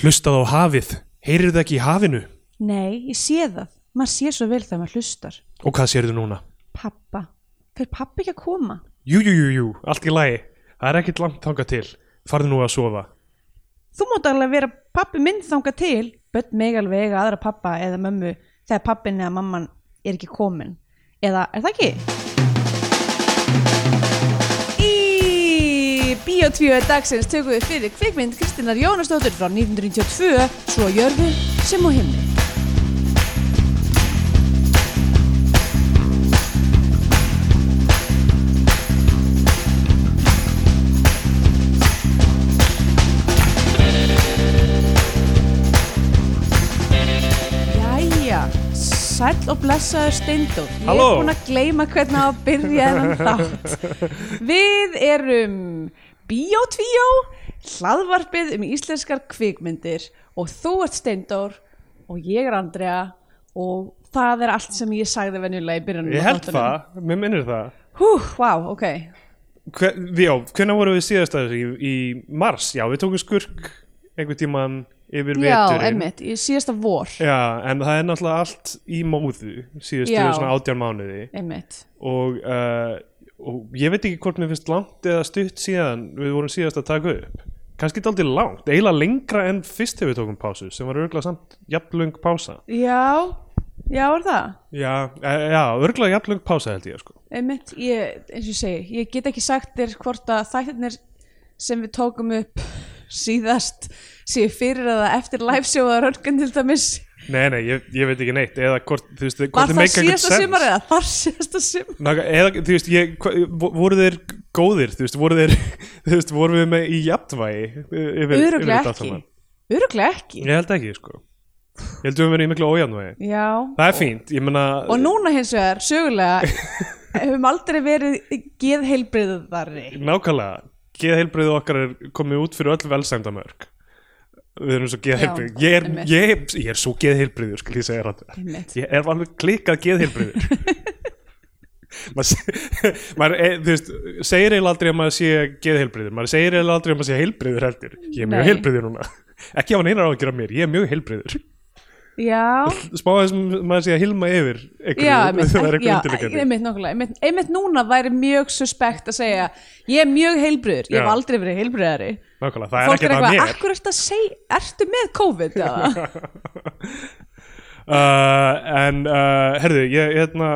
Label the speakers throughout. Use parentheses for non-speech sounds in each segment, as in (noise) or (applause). Speaker 1: Hlustað á hafið, heyrir það ekki í hafinu?
Speaker 2: Nei, ég sé það. Maður sé svo vel þegar maður hlustar.
Speaker 1: Og hvað sérðu núna?
Speaker 2: Pappa. Fyrir pappa ekki að koma?
Speaker 1: Jú, jú, jú, jú, allt í lagi. Það er ekkert langt þangað til. Farðu nú að sofa.
Speaker 2: Þú mátt alveg vera pappi minn þangað til. Bött mig alveg eiga aðra pappa eða mömmu þegar pappin eða mamman er ekki komin. Eða, er það ekki?
Speaker 3: Í Bíotvíu dagsins tökum við fyrir kvikmynd Kristínar Jónasdóttur frá 1992 Svo á jörðu sem og himni
Speaker 2: Jæja, sæll og blessaður Steindór. Ég
Speaker 1: Halló.
Speaker 2: er búin að gleyma hvernig á að byrja þennan þátt. Við erum Bíotvíó, hlaðvarpið um íslenskar kvikmyndir og þú ert Steindór og ég er Andrea og það er allt sem ég sagði venjulega í byrjunum. á
Speaker 1: Ég held
Speaker 2: þáttunum.
Speaker 1: það, mér minnir það.
Speaker 2: Hú, vá, ok.
Speaker 1: Hver, já, hvenær vorum við síðast að þessu? Í, í mars? Já, við tókum skurk einhvern tíman yfir
Speaker 2: Já,
Speaker 1: veturinn.
Speaker 2: einmitt, í síðasta vor.
Speaker 1: Já, en það er náttúrulega allt í móðu síðustu
Speaker 2: Já.
Speaker 1: svona átján mánuði
Speaker 2: Einmitt.
Speaker 1: og, uh, og ég veit ekki hvort mér finnst langt eða stutt síðan við vorum síðast að taka upp. Kannski þetta aldrei langt, eiginlega lengra en fyrst þegar við tókum pásu sem var örgulega samt jafnlöng pása.
Speaker 2: Já, já, er það?
Speaker 1: Já, e- já örgulega jafnlöng pása held ég sko.
Speaker 2: Einmitt, ég, eins og ég segi, ég get ekki sagt þér hvort að þættirnir sem við tókum upp síðast séu fyrir eða eftir livesjóða rörgan til dæmis.
Speaker 1: Nei, nei, ég, ég veit ekki neitt eða hvort, þú veist, hvort
Speaker 2: Var
Speaker 1: þið
Speaker 2: það
Speaker 1: make a good
Speaker 2: síðasta
Speaker 1: sense.
Speaker 2: sumar eða þar síðasta sumar?
Speaker 1: Naga, eða, þú veist, ég, hva- vo- voru þeir góðir, þú veist, voru þeir, (laughs) þú veist, voru við með í jafnvægi yfir, yfir þetta
Speaker 2: Öruglega
Speaker 1: allt
Speaker 2: ekki.
Speaker 1: saman?
Speaker 2: Öruglega ekki.
Speaker 1: Ég held ekki, sko. Ég held við höfum verið í miklu ójafnvægi.
Speaker 2: Já.
Speaker 1: Það er fínt, ég meina,
Speaker 2: Og núna hins vegar,
Speaker 1: (laughs)
Speaker 2: sögulega, hefum aldrei verið geðheilbriðari.
Speaker 1: nákvæmlega, geðheilbrið okkar er komið út fyrir öll velsæmdamörk. Við erum svo geðheilbrið.
Speaker 2: Já,
Speaker 1: Ég er,
Speaker 2: einmitt.
Speaker 1: ég, er- ég er svo geðheilbriður, skal ég segja rátt.
Speaker 2: Einmitt.
Speaker 1: Ég er alveg klikkað geðheilbriður
Speaker 2: (laughs)
Speaker 1: maður, se- maður e, þú veist, segir eiginlega aldrei að maður sé geðheilbriður, maður segir eiginlega aldrei að maður sé heilbriður heldur, ég er mjög
Speaker 2: Nei.
Speaker 1: heilbriður núna ekki á neinar á að gera mér, ég er mjög heilbriður
Speaker 2: Já.
Speaker 1: smá að sem maður sé að hilma yfir einhverju,
Speaker 2: Já, einmitt,
Speaker 1: það er
Speaker 2: já,
Speaker 1: eitthvað undirleikandi
Speaker 2: einmitt, nákvæmlega. einmitt, einmitt núna væri mjög suspekt að segja ég er mjög heilbröður, ég hef
Speaker 1: Já.
Speaker 2: aldrei verið heilbröðari
Speaker 1: nákvæmlega, það er
Speaker 2: fólk er
Speaker 1: ekkert að
Speaker 2: eitthvað, "Ah,
Speaker 1: mér
Speaker 2: akkur ertu að segja ertu með COVID
Speaker 1: (laughs)
Speaker 2: eða?
Speaker 1: uh, en uh, herðu, ég hérna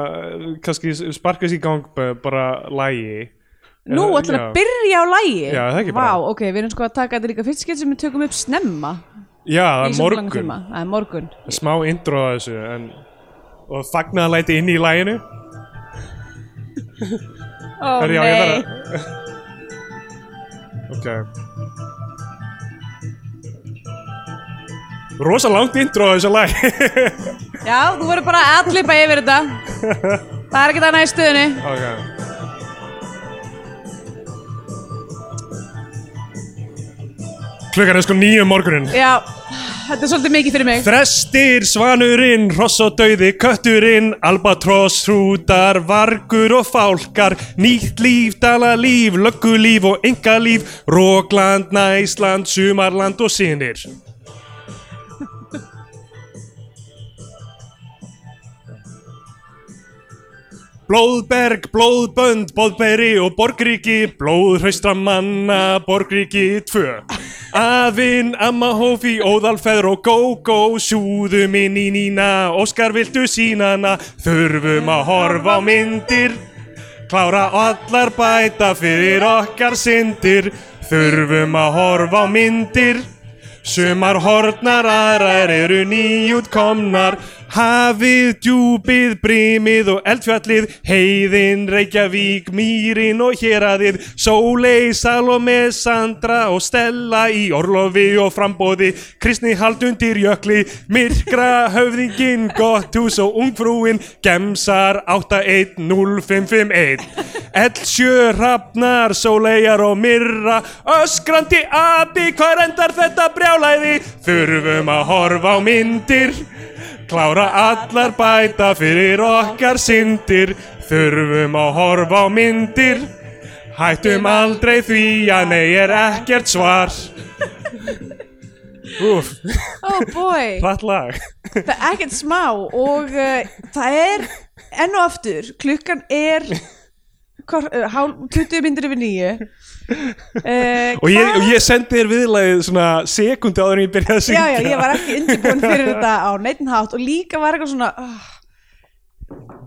Speaker 1: kannski sparkast í gang b- bara lægi
Speaker 2: nú ætlum við
Speaker 1: já.
Speaker 2: að byrja á lægi
Speaker 1: Já, það er ekki bara.
Speaker 2: Vá, ok, við erum sko að taka þetta líka fyrst skil sem við tökum upp snemma
Speaker 1: já, það
Speaker 2: í
Speaker 1: er
Speaker 2: svo langan
Speaker 1: morgun
Speaker 2: tíma. það er morgun
Speaker 1: smá intro að þessu en, og fagnaðarlæti inn í læginu
Speaker 2: ó
Speaker 1: Herri, já, ég
Speaker 2: nei,
Speaker 1: þarf að (laughs) ok rosa langt intro að þessu læg
Speaker 2: já, þú verður bara að allipa yfir þetta
Speaker 1: (laughs)
Speaker 2: það er ekki það næst stöðunni
Speaker 1: ok klukkan er sko nýju um morgunin
Speaker 2: já, þetta er svolítið mikið fyrir mig
Speaker 1: Þrestir, svanurinn, hross og dauði, kötturinn, albatross, hrútar, vargur og fálkar, nýtt líf, dalalíf, löggulíf og engalíf, Rókland, Næsland, Sumarland og sinir. Blóðberg, blóðbönd, blóðberi og borgríki, blóðhraustra manna, borgríki 2. Afinn, amma hófi, óðalfeður og gó-gó, sjúðum inn í nína, Óskar viltu sínana, þurfum að horfa á myndir, klára allar bæta fyrir okkar syndir, þurfum að horfa á myndir. Sumar hornar aðrar eru nýjútkomnar Hafið, djúpið, brimið og eldfjallið Heiðin, Reykjavík, Mýrin og Héraðið Sólei, Salome, Sandra og Stella í orlofi og frambóði Kristni haldundir jökli Myrkra, höfðingin, gotthús og ungfrúin Gemsar 810551 Eldsjö, Hrafnar, Sólejar og Myrra Öskrandi abi, hvað endar þetta brjálæði? Þurfum að horfa á myndir Klára allar bæta fyrir okkar syndir Þurfum að horfa á myndir Hættum aldrei því að nei er ekkert svar Úf,
Speaker 2: oh boy
Speaker 1: (laughs) hratt lag
Speaker 2: það er ekkert smá og uh, það er enn og aftur klukkan er hvar, uh, hál, 20 myndir yfir nýju
Speaker 1: (laughs)
Speaker 2: uh,
Speaker 1: Og ég, og ég sendi þér viðlagið svona sekundi áður en ég byrjaði að
Speaker 2: já,
Speaker 1: syngja
Speaker 2: já, ég var ekki undirbúin
Speaker 1: (laughs)
Speaker 2: fyrir þetta á neittn hátt og líka var eitthvað svona oh,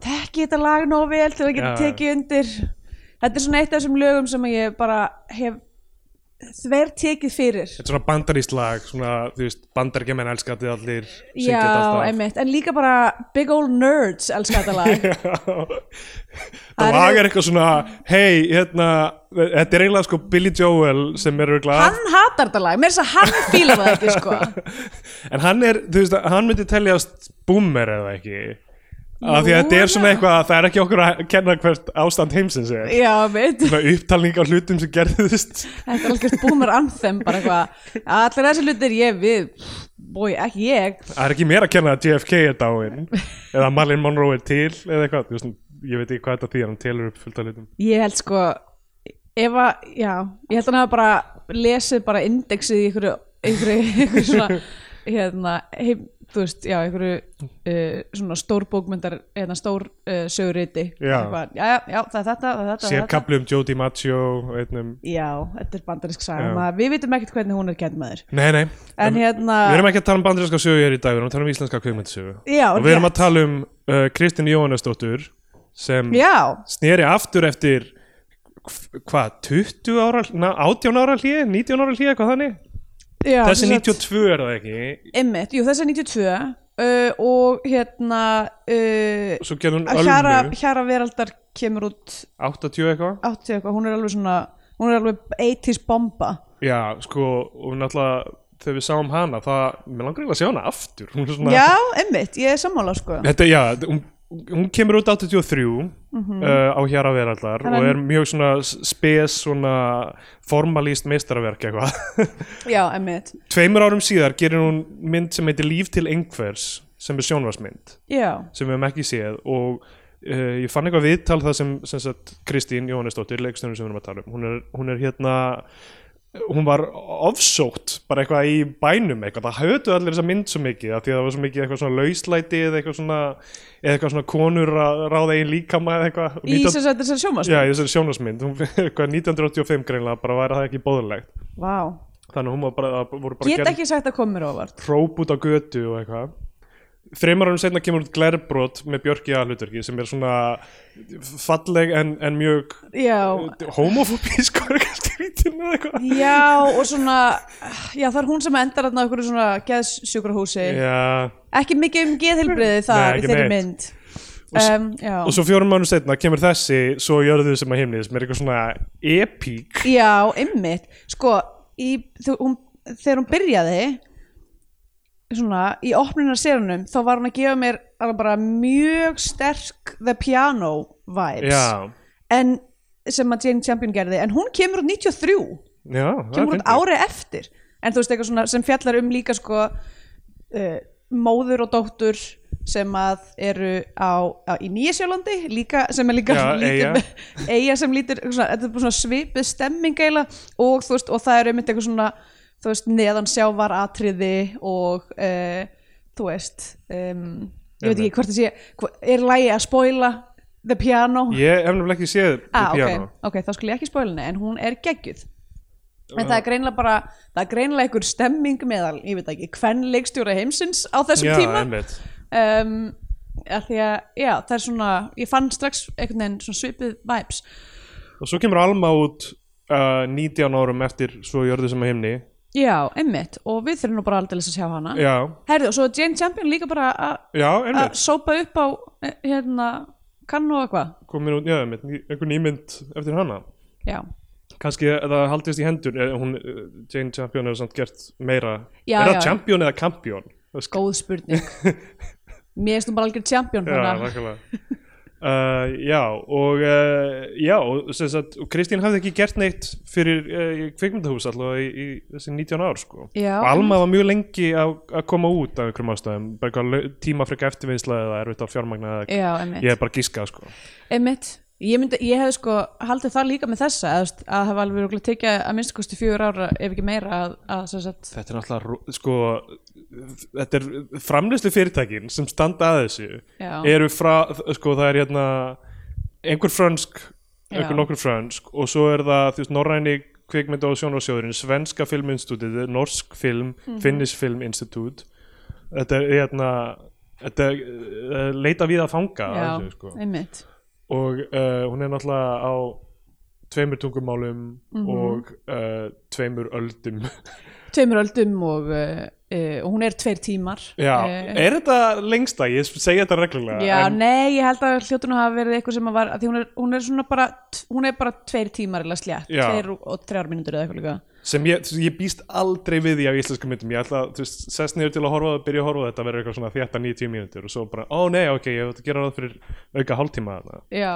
Speaker 2: tekki þetta lag nóg vel til að geta
Speaker 1: Já.
Speaker 2: tekið undir þetta er svona eitt af þessum lögum sem ég bara hef þver tekið fyrir
Speaker 1: Þetta er svona bandarískt lag, svona, þú veist, bandaríkjumenn elska þetta allir syngja þetta
Speaker 2: já,
Speaker 1: alltaf.
Speaker 2: einmitt, en líka bara big old nerds elska þetta lag Það
Speaker 1: (laughs) Það
Speaker 2: er-
Speaker 1: lag er eitthvað svona Hei, hérna Þetta er eiginlega sko Billy Joel sem er örugglega-
Speaker 2: hann hatar þetta lag, mér er þess að hann fílar það ekki sko
Speaker 1: En hann er, þú veist, hann myndi teljast boomer eða ekki Af því að
Speaker 2: Jú,
Speaker 1: þetta er svona
Speaker 2: já.
Speaker 1: eitthvað að það er ekki okkur að kenna hvert ástand heimsins er
Speaker 2: já, veit,
Speaker 1: Svona upptalning á hlutum sem gerðist
Speaker 2: þetta er algjörst boomer anthem bara eitthvað, allir þessi hlutir ég við, bói, ekki ég
Speaker 1: Það er ekki mér að kenna að JFK er dáin Eða að Marlon Monroe er til Eða eitthvað, þú veist, ég veit ekki hvað þetta því Hann telur upp fullt af hlutum
Speaker 2: ég held sko ef að, já, ég held hann hafa bara lesið bara indexið í einhverju, einhverju, einhverju
Speaker 1: (laughs)
Speaker 2: svona hérna, heim, þú veist, já, einhverju uh, svona stór bókmyndar hérna, stór uh, söguriti
Speaker 1: Já.
Speaker 2: Eitthvað, já, já, já, það er þetta, það er þetta, það er
Speaker 1: Sér
Speaker 2: þetta.
Speaker 1: kapli um Jody Macho og um- einnum
Speaker 2: já, þetta er bandarísk
Speaker 1: Já.
Speaker 2: saga maður- við vitum ekkert hvernig hún er kænt maður
Speaker 1: Nei, nei,
Speaker 2: en hérna
Speaker 1: við erum ekki að tala um bandarinska sögu hér í dag Við erum að tala um íslenska kveikmyndasögu
Speaker 2: Já,
Speaker 1: Og við erum að
Speaker 2: rétt.
Speaker 1: tala um uh, Kristín Jóhannesdóttur Sem
Speaker 2: Já,
Speaker 1: sneri aftur eftir hv- hvað, 20 ára na, 18 ára hlýð, 19 ára hlýð, hvað þannig
Speaker 2: já
Speaker 1: þessi
Speaker 2: sem sagt-
Speaker 1: 92 er það ekki
Speaker 2: Einmitt, jú þessi er 92 uh, og hérna uh,
Speaker 1: svo gerði hún
Speaker 2: að Hjara,
Speaker 1: Ölmu,
Speaker 2: Hjara Veraldar kemur út
Speaker 1: 80 eitthvað
Speaker 2: 80 eitthvað, hún er alveg svona hún er alveg 80s bomba
Speaker 1: já, sko, og náttúrulega þegar við sáum hana, það, mér langar eiginlega að sjá hana aftur hún er svona,
Speaker 2: Já, einmitt, ég er sammála sko
Speaker 1: þetta, já, hún, hún kemur út 83 uh, á Hjara veraldar og er mjög svona spes svona formalíst meistaraverk eitthvað (laughs)
Speaker 2: Já, einmitt,
Speaker 1: tveimur árum síðar gerir hún mynd sem heitir Líf til einhvers sem er sjónvarsmynd
Speaker 2: já,
Speaker 1: sem við hefum ekki séð og uh, ég fann eitthvað viðtal það sem, sem sagt, Kristín Jóhannesdóttir, leikstunum sem við erum að tala um hún er, hún er hérna hún var ofsótt bara eitthvað í bænum eitthvað, það höfðu allir þessa mynd svo mikið af því að það var svo mikið eitthvað svona lauslæti eða eitthvað svona, eða eitthvað svona konur að ráða einn líkama eða eitthvað Og
Speaker 2: í
Speaker 1: 19
Speaker 2: sem sagt þessar sjómas
Speaker 1: Já, í þessari sjónvarsmynd, hún, (laughs) eitthvað 1985 greinlega bara væri það ekki bóðulegt
Speaker 2: Vá,
Speaker 1: þannig að hún var bara, það voru bara
Speaker 2: get
Speaker 1: gerð-
Speaker 2: ekki sagt að koma mér óvart
Speaker 1: hróp út á götu og eitthvað Þreymar árum setna kemur út Glerbrot með Björki aðluturki sem er svona falleg en, en mjög
Speaker 2: Já,
Speaker 1: homofóbísk og eitthvað skrítin eða eitthvað
Speaker 2: já og svona já það er hún sem endar þarna á einhverju svona geðsjúkrahúsi
Speaker 1: Já,
Speaker 2: ekki mikið um geðhilbriði
Speaker 1: Nei,
Speaker 2: þar
Speaker 1: ekki
Speaker 2: í þeirri
Speaker 1: neitt.
Speaker 2: mynd
Speaker 1: Og s-
Speaker 2: um, Já,
Speaker 1: og svo fjórum árum setna kemur þessi svo jörðu sem að himnið sem er eitthvað svona epík
Speaker 2: Já, ymmit Sko, í, þú, hún, þegar hún byrjaði svona, í opnunar serunum þá var hún að gefa mér alveg bara mjög sterk the piano vibes
Speaker 1: Já,
Speaker 2: en sem að Jane Champion gerði en hún kemur út 93
Speaker 1: já það er
Speaker 2: kemur út
Speaker 1: fyndið.
Speaker 2: ári eftir en þú veist eitthvað svona sem fjallar um líka sko uh, móður og dóttur sem að eru á, á í Nýjasjólandi líka, sem er (laughs) líka
Speaker 1: Já,
Speaker 2: lítur, eiga sem lítur svona, þetta er bara svona svipið stemming eila og þú veist og það er einmitt eitthvað svona þú veist neðan sjávar atriði og uh, þú veist um, ég veit ekki hvort það sé hva- er lægi að spoila the piano
Speaker 1: Ég hef nefnilega ekki séð
Speaker 2: ah,
Speaker 1: The
Speaker 2: okay,
Speaker 1: Piano.
Speaker 2: ok, þá skulle ég ekki spólinni en hún er geggjuð en það er greinlega bara það er greinlega einhver stemming meðal ég veit ekki, hvern leikstjóra heimsins á þessum
Speaker 1: Já,
Speaker 2: tíma
Speaker 1: einmitt
Speaker 2: um, að því að, já, það er svona ég fann strax einhvern veginn svona svipið vibes
Speaker 1: Og svo kemur Alma út uh, 19 árum eftir svo jörðu sem að himni
Speaker 2: já, einmitt, og við þurfum nú bara aldrei að sjá hana
Speaker 1: Já,
Speaker 2: herðu, og svo er Jane Champion líka bara að-
Speaker 1: já,
Speaker 2: að
Speaker 1: einmitt
Speaker 2: sópa upp á eh, hérna, kannu og eitthvað
Speaker 1: komin út, já, einmitt, einhver nýmynd eftir hana
Speaker 2: já,
Speaker 1: kannski að það haldist í hendur eh, hún, eh, Jane Champion hefur samt gert meira
Speaker 2: Já,
Speaker 1: er það
Speaker 2: já.
Speaker 1: Champion eða Campion? Það sko-
Speaker 2: góð
Speaker 1: (laughs)
Speaker 2: spurning mér erst hún bara algjör champion
Speaker 1: já,
Speaker 2: núna.
Speaker 1: nákvæmlega uh, já, og uh, já, og, sem sagt, og Kristín hafði ekki gert neitt fyrir uh, kvikmyndahús alltaf í, í þessi 19 ár sko.
Speaker 2: Já.
Speaker 1: og Alma var mjög lengi að, að koma út af einhverjum ástæðum, bara eitthvað tímafrika eftirvinnsla eða erfitt að fjármagna eða
Speaker 2: já, einmitt
Speaker 1: ég er bara að gíska sko.
Speaker 2: Einmitt, Ég, myndi, ég hefði sko haldið það líka með þessa að, þú veist, að hafa alveg örugglega tekið að minnst kosti fjögur ára ef ekki meira að, að sem sagt,
Speaker 1: Þetta er náttúrulega, ro- sko, þetta er framlýslu fyrirtækin sem standa að þessu
Speaker 2: Já.
Speaker 1: eru frá, sko, það er hérna einhver frönsk,
Speaker 2: Já.
Speaker 1: einhver nokkur frönsk og svo er það, þú veist, norræni kvikmynda og sjónarsjóðurinn, Svenska filminstitútið, Norsk film,
Speaker 2: Mhm.
Speaker 1: Finnish film institute, þetta er hérna, þetta er uh, leita við að fanga að
Speaker 2: já,
Speaker 1: þessu, sko.
Speaker 2: einmitt
Speaker 1: og uh, hún er náttúrulega á tveimur tungumálum
Speaker 2: Mhm.
Speaker 1: og uh, tveimur öldum
Speaker 2: tveimur öldum og, uh, uh, og hún er tveir tímar
Speaker 1: Já,
Speaker 2: Eh,
Speaker 1: er þetta lengsta? Ég segja þetta reglulega
Speaker 2: já
Speaker 1: en,
Speaker 2: nei, ég held að hljótun hafa verið eitthvað sem að var, að því hún er, hún er svona bara hún er bara tveir tímar eða slétt
Speaker 1: Já.
Speaker 2: tveir og- og þrjár mínútur eða eitthvað líka
Speaker 1: sem ég, þú veist, ég býst aldrei við því af íslensku myndum ég ætla að þú veist, sest niður til að horfa að byrja að horfa á þetta verður eitthvað svona þetta 90 mínútur og svo bara, ó nei, ok, ég ætla að gera það fyrir auka hálftíma þarna
Speaker 2: já,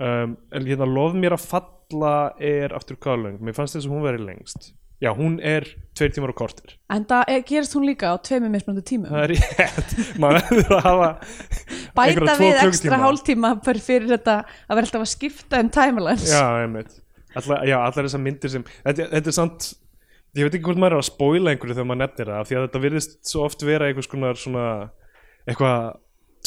Speaker 1: um, en hérna lof mér að falla er aftur hvað löng, mér fannst þess að hún veri lengst já, hún er tveir tímar og kortir
Speaker 2: en það eh, gerist hún líka á tveimur mismunandi tímum
Speaker 1: það er rétt, (laughs) maður verður að hafa
Speaker 2: bæta
Speaker 1: einhverja tvo
Speaker 2: við ekstra
Speaker 1: klukkutíma.
Speaker 2: hálftíma fyrir, fyrir þetta að vera alltaf að skipta um timelines
Speaker 1: Já, einmitt Alla, Já, allar þessar myndir sem þetta, þetta er samt, ég veit ekki hvort maður er að spóila einhverju þegar maður nefnir það af því að þetta virðist svo oft vera einhvers konar svona eitthvað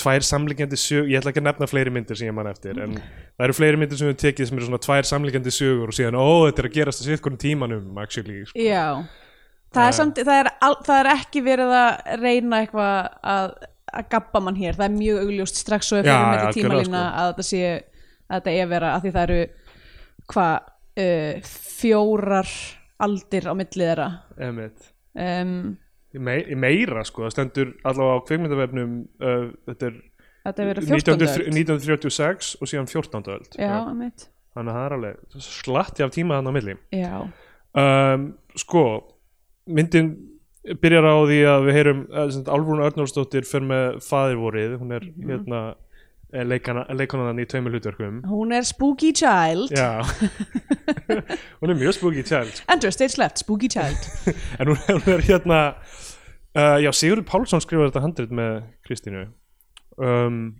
Speaker 1: tvær samlíkjandi sög ég ætla ekki að nefna fleiri myndir sem ég man eftir en það eru fleiri myndir sem við höfum tekið sem eru svona tvær samlíkjandi sögur og síðan, ó, þetta er að gerast að sér hvernig tímanum, actually sko.
Speaker 2: Já, það er, samt, það, er al, það er ekki verið að reyna eitthvað að, að gabba mann hér, það er mjög augljóst strax og
Speaker 1: Já,
Speaker 2: fyrir með
Speaker 1: já,
Speaker 2: þetta
Speaker 1: algjörlega, sko.
Speaker 2: tímalína að þetta sé að þetta er vera að því það eru hvað, uh, fjórar aldir á milli þeirra
Speaker 1: Einmitt
Speaker 2: um,
Speaker 1: Í mei- í meira, sko, það stendur allavega á kvikmyndavefnum uh, þetta er
Speaker 2: þetta er verið 14.
Speaker 1: 1900
Speaker 2: öld
Speaker 1: 1936 og síðan 14. öld sko.
Speaker 2: Já, einmitt.
Speaker 1: þannig að það er alveg slatti af tíma þannig að milli
Speaker 2: Já,
Speaker 1: um, sko myndin byrjar á því að við heyrum eh, sem sagt, Álfrún Örnólfsdóttir fyrir með faðirvorið, hún er
Speaker 2: Mhm.
Speaker 1: mm -hmm. hérna leikonan í tveimur hlutverkum
Speaker 2: hún er spooky child
Speaker 1: já (laughs) hún er mjög spooky child sko.
Speaker 2: Andrew Stage Left, spooky child
Speaker 1: en hún, hún er hérna uh, já Sigurður Pálsson skrifar þetta handrit með Kristínu um,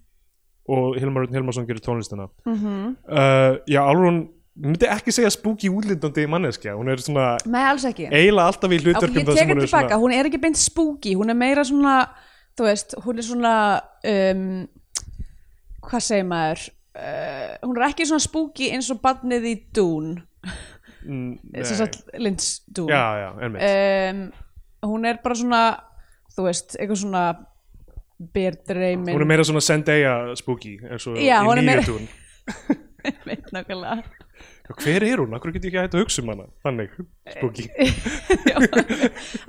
Speaker 1: og Hilmar Örn Hilmarsson gerir tónlistina
Speaker 2: Mhm.
Speaker 1: -hmm. uh, já Álfrún myndi ekki segja spooky útlindandi manneskja, hún er svona
Speaker 2: Nei, alls ekki
Speaker 1: eiginlega alltaf í
Speaker 2: Ok,
Speaker 1: hlutverkum
Speaker 2: ég
Speaker 1: þar
Speaker 2: tek
Speaker 1: sem
Speaker 2: hann
Speaker 1: hún er svona-
Speaker 2: tilbaka, hún er ekki beint spooky hún er meira svona, þú veist hún er svona um, hvað segir maður uh, hún er ekki svona spooky eins og barnið í Dune eh,
Speaker 1: Mm,
Speaker 2: sem
Speaker 1: nei.
Speaker 2: sagt Lynch Dune
Speaker 1: Já, já, einmitt
Speaker 2: um, hún er bara svona þú veist, eitthvað svona berdreimin (laughs)
Speaker 1: Hún er meira svona Zendaya spooky eins og
Speaker 2: Um, Já,
Speaker 1: í
Speaker 2: hún er
Speaker 1: nýju
Speaker 2: meira-
Speaker 1: Dune.
Speaker 2: meira nákvæmlega
Speaker 1: Já, Hver er hún? Akkur get ég ekki hægt að hugsa um hana Þannig, spooky
Speaker 2: Eh,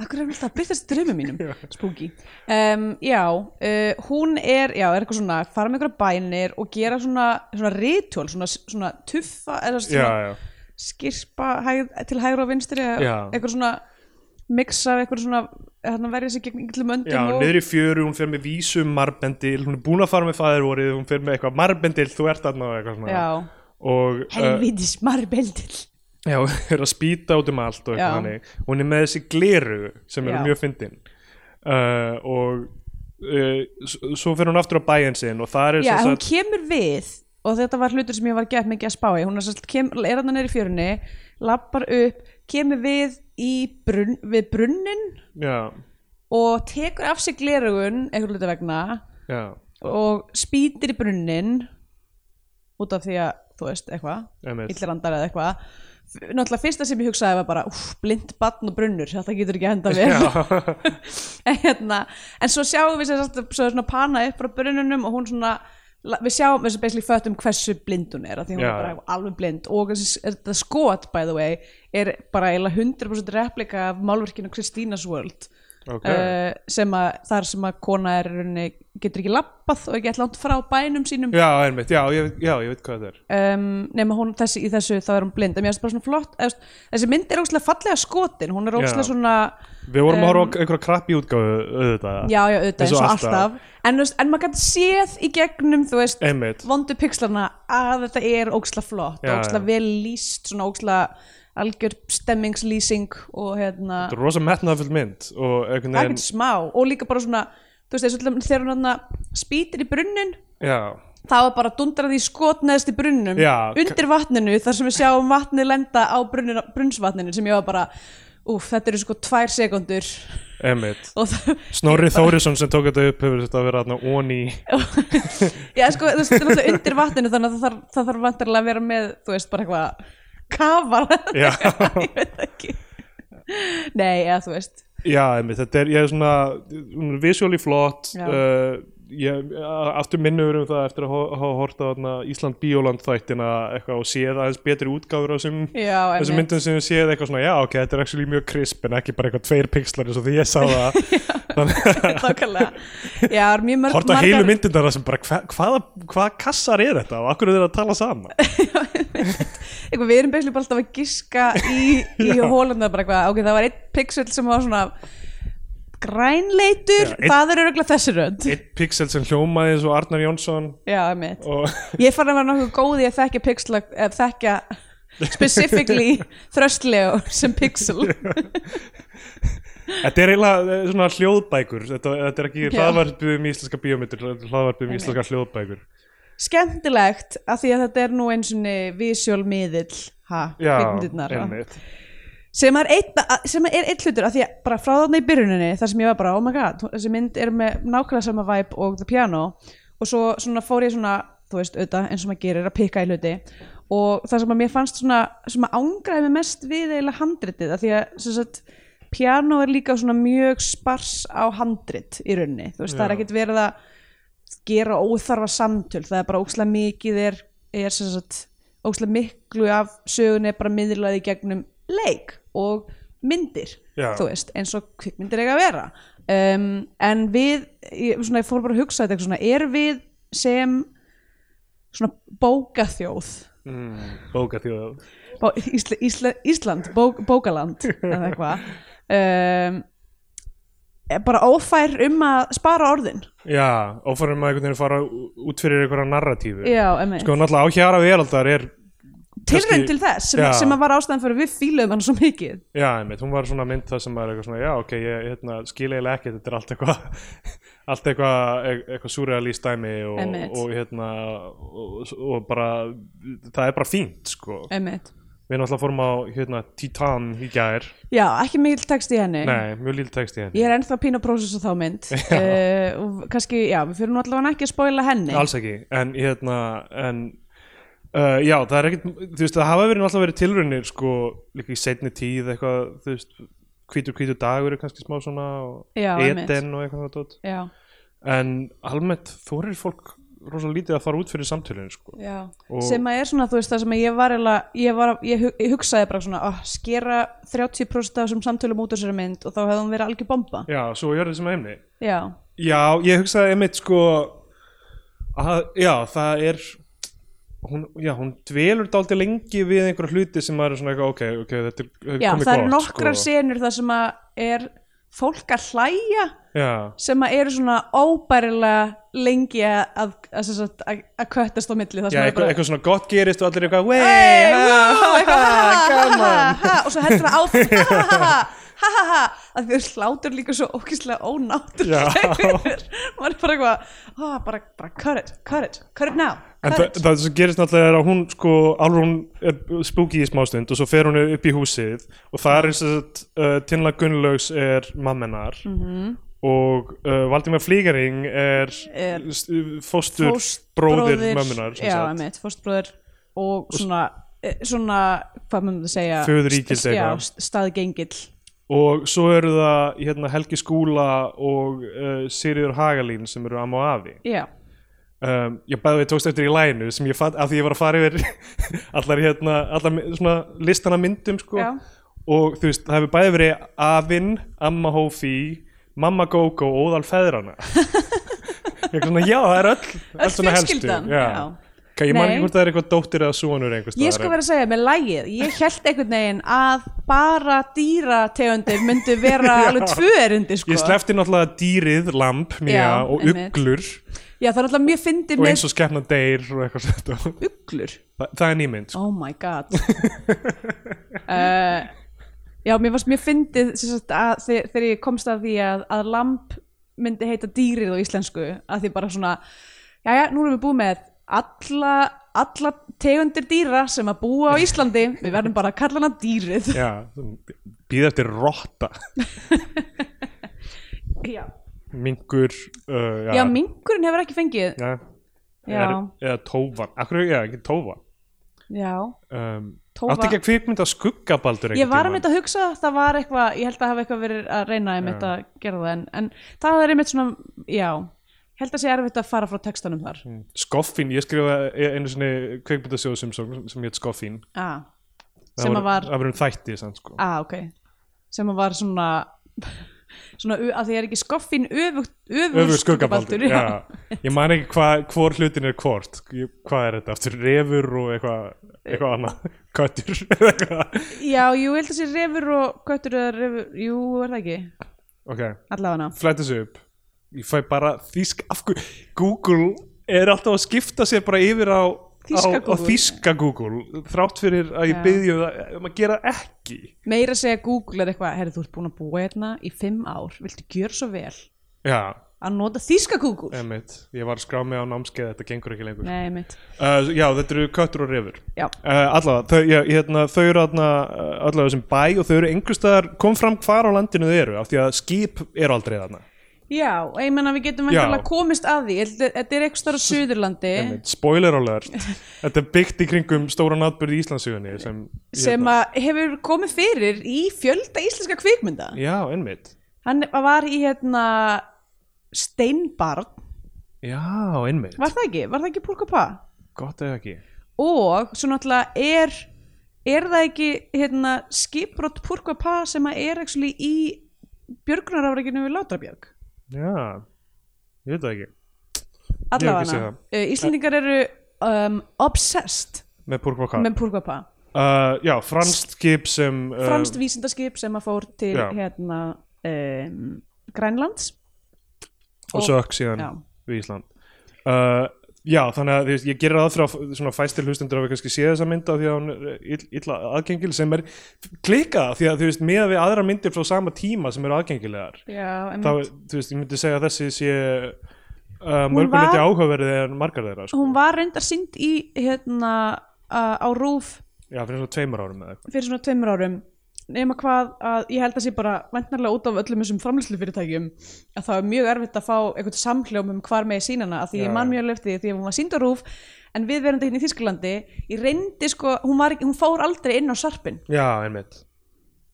Speaker 2: Akkur er hún alltaf að byrtast draumum
Speaker 1: (laughs)
Speaker 2: mínum Spooky um, Já, uh, hún er, já, er eitthvað svona fara með einhverja bænir og gera svona svona ritual, svona, svona tuffa eða
Speaker 1: Já,
Speaker 2: (laughs) svona
Speaker 1: já,
Speaker 2: skirpa hæg, til hægra og vinstri eða
Speaker 1: Já.
Speaker 2: eitthvað svona mixa eitthvað svona, hérna verja sér gegn yllum öndum
Speaker 1: já
Speaker 2: og
Speaker 1: niður í fjöru Hún fer með vísum marbendil Hún er búin að fara með fæðurvorið Hún fer með eitthvað marbendil Þú ert þarna og eitthvað svona
Speaker 2: Já,
Speaker 1: Og uh,
Speaker 2: helvitis marbeldil
Speaker 1: já, (laughs) er að spýta út um allt og
Speaker 2: Já.
Speaker 1: eitthvað þannig Hún er með þessi gleru sem eru
Speaker 2: Já.
Speaker 1: mjög fyndin uh, Og uh, s- svo fer hún aftur á bæinn sinn Og það er
Speaker 2: Já,
Speaker 1: sem
Speaker 2: hún
Speaker 1: sagt-
Speaker 2: kemur við og þetta var hlutur sem ég var gett mikið að spá í hún er, sest, kem, er hann neyri í fjörunni lappar upp, kemur við í brunn, við brunnin
Speaker 1: Já,
Speaker 2: og tekur af sig glerugun einhver hluta vegna
Speaker 1: já,
Speaker 2: og spýtir í brunnin út af því að þú veist eitthvað,
Speaker 1: einmitt
Speaker 2: illirandar eða eitthvað F- náttúrulega fyrsta sem ég hugsaði var bara úf, blind batn og brunnur, þetta getur ekki að henda
Speaker 1: (laughs)
Speaker 2: vel
Speaker 1: Já,
Speaker 2: (laughs) en, hérna, en svo sjáum við sem sagt, svo er svona pana upp frá brununum og hún svona la- við sjáum, við sem basically föttum hversu blind hún er af því hún
Speaker 1: Já,
Speaker 2: er
Speaker 1: já.
Speaker 2: bara alveg blind og þessi- þetta skot by the way er bara eiginlega 100% replika af málverkinu Kristínas World
Speaker 1: ok
Speaker 2: okay. Eh, sem að þar sem að kona er í rauninni, getur ekki lappað og ekki allant frá bænum sínum
Speaker 1: Já, einmitt, já, ég, veit- já, ég veit hvað þetta er
Speaker 2: um, nema hún þessi, í þessu þá er hún blind en mér finnst bara svona flott eða, þú veist, þessi mynd er ógstlega fallega skotin hún er ógstlega
Speaker 1: Já.
Speaker 2: svona
Speaker 1: Við vorum að horfa á einhverja krabbi útgáfu auðvitað
Speaker 2: Um, já, já, auðvitað,
Speaker 1: Eins
Speaker 2: eins
Speaker 1: og
Speaker 2: og alltaf, En, þú veist, en maður gæti séð í gegnum, þú veist,
Speaker 1: Einmitt.
Speaker 2: vondu pixlarna að þetta er óksla flott,
Speaker 1: Já,
Speaker 2: óksla
Speaker 1: já.
Speaker 2: vel líst, svona óksla algjör stemmingslýsing og hérna,
Speaker 1: Þetta er rosa metnaðfull mynd og einhvern veginn
Speaker 2: ekkert smá og líka bara svona, þú veist, þessu, þegar hún hann spýtir í brunnin
Speaker 1: Já,
Speaker 2: það var bara dundrað í skotneðst í brunnum
Speaker 1: Já,
Speaker 2: undir vatninu þar sem við sjáum vatnið lenda á brunnun, brunnsvatninu sem ég var bara, úf, þetta eru sko tvær sekundur
Speaker 1: Emmett
Speaker 2: (laughs) og það,
Speaker 1: Snorri Þórisson sem tók þetta upp hefur þetta að vera þarna
Speaker 2: (laughs)
Speaker 1: onni
Speaker 2: já sko þú veist, þetta er náttúrulega undir vatninu þannig að það þarf, það þarf vantarlega að vera með, þú veist, bara eitthvað kafar, (laughs)
Speaker 1: Já,
Speaker 2: ég veit það ekki nei, eða þú veist
Speaker 1: já Emmett, þetta er, ég er svona hún er visjóli flott
Speaker 2: Já.
Speaker 1: uh, ég, a- aftur minnur um það eftir að ho- hafa horta þarna Ísland Bíóland þættina eitthvað og séð aðeins betri útgáfur á þessum
Speaker 2: já,
Speaker 1: þessum
Speaker 2: einmitt.
Speaker 1: myndum sem við séð eitthvað svona já ok, þetta er actually mjög krisp en ekki bara eitthvað tveir pixlar eins og því ég sá það
Speaker 2: (laughs) (laughs) Nákvæmlega. Já, það er mjög mörg
Speaker 1: horta
Speaker 2: margar-
Speaker 1: heilu myndindar sem bara hva, hvaða, hvaða kassar er þetta og akkur er þetta að tala
Speaker 2: (laughs)
Speaker 1: saman
Speaker 2: eitthvað, við erum beislega bara alltaf að giska í,
Speaker 1: (laughs)
Speaker 2: í
Speaker 1: Já.
Speaker 2: hólanda bara eitthvað, ok, það var einn pixel sem var svona
Speaker 1: Já,
Speaker 2: grænleitur,
Speaker 1: einn-
Speaker 2: það eru örgulega þessi rönd
Speaker 1: einn pixel sem hljómaði eins og Arnar Jónsson
Speaker 2: já, mitt,
Speaker 1: og (laughs)
Speaker 2: ég fann að vera nokkuð góð í að þekkja pixla, að þekkja
Speaker 1: (laughs)
Speaker 2: specifically þröstlegu sem pixel
Speaker 1: þetta er eiginlega eh, svona hljóðbækur þetta, þetta er ekki
Speaker 2: Já.
Speaker 1: hlaðvarpið um íslenska bíómyndir þetta er hlaðvarpið um íslenska hljóðbækur
Speaker 2: skemmtilegt að því að þetta er nú eins og visual miðill ha,
Speaker 1: já,
Speaker 2: kvikmyndirnar, að-
Speaker 1: einmitt
Speaker 2: sem er einn sem er einn hlutur af því að bara frá þarna í byrjuninni þar sem ég var bara oh my god þessi mynd er með nákvæmlega sama vibe og The Piano og svo svona fór ég svona þú veist auðvitað eins og maður gerir að pikka í hluti og það sem að mér fannst svona sem að ángraði mig mest við eiginlega handritið af því að sem sagt Piano er líka svona mjög spars á handrit í rauninni þú veist það er
Speaker 1: Já.
Speaker 2: ekkert verið að gera óþarfa samtöl það er bara ókslega mikið er, er sem sagt, ókslega miklu af sögunni er bara miðlaði gegnum leik og myndir
Speaker 1: Já.
Speaker 2: þú veist, eins og kvikmyndir eiga að vera um, en við ég, svona, ég fór bara að hugsa þetta eitthvað svona, er við sem svona bókaþjóð
Speaker 1: mm, bóka þjóð
Speaker 2: Bó, Ísla, Ísla, Ísland, bók, bókaland eða eitthvað um, er bara ófær um að spara orðin
Speaker 1: já, ófærum að einhvern veginn fara ú- út fyrir einhverja narratífu
Speaker 2: Já, emmi
Speaker 1: sko náttúrulega á hjara veraldar er
Speaker 2: tilraun
Speaker 1: kannski-
Speaker 2: til þess sem,
Speaker 1: Já.
Speaker 2: sem að var ástæðan fyrir að við fíluðum hann svo mikið
Speaker 1: Já, einmitt, hún var svona mynd það sem maður er eitthvað svona, já, ok, ég hérna, skil eiginlega ekki, þetta er allt eitthvað, (laughs) allt eitthvað, e-, eitthvað surrealist dæmi og,
Speaker 2: Einmitt.
Speaker 1: og hérna, og, og bara, það er bara fínt, sko.
Speaker 2: Einmitt.
Speaker 1: Við náttúrulega fórum á, hérna, Titan í gær,
Speaker 2: já, ekki mikill text í henni
Speaker 1: nei, mjög líl text í henni,
Speaker 2: ég er ennþá pín að prósessa þá
Speaker 1: (laughs)
Speaker 2: mynd uh, og kannski, já, við fyrir nú allavega ekki að spoila henni
Speaker 1: alls ekki, en hérna, en, uh, já, það er ekkit, þú veist, það hafa verið náttúrulega verið tilraunir, sko, líka í seinni tíð, eitthvað, þú veist, hvítur hvítur dagur er kannski smá svona, og
Speaker 2: Já, einmitt.
Speaker 1: eden og eitthvað, tótt.
Speaker 2: já,
Speaker 1: en almennt þorir fólk rosalega lítið að fara út fyrir samtölin sko.
Speaker 2: já.
Speaker 1: Og-
Speaker 2: sem að er svona, þú veist, það sem að ég var eiginlega, ég, var, ég, hu- ég hugsaði bara svona oh, skera 30% af þessum samtölum út af þessari mynd og þá hefði hún verið algjör bomba
Speaker 1: já, svo gjörðu þessum heimni
Speaker 2: já,
Speaker 1: já, ég hugsaði einmitt sko að, já, það er hún, já, hún dvelur dálítið lengi við einhverja hluti sem maður er svona eitthvað, ok, ok, þetta er
Speaker 2: já
Speaker 1: komið
Speaker 2: það eru
Speaker 1: gott,
Speaker 2: nokkrar
Speaker 1: sko.
Speaker 2: senur það sem að er fólk að hlæja
Speaker 1: já,
Speaker 2: sem að eru svona óbærilega lengi að, að, að, sem sagt, að, að köttast á milli það
Speaker 1: já
Speaker 2: sem er
Speaker 1: eitthvað,
Speaker 2: bara
Speaker 1: eitthvað svona gott gerist og allir eitthvað, wey,
Speaker 2: Hey,
Speaker 1: ha,
Speaker 2: woo,
Speaker 1: ha,
Speaker 2: eitthvað, ha, ha, ha, ha,
Speaker 1: gaman
Speaker 2: ha, og svo heldur það áfram ha, ha, ha,
Speaker 1: (laughs)
Speaker 2: ha, ha, ha, að þau hlátur líka svo ókýrslega ónáttúrlegur maður er bara eitthvað ah, bara, bara cut it, cut it, cut it now
Speaker 1: En
Speaker 2: cut
Speaker 1: það,
Speaker 2: it.
Speaker 1: það sem gerist náttúrulega er að hún sko alveg hún er spooky í smástund og svo fer hún upp í húsið og það er þess að uh, Tinla Gunnlaugs er mammenar -hmm.
Speaker 2: Mhm.
Speaker 1: og uh, Valdimar Flígaring er,
Speaker 2: Er
Speaker 1: fóstur bróðir mömmunar
Speaker 2: já, emitt, fóstbróðir og svona, eh, svona hvað mönnum það segja
Speaker 1: Föðuríkild
Speaker 2: st- já,
Speaker 1: eitthvað.
Speaker 2: st- staðgengill
Speaker 1: og svo eru það hérna, Helgi Skúla og uh, Siriður Hagalín sem eru amma og afi
Speaker 2: já,
Speaker 1: um, ég bæði við tókst eftir í læginu sem ég fatt, af því ég var að fara yfir (laughs) allar hérna, allar mi- svona listana myndum sko
Speaker 2: Já.
Speaker 1: og þú veist, það hefur bæði verið Afinn, Amma Hófi Mamma Gógó og Óðal
Speaker 2: (laughs)
Speaker 1: Feðrana ég er svona, já, það er öll
Speaker 2: Öll
Speaker 1: öll svona helstu
Speaker 2: fjölskyldan, já.
Speaker 1: Ka, ég man
Speaker 2: Nei.
Speaker 1: ekki hvort það er eitthvað dóttir eða svonur
Speaker 2: Ég sko verið að segja með lægið, ég held einhvern veginn að bara dýrategundir myndu vera
Speaker 1: (laughs) Já.
Speaker 2: alveg tvö erindi sko.
Speaker 1: Ég sleppti náttúrulega dýrið, lamp, mía
Speaker 2: Já,
Speaker 1: og
Speaker 2: einmitt.
Speaker 1: uglur
Speaker 2: Já það er alltaf mjög fyndið
Speaker 1: og
Speaker 2: með
Speaker 1: eins og skepna deyr og eitthvað svona.
Speaker 2: uglur.
Speaker 1: Þa, það er nýmynd sko.
Speaker 2: Oh my god. (laughs) uh, já mér varst mjög fyndið sem sagt, að, þe- þegar ég komst að því að, að lamp myndi heita dýrið á íslensku að því bara svona, já já nú erum við búið með alla, alla tegundir dýra sem að búa á Íslandi við verðum bara að kalla hana dýrið
Speaker 1: Já, býða eftir rotta
Speaker 2: já,
Speaker 1: Mingur uh,
Speaker 2: já mingurinn hefur ekki fengið
Speaker 1: já.
Speaker 2: Já.
Speaker 1: Er, Eða tófan Akkur, já, ekki tófan
Speaker 2: já,
Speaker 1: um,
Speaker 2: Tófa-
Speaker 1: Átti ekki að kvikmynda skuggabaldur
Speaker 2: ég var
Speaker 1: einhvern
Speaker 2: einmitt að hugsa það var eitthvað, ég held að hafa eitthvað verið að reyna einmitt að gera það en, en það er einmitt svona, já ég held að sé erfitt að fara frá textanum þar
Speaker 1: tímann. Skoffín, Mm, ég skrifaði e- einu sinni kvikmyndasjóð sem, sem, sem hétt Skoffín
Speaker 2: ah,
Speaker 1: Það
Speaker 2: sem
Speaker 1: voru-
Speaker 2: að var
Speaker 1: Það var um þætti sann, sko.
Speaker 2: ah, ok, sem að var svona (laughs) svona, u- af því er ekki skoffin öfugt, öfugur
Speaker 1: Öfugur skuggabaldur
Speaker 2: já.
Speaker 1: já. Ég man ekki hvað hvor hlutin er hvort Ég- Hvað er þetta? Aftur refur og eitthvað
Speaker 2: Eh.
Speaker 1: eitthvað annað (laughs) Köttur eða eitthvað
Speaker 2: (laughs) já, jú, ég held að sé refur og köttur eða refur, jú, er það ekki
Speaker 1: Ok,
Speaker 2: allavega
Speaker 1: flæta þessu upp Ég fæ bara þýsk af hverju Google er alltaf að skipta sér bara yfir á
Speaker 2: Þýska
Speaker 1: á, á
Speaker 2: Google.
Speaker 1: þýska Google Þrátt fyrir að ég
Speaker 2: Já.
Speaker 1: byrði um að gera ekki
Speaker 2: meira að segja Google er eitthvað, herri, þú ert búin að búa hérna í fimm ár, viltu gjöra svo vel
Speaker 1: Já,
Speaker 2: að nota þýska Google
Speaker 1: emitt Ég var að skrá mig á námskeið, þetta gengur ekki lengur
Speaker 2: nei, mitt,
Speaker 1: uh, Já, þetta eru köttur og refur
Speaker 2: já,
Speaker 1: Uh, allavega, þau, já, hérna, þau eru hérna, allavega þessum bæ og þau eru einhverstaðar kom fram hvar á landinu þau eru af því að skip eru aldrei þarna
Speaker 2: já, og ég menna við getum
Speaker 1: Já.
Speaker 2: væntanlega komist að því, Ég held að- þetta er eitthvað stóra Suðurlandi
Speaker 1: Einmitt, spoiler
Speaker 2: (laughs)
Speaker 1: alert þetta er byggt í kringum stóran atbyrði í Íslandsugunni sem, hérna-
Speaker 2: sem að hefur komið fyrir í fjölda íslenska kvikmynda
Speaker 1: já, einmitt
Speaker 2: hann var í hérna steinbarn,
Speaker 1: já, einmitt,
Speaker 2: var það ekki? Var það ekki Púrkapá?
Speaker 1: gott eða ekki
Speaker 2: Og svo náttúrulega er er það ekki hérna skipbrott Púrkapá sem að er actually í björgunarafrækinu við Látrabjörg?
Speaker 1: já, ég veit það ekki Ég hef ekki séð
Speaker 2: Allavega Eh,
Speaker 1: það.
Speaker 2: Íslendingar eru um, obsessed
Speaker 1: með púrkvaka
Speaker 2: með Púrkapá
Speaker 1: uh, já, franskt skip sem uh,
Speaker 2: franskt vísindaskip sem að fór til
Speaker 1: já.
Speaker 2: hérna um, Grænlands
Speaker 1: og sökk síðan
Speaker 2: Já.
Speaker 1: við Ísland uh, já þannig að þú veist, ég gerir að fyrir að svona fæstir hlustendur að við kannski séð þessa mynd af því að hún er uh, ill, illa aðgengil sem er klikað því að þú veist með við aðra myndir frá sama tíma sem eru aðgengilegar
Speaker 2: Já,
Speaker 1: þá
Speaker 2: einmitt.
Speaker 1: þú veist ég myndi segja að þessi sé uh,
Speaker 2: Hún
Speaker 1: mörgum þetta
Speaker 2: var-
Speaker 1: áhugaverði en margar þeirra sko.
Speaker 2: hún var reyndar synd í hérna uh, á rúf
Speaker 1: já fyrir svona tveimur árum eða eitthvað
Speaker 2: fyrir svona tveimur árum nema hvað að ég held að sé bara væntanlega út af öllum þessum framlýslufyrirtækjum að það er mjög erfitt að fá eitthvað samhljóm um hvar með sínana að því
Speaker 1: Já.
Speaker 2: ég man mjög alveg eftir því því að hún var sínd á rúf en við verandi hérna í Þísklandi ég reyndi sko, hún, var, ekki- hún fór aldrei inn á sarpin
Speaker 1: já einmitt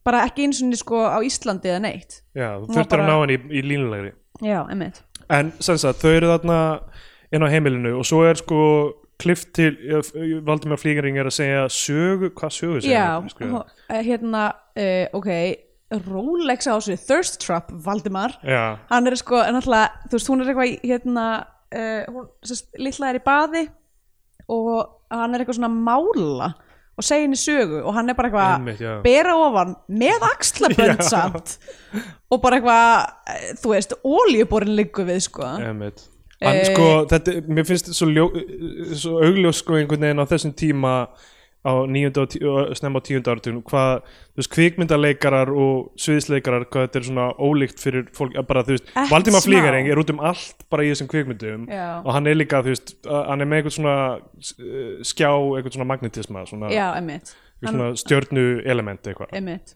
Speaker 2: bara ekki eins og sko á Íslandi eða neitt
Speaker 1: já, þú
Speaker 2: Hún var
Speaker 1: þurftur
Speaker 2: bara-
Speaker 1: að ná henni í, í línulegri
Speaker 2: já, emmitt
Speaker 1: En sem sagt, þau eru þarna inn á heimilinu og svo er sko klift til, Valdimar Flígering er að segja sögu, hvað sögu segja? sko.
Speaker 2: Já, hó- eh, hérna, uh, ok Rolex á þessu, Thirst Trap Valdimar,
Speaker 1: Já,
Speaker 2: hann er sko en alltaf, þú veist, hún er eitthvað í, hérna uh, hún, sest, litla er í baði og hann er eitthvað svona að mála og segja henni sögu og hann er bara
Speaker 1: Einmitt,
Speaker 2: eitthvað
Speaker 1: já.
Speaker 2: að bera ofan með axlabönd
Speaker 1: (laughs) Já.
Speaker 2: samt og bara eitthvað, eh, þú veist olíuborin liggur við, sko
Speaker 1: emitt
Speaker 2: Eh.
Speaker 1: Hann sko, þetta, mér finnst svo, ljó, svo augljós sko einhvern veginn á þessum tíma á nýjunda og, tí- og snemma á tíunda áratun hvað, þú veist, kvikmyndaleikarar og sviðisleikarar, hvað þetta er svona ólíkt fyrir fólk, að bara þú veist,
Speaker 2: Ekki
Speaker 1: Valdimar
Speaker 2: smá.
Speaker 1: Flígering er út um allt bara í þessum kvikmyndum
Speaker 2: Já.
Speaker 1: og hann er líka, þú veist, að- hann er með eitthvað svona uh, skjá, eitthvað svona magnetisma svona,
Speaker 2: Já, emmitt,
Speaker 1: svona stjörnu element eitthvað
Speaker 2: emmitt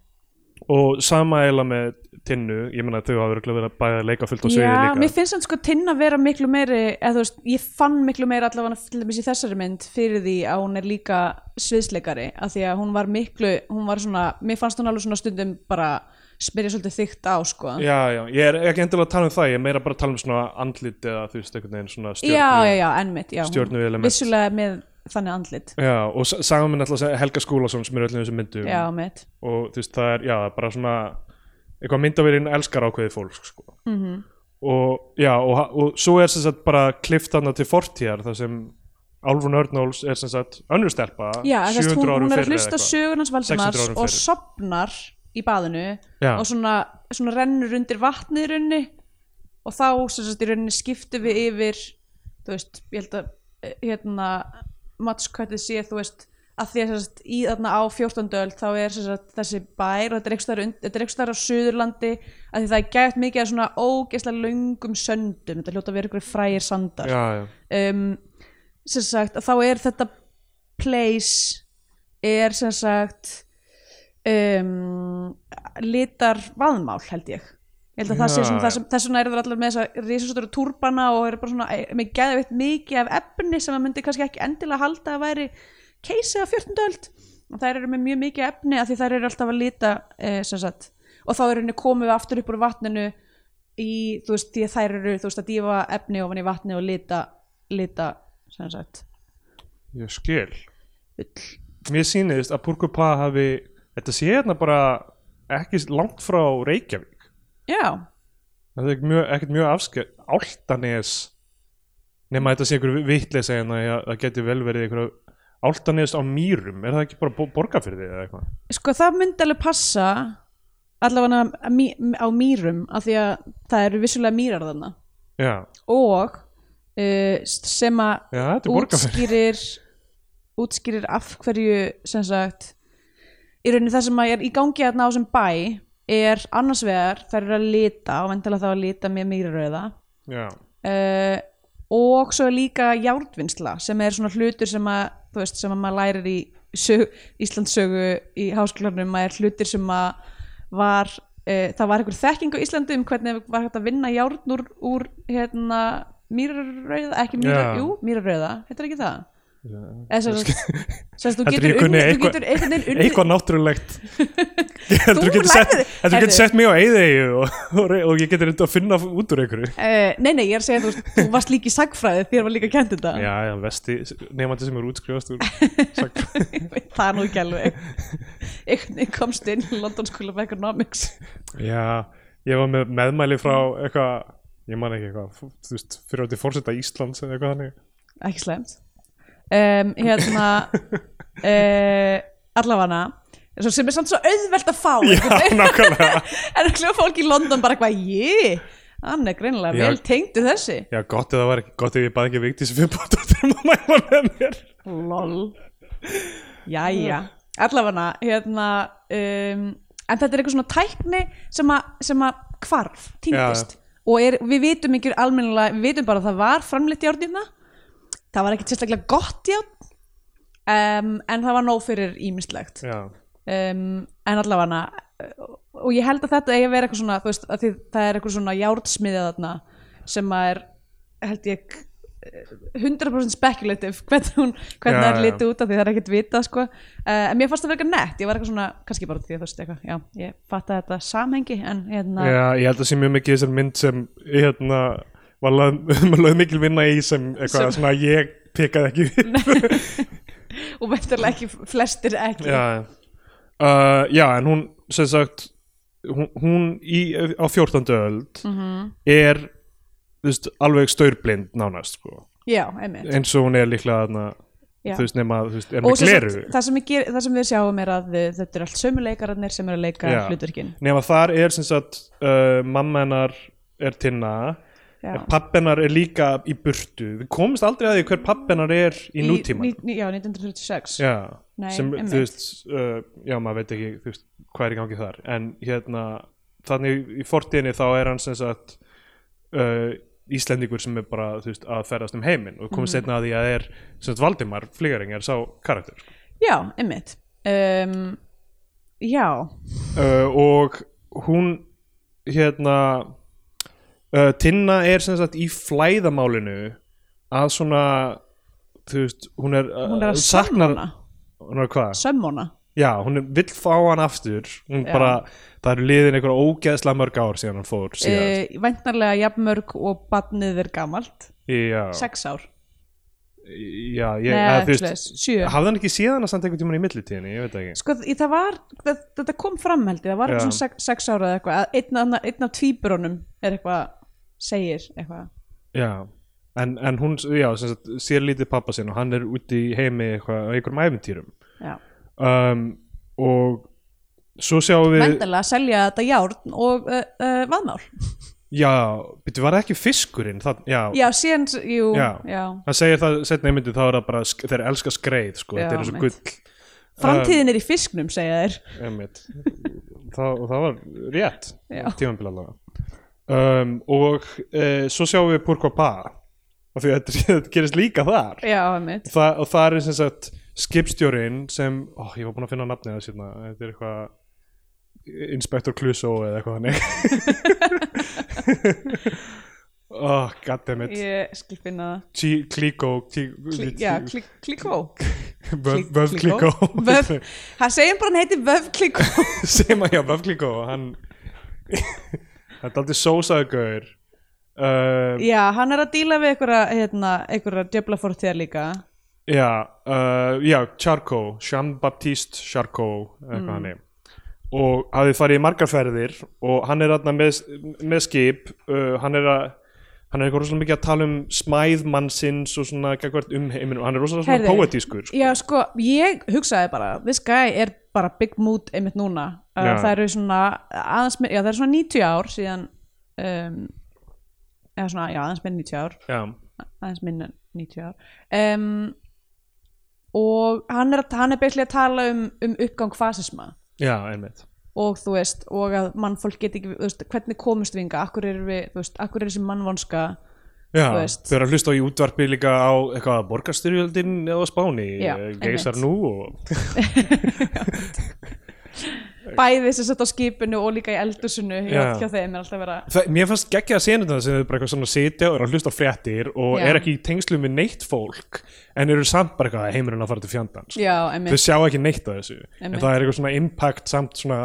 Speaker 1: og sama eila með tinnu ég meina að þau hafa verið að bæða leika fullt á sviði
Speaker 2: Já,
Speaker 1: líka
Speaker 2: mér finnst hann sko tinn að vera miklu meiri eða þú veist, ég fann miklu meira allavega til dæmis í þessari mynd fyrir því að hún er líka sviðsleikari af því að hún var miklu, hún var svona mér fannst hún alveg svona stundum bara spyrja svolítið þygt á sko
Speaker 1: já, já, ég er ekki endilega að tala um það ég er meira bara að tala um svona andlit eða þú veist einhvern veginn svona stjörnu
Speaker 2: já, já, já, ennmitt, já, hún-
Speaker 1: stjörnuelement.
Speaker 2: vissulega með þannig andlit,
Speaker 1: Já, og sa- sagan minn alltaf Helga Skúlason sem er í öllum þessum myndum
Speaker 2: já, mitt
Speaker 1: og þú veist það er, já, bara svona eitthvað myndavýrin elskar ákveðið fólk sko. mm
Speaker 2: Mhm.
Speaker 1: -hmm. og já og, ha- og svo er sem sagt bara klift hana til fortíðar þar sem Álfun Örnóls er sem sagt önnur stelpa
Speaker 2: Já, en þess,
Speaker 1: 700
Speaker 2: hún,
Speaker 1: árum
Speaker 2: hún er
Speaker 1: fyrr
Speaker 2: að
Speaker 1: eða
Speaker 2: hlusta
Speaker 1: eitthvað.
Speaker 2: sögunans
Speaker 1: 600
Speaker 2: Valdimars
Speaker 1: árum
Speaker 2: og
Speaker 1: fyrr.
Speaker 2: sopnar í baðinu
Speaker 1: Já.
Speaker 2: og svona, svona rennur undir vatnið í rauninni og þá sem sagt í rauninni skiptum við yfir þú veist, ég held að eh, hérna, matskvættið sé þú veist, að því að sem sagt, í þarna á 14. öld þá er sem sagt, þessi bær og þetta er einhvers staðar und- þetta er einhvers staðar á Suðurlandi að því það er gætt mikið að svona ógeðslega löngum söndum, þetta hljóta að vera ykkur frægir sandar
Speaker 1: já, já.
Speaker 2: um, sem sagt að þá er þetta place er sem sagt um, litar vaðmál held ég ég held að það sé
Speaker 1: Já,
Speaker 2: svona það
Speaker 1: já.
Speaker 2: sem þess vegna eru það allar með þess að risastóru turbana og eru bara svona eh, með geðveitt mikið af efni sem að myndi kannski ekki endilega halda að væri keisið á 14. öld og þær eru með mjög mikið efni af því þær eru alltaf að lita eh, sem sagt og þá eru henni komið við aftur upp úr vatninu í, þú veist, því að þær eru þú veist að dýfa efni ofan í vatni og lita lita, sem sagt
Speaker 1: Ég skil.
Speaker 2: ull
Speaker 1: Mér sýnist að Púrkupa hafi, þetta sé hérna bara ekki langt frá Reykjavík.
Speaker 2: Já,
Speaker 1: Það er ekkert mjög, ekkert mjög afskjöld. Áltanes, nema þetta sé einhver vitleisa en það geti vel verið einhver Áltanes á mýrum. Er það ekki bara borgarfyrði eða eitthvað?
Speaker 2: sko það myndi alveg passa allavega á mý- á mýrum af því að það eru vissulega mýrar þarna
Speaker 1: Já,
Speaker 2: og uh, sem að
Speaker 1: já þetta er borgarfyrði.
Speaker 2: útskýrir útskýrir af hverju sem sagt í rauninni það sem að er í gangi þarna á sem bæ er annars vegar þær eru að lita og vendilega þá að lita með mýrarauða
Speaker 1: Já,
Speaker 2: uh, og svo er líka járnvinnsla sem er svona hlutur sem að þú veist, sem að maður lærir í sög, Íslandssögu í háskólanum að er hlutir sem að var uh, það var einhver þekking á Íslandi um hvernig var hægt að vinna járn úr, úr hérna mýrarauða, ekki mýrar,
Speaker 1: Já.
Speaker 2: jú, mýrarauða heitir ekki það?
Speaker 1: Já.
Speaker 2: Eða sem
Speaker 1: (laughs)
Speaker 2: sagt- sem sagt, þú
Speaker 1: Heldur
Speaker 2: getur
Speaker 1: ég kunni
Speaker 2: unnið- þú
Speaker 1: eitthvað-
Speaker 2: getur einhvern veginn unnið-
Speaker 1: eitthvað (laughs) náttúrulegt heldur þú getur
Speaker 2: lærðir-
Speaker 1: sett, heldur þú
Speaker 2: Heyrðu.
Speaker 1: getur sett mig á eyðeyju og, og, re- og ég getur reynda að finna út úr einhverju
Speaker 2: Eh, nei, nei, ég er að segja, þú, veist, þú varst líka í sagfræði þér var líka kent þetta
Speaker 1: já, já, vesti, nefandi sem er útskrifast úr sagfræði.
Speaker 2: það er nú ekki alveg einhvern veginn komst inn í London School of Economics
Speaker 1: já, ég var með meðmæli frá eitthvað, ég man ekki eitthvað f- þú veist, fyrir átti fórseta Íslands eða eitthvað þannig
Speaker 2: ekki slæmt um, hérna
Speaker 1: (laughs)
Speaker 2: uh, allavega sem er samt svo auðvelt að fá einhvern
Speaker 1: já,
Speaker 2: veginn.
Speaker 1: (laughs) nákvæmlega
Speaker 2: (laughs) en ekki fólk í London bara eitthvað jé, hann er greinilega
Speaker 1: Já.
Speaker 2: vel tengdur þessi
Speaker 1: já, gott eða var ekki, gott ef ég baði ekki vikti sem við bóttum að mæma með mér
Speaker 2: lol jæja, allavega hérna um, en þetta er eitthvað svona tækni sem að, sem að hvarf, týndist og er, við vitum ekki almennilega, við vitum bara að það var framleitt járn í það það var ekkit sérstaklega gott járn um, en það var nóg fyrir ímislegt
Speaker 1: já,
Speaker 2: um, en allavega eh, og ég held að þetta eigi að vera eitthvað svona þú veist, að því, það er eitthvað svona járnsmiðið þarna sem að er held ég 100% speculative (laughs) hvernig hún, hvernig
Speaker 1: Já,
Speaker 2: það er
Speaker 1: já.
Speaker 2: litið út af því það er ekkert vitað sko. uh, en mér fannst það verið nett ég var eitthvað svona, kannski bara því að þú veist eitthvað já, ég fatta þetta samhengi en hérna,
Speaker 1: já, ég held að sé mjög mikið þessar mynd sem hérna var lögð (laughs) lög mikil vinna í sem eitthvað
Speaker 2: Sem-
Speaker 1: svona ég pekaði ekki við
Speaker 2: og veintarlega ekki flestir ekki
Speaker 1: (laughs) já, já. uh, já en hún sem sagt hún, hún í, á 14. öld er þú veist, alveg staurblind nánast sko.
Speaker 2: já einmitt
Speaker 1: eins og hún er líklega þarna,
Speaker 2: Já.
Speaker 1: þú veist nema þú veist, er
Speaker 2: og
Speaker 1: með
Speaker 2: sem sagt,
Speaker 1: gleru
Speaker 2: það, sem ég ger, það sem við sjáum er að uh, þetta er allt sömu leikararnir sem eru að leika
Speaker 1: Já.
Speaker 2: hlutverkin
Speaker 1: nema þar er sem sagt uh, mamma hennar er tinna
Speaker 2: Já.
Speaker 1: pappennar er líka í burtu við komumst aldrei að því hver pappennar er í,
Speaker 2: Í-
Speaker 1: nútíma
Speaker 2: ní- ní- já, 1936
Speaker 1: Já,
Speaker 2: Nei,
Speaker 1: sem
Speaker 2: einmitt.
Speaker 1: þú veist, uh, já maður veit ekki þú veist, hvað er í gangi þar en hérna, þannig í fortíðinni þá er hann sem sagt uh, Íslendingur sem er bara þú veist, að ferðast um heiminn og
Speaker 2: Mhm.
Speaker 1: komið mm. setna að því að er sem sagt Valdimar Flygaring er sá karakter sko.
Speaker 2: Já, einmitt um, Já,
Speaker 1: uh, og hún hérna uh, Tinna er sem sagt í flæðamálinu að svona þú veist, hún er, uh,
Speaker 2: hún er að sömmona
Speaker 1: hún er hvað?
Speaker 2: Sömmona
Speaker 1: Já, hún er- vill fá hann aftur hún
Speaker 2: Já.
Speaker 1: bara, það eru liðin einhverja ógeðsla mörg ár síðan hann fór síðan
Speaker 2: uh, Væntanlega jafnmörg og badnið er gamalt
Speaker 1: Já,
Speaker 2: Sex ár
Speaker 1: já ég,
Speaker 2: Nei,
Speaker 1: að, þú
Speaker 2: ekki
Speaker 1: veist,
Speaker 2: svoleiðis, sjö.
Speaker 1: hafði hann ekki síðan að samt einhvern tímann í millitíðinni, ég veit það ekki
Speaker 2: Sko, í- það var, það, þetta kom fram held ég, það var
Speaker 1: Já.
Speaker 2: eitthvað svona sex, sex ára eða eitthvað, að einn, anna- einn af tvíburunum er eitthvað, segir eitthvað,
Speaker 1: Já, en, en hún, já, sem sagt, sér lítið pappa sinn og hann er úti í heimi eitthvað, á einhverjum æfintýrum
Speaker 2: já.
Speaker 1: um, og svo sjáum við
Speaker 2: Væntanlega selja þetta járn og uh, uh, vaðmál.
Speaker 1: Já, byrju, var það ekki fiskurinn það, já,
Speaker 2: Já, síðan, jú,
Speaker 1: Já.
Speaker 2: já.
Speaker 1: hann segir það setna í myndin þá er það bara, sk- þeir elska skreið sko,
Speaker 2: Já,
Speaker 1: þetta er eins og
Speaker 2: mitt.
Speaker 1: gull Um,
Speaker 2: Framtíðin er í fisknum, segja þér.
Speaker 1: Einmitt. það, og það var rétt
Speaker 2: Já.
Speaker 1: eh, tímanbíl allavega um, og e, svo sjáum við Púrkva Pa af því að þetta, þetta (laughs) gerist líka þar
Speaker 2: já, einmitt
Speaker 1: Þa, og það er sem sagt skipstjórin sem, ó, ég var búin að finna nafnið það síðan, þetta er eitthvað Inspector Clouseau eða eitthvað þannig oh, goddammit yeah.
Speaker 2: ég skil finna það
Speaker 1: Klíkó
Speaker 2: Klí- já, klí- klíkó
Speaker 1: Vöf Klíkó
Speaker 2: Vöf- það segir bara hann heiti vöfklíkó
Speaker 1: (laughs) sem að já, Vöf Klíkó hann (laughs) þetta er aldrei sósaðu gaur uh,
Speaker 2: já, hann er að díla við einhverja hérna, einhverja djöfla fórtíðar líka
Speaker 1: já, uh, já, Charco Jean-Baptiste Charco eitthvað mm. hann og hafði farið í margar ferðir og hann er aðna með, með skip uh, hann er að hann er eitthvað rosalega mikið að tala um smæð mannsins og svona gagvart um heiminum hann er rosalega svona
Speaker 2: Heyrðu,
Speaker 1: poetískur sko.
Speaker 2: já, sko, ég hugsaði bara this guy er bara big mood einmitt núna uh,
Speaker 1: Já.
Speaker 2: það eru svona aðeins, með- já, það eru svona 90 ár síðan um, eða svona, já, aðeins með 90 ár
Speaker 1: já,
Speaker 2: aðeins minna en 90 ár um, og hann er, hann er beinslega að tala um, um uppgang fasisma
Speaker 1: já, einmitt
Speaker 2: og þú veist, og að mannfólk get ekki, þú veist, hvernig komust við inga akkur er við, þú veist, akkur er þessi mannvonska
Speaker 1: Já,
Speaker 2: Þú veist.
Speaker 1: þau eru að hlusta á í útvarpi líka á eitthvað borgarstyrjöldin eða á Spáni
Speaker 2: Já,
Speaker 1: eh, geisar
Speaker 2: einmitt.
Speaker 1: nú og
Speaker 2: bæði þess að setja á skipinu og líka í eldusinu
Speaker 1: Já.
Speaker 2: hjá, hjá þeim er alltaf vera
Speaker 1: Þa, mér fannst geggja að sena þetta sem þau bara eitthvað svona sitja og eru að hlusta á fréttir og
Speaker 2: Já.
Speaker 1: er ekki í tengslu með neitt fólk en eru samt bara eitthvað heimurinn að fara til fjandans
Speaker 2: já,
Speaker 1: þau
Speaker 2: einmitt,
Speaker 1: sjá ekki neitt af þessu en
Speaker 2: Einmitt.
Speaker 1: það er eitthvað svona impact samt svona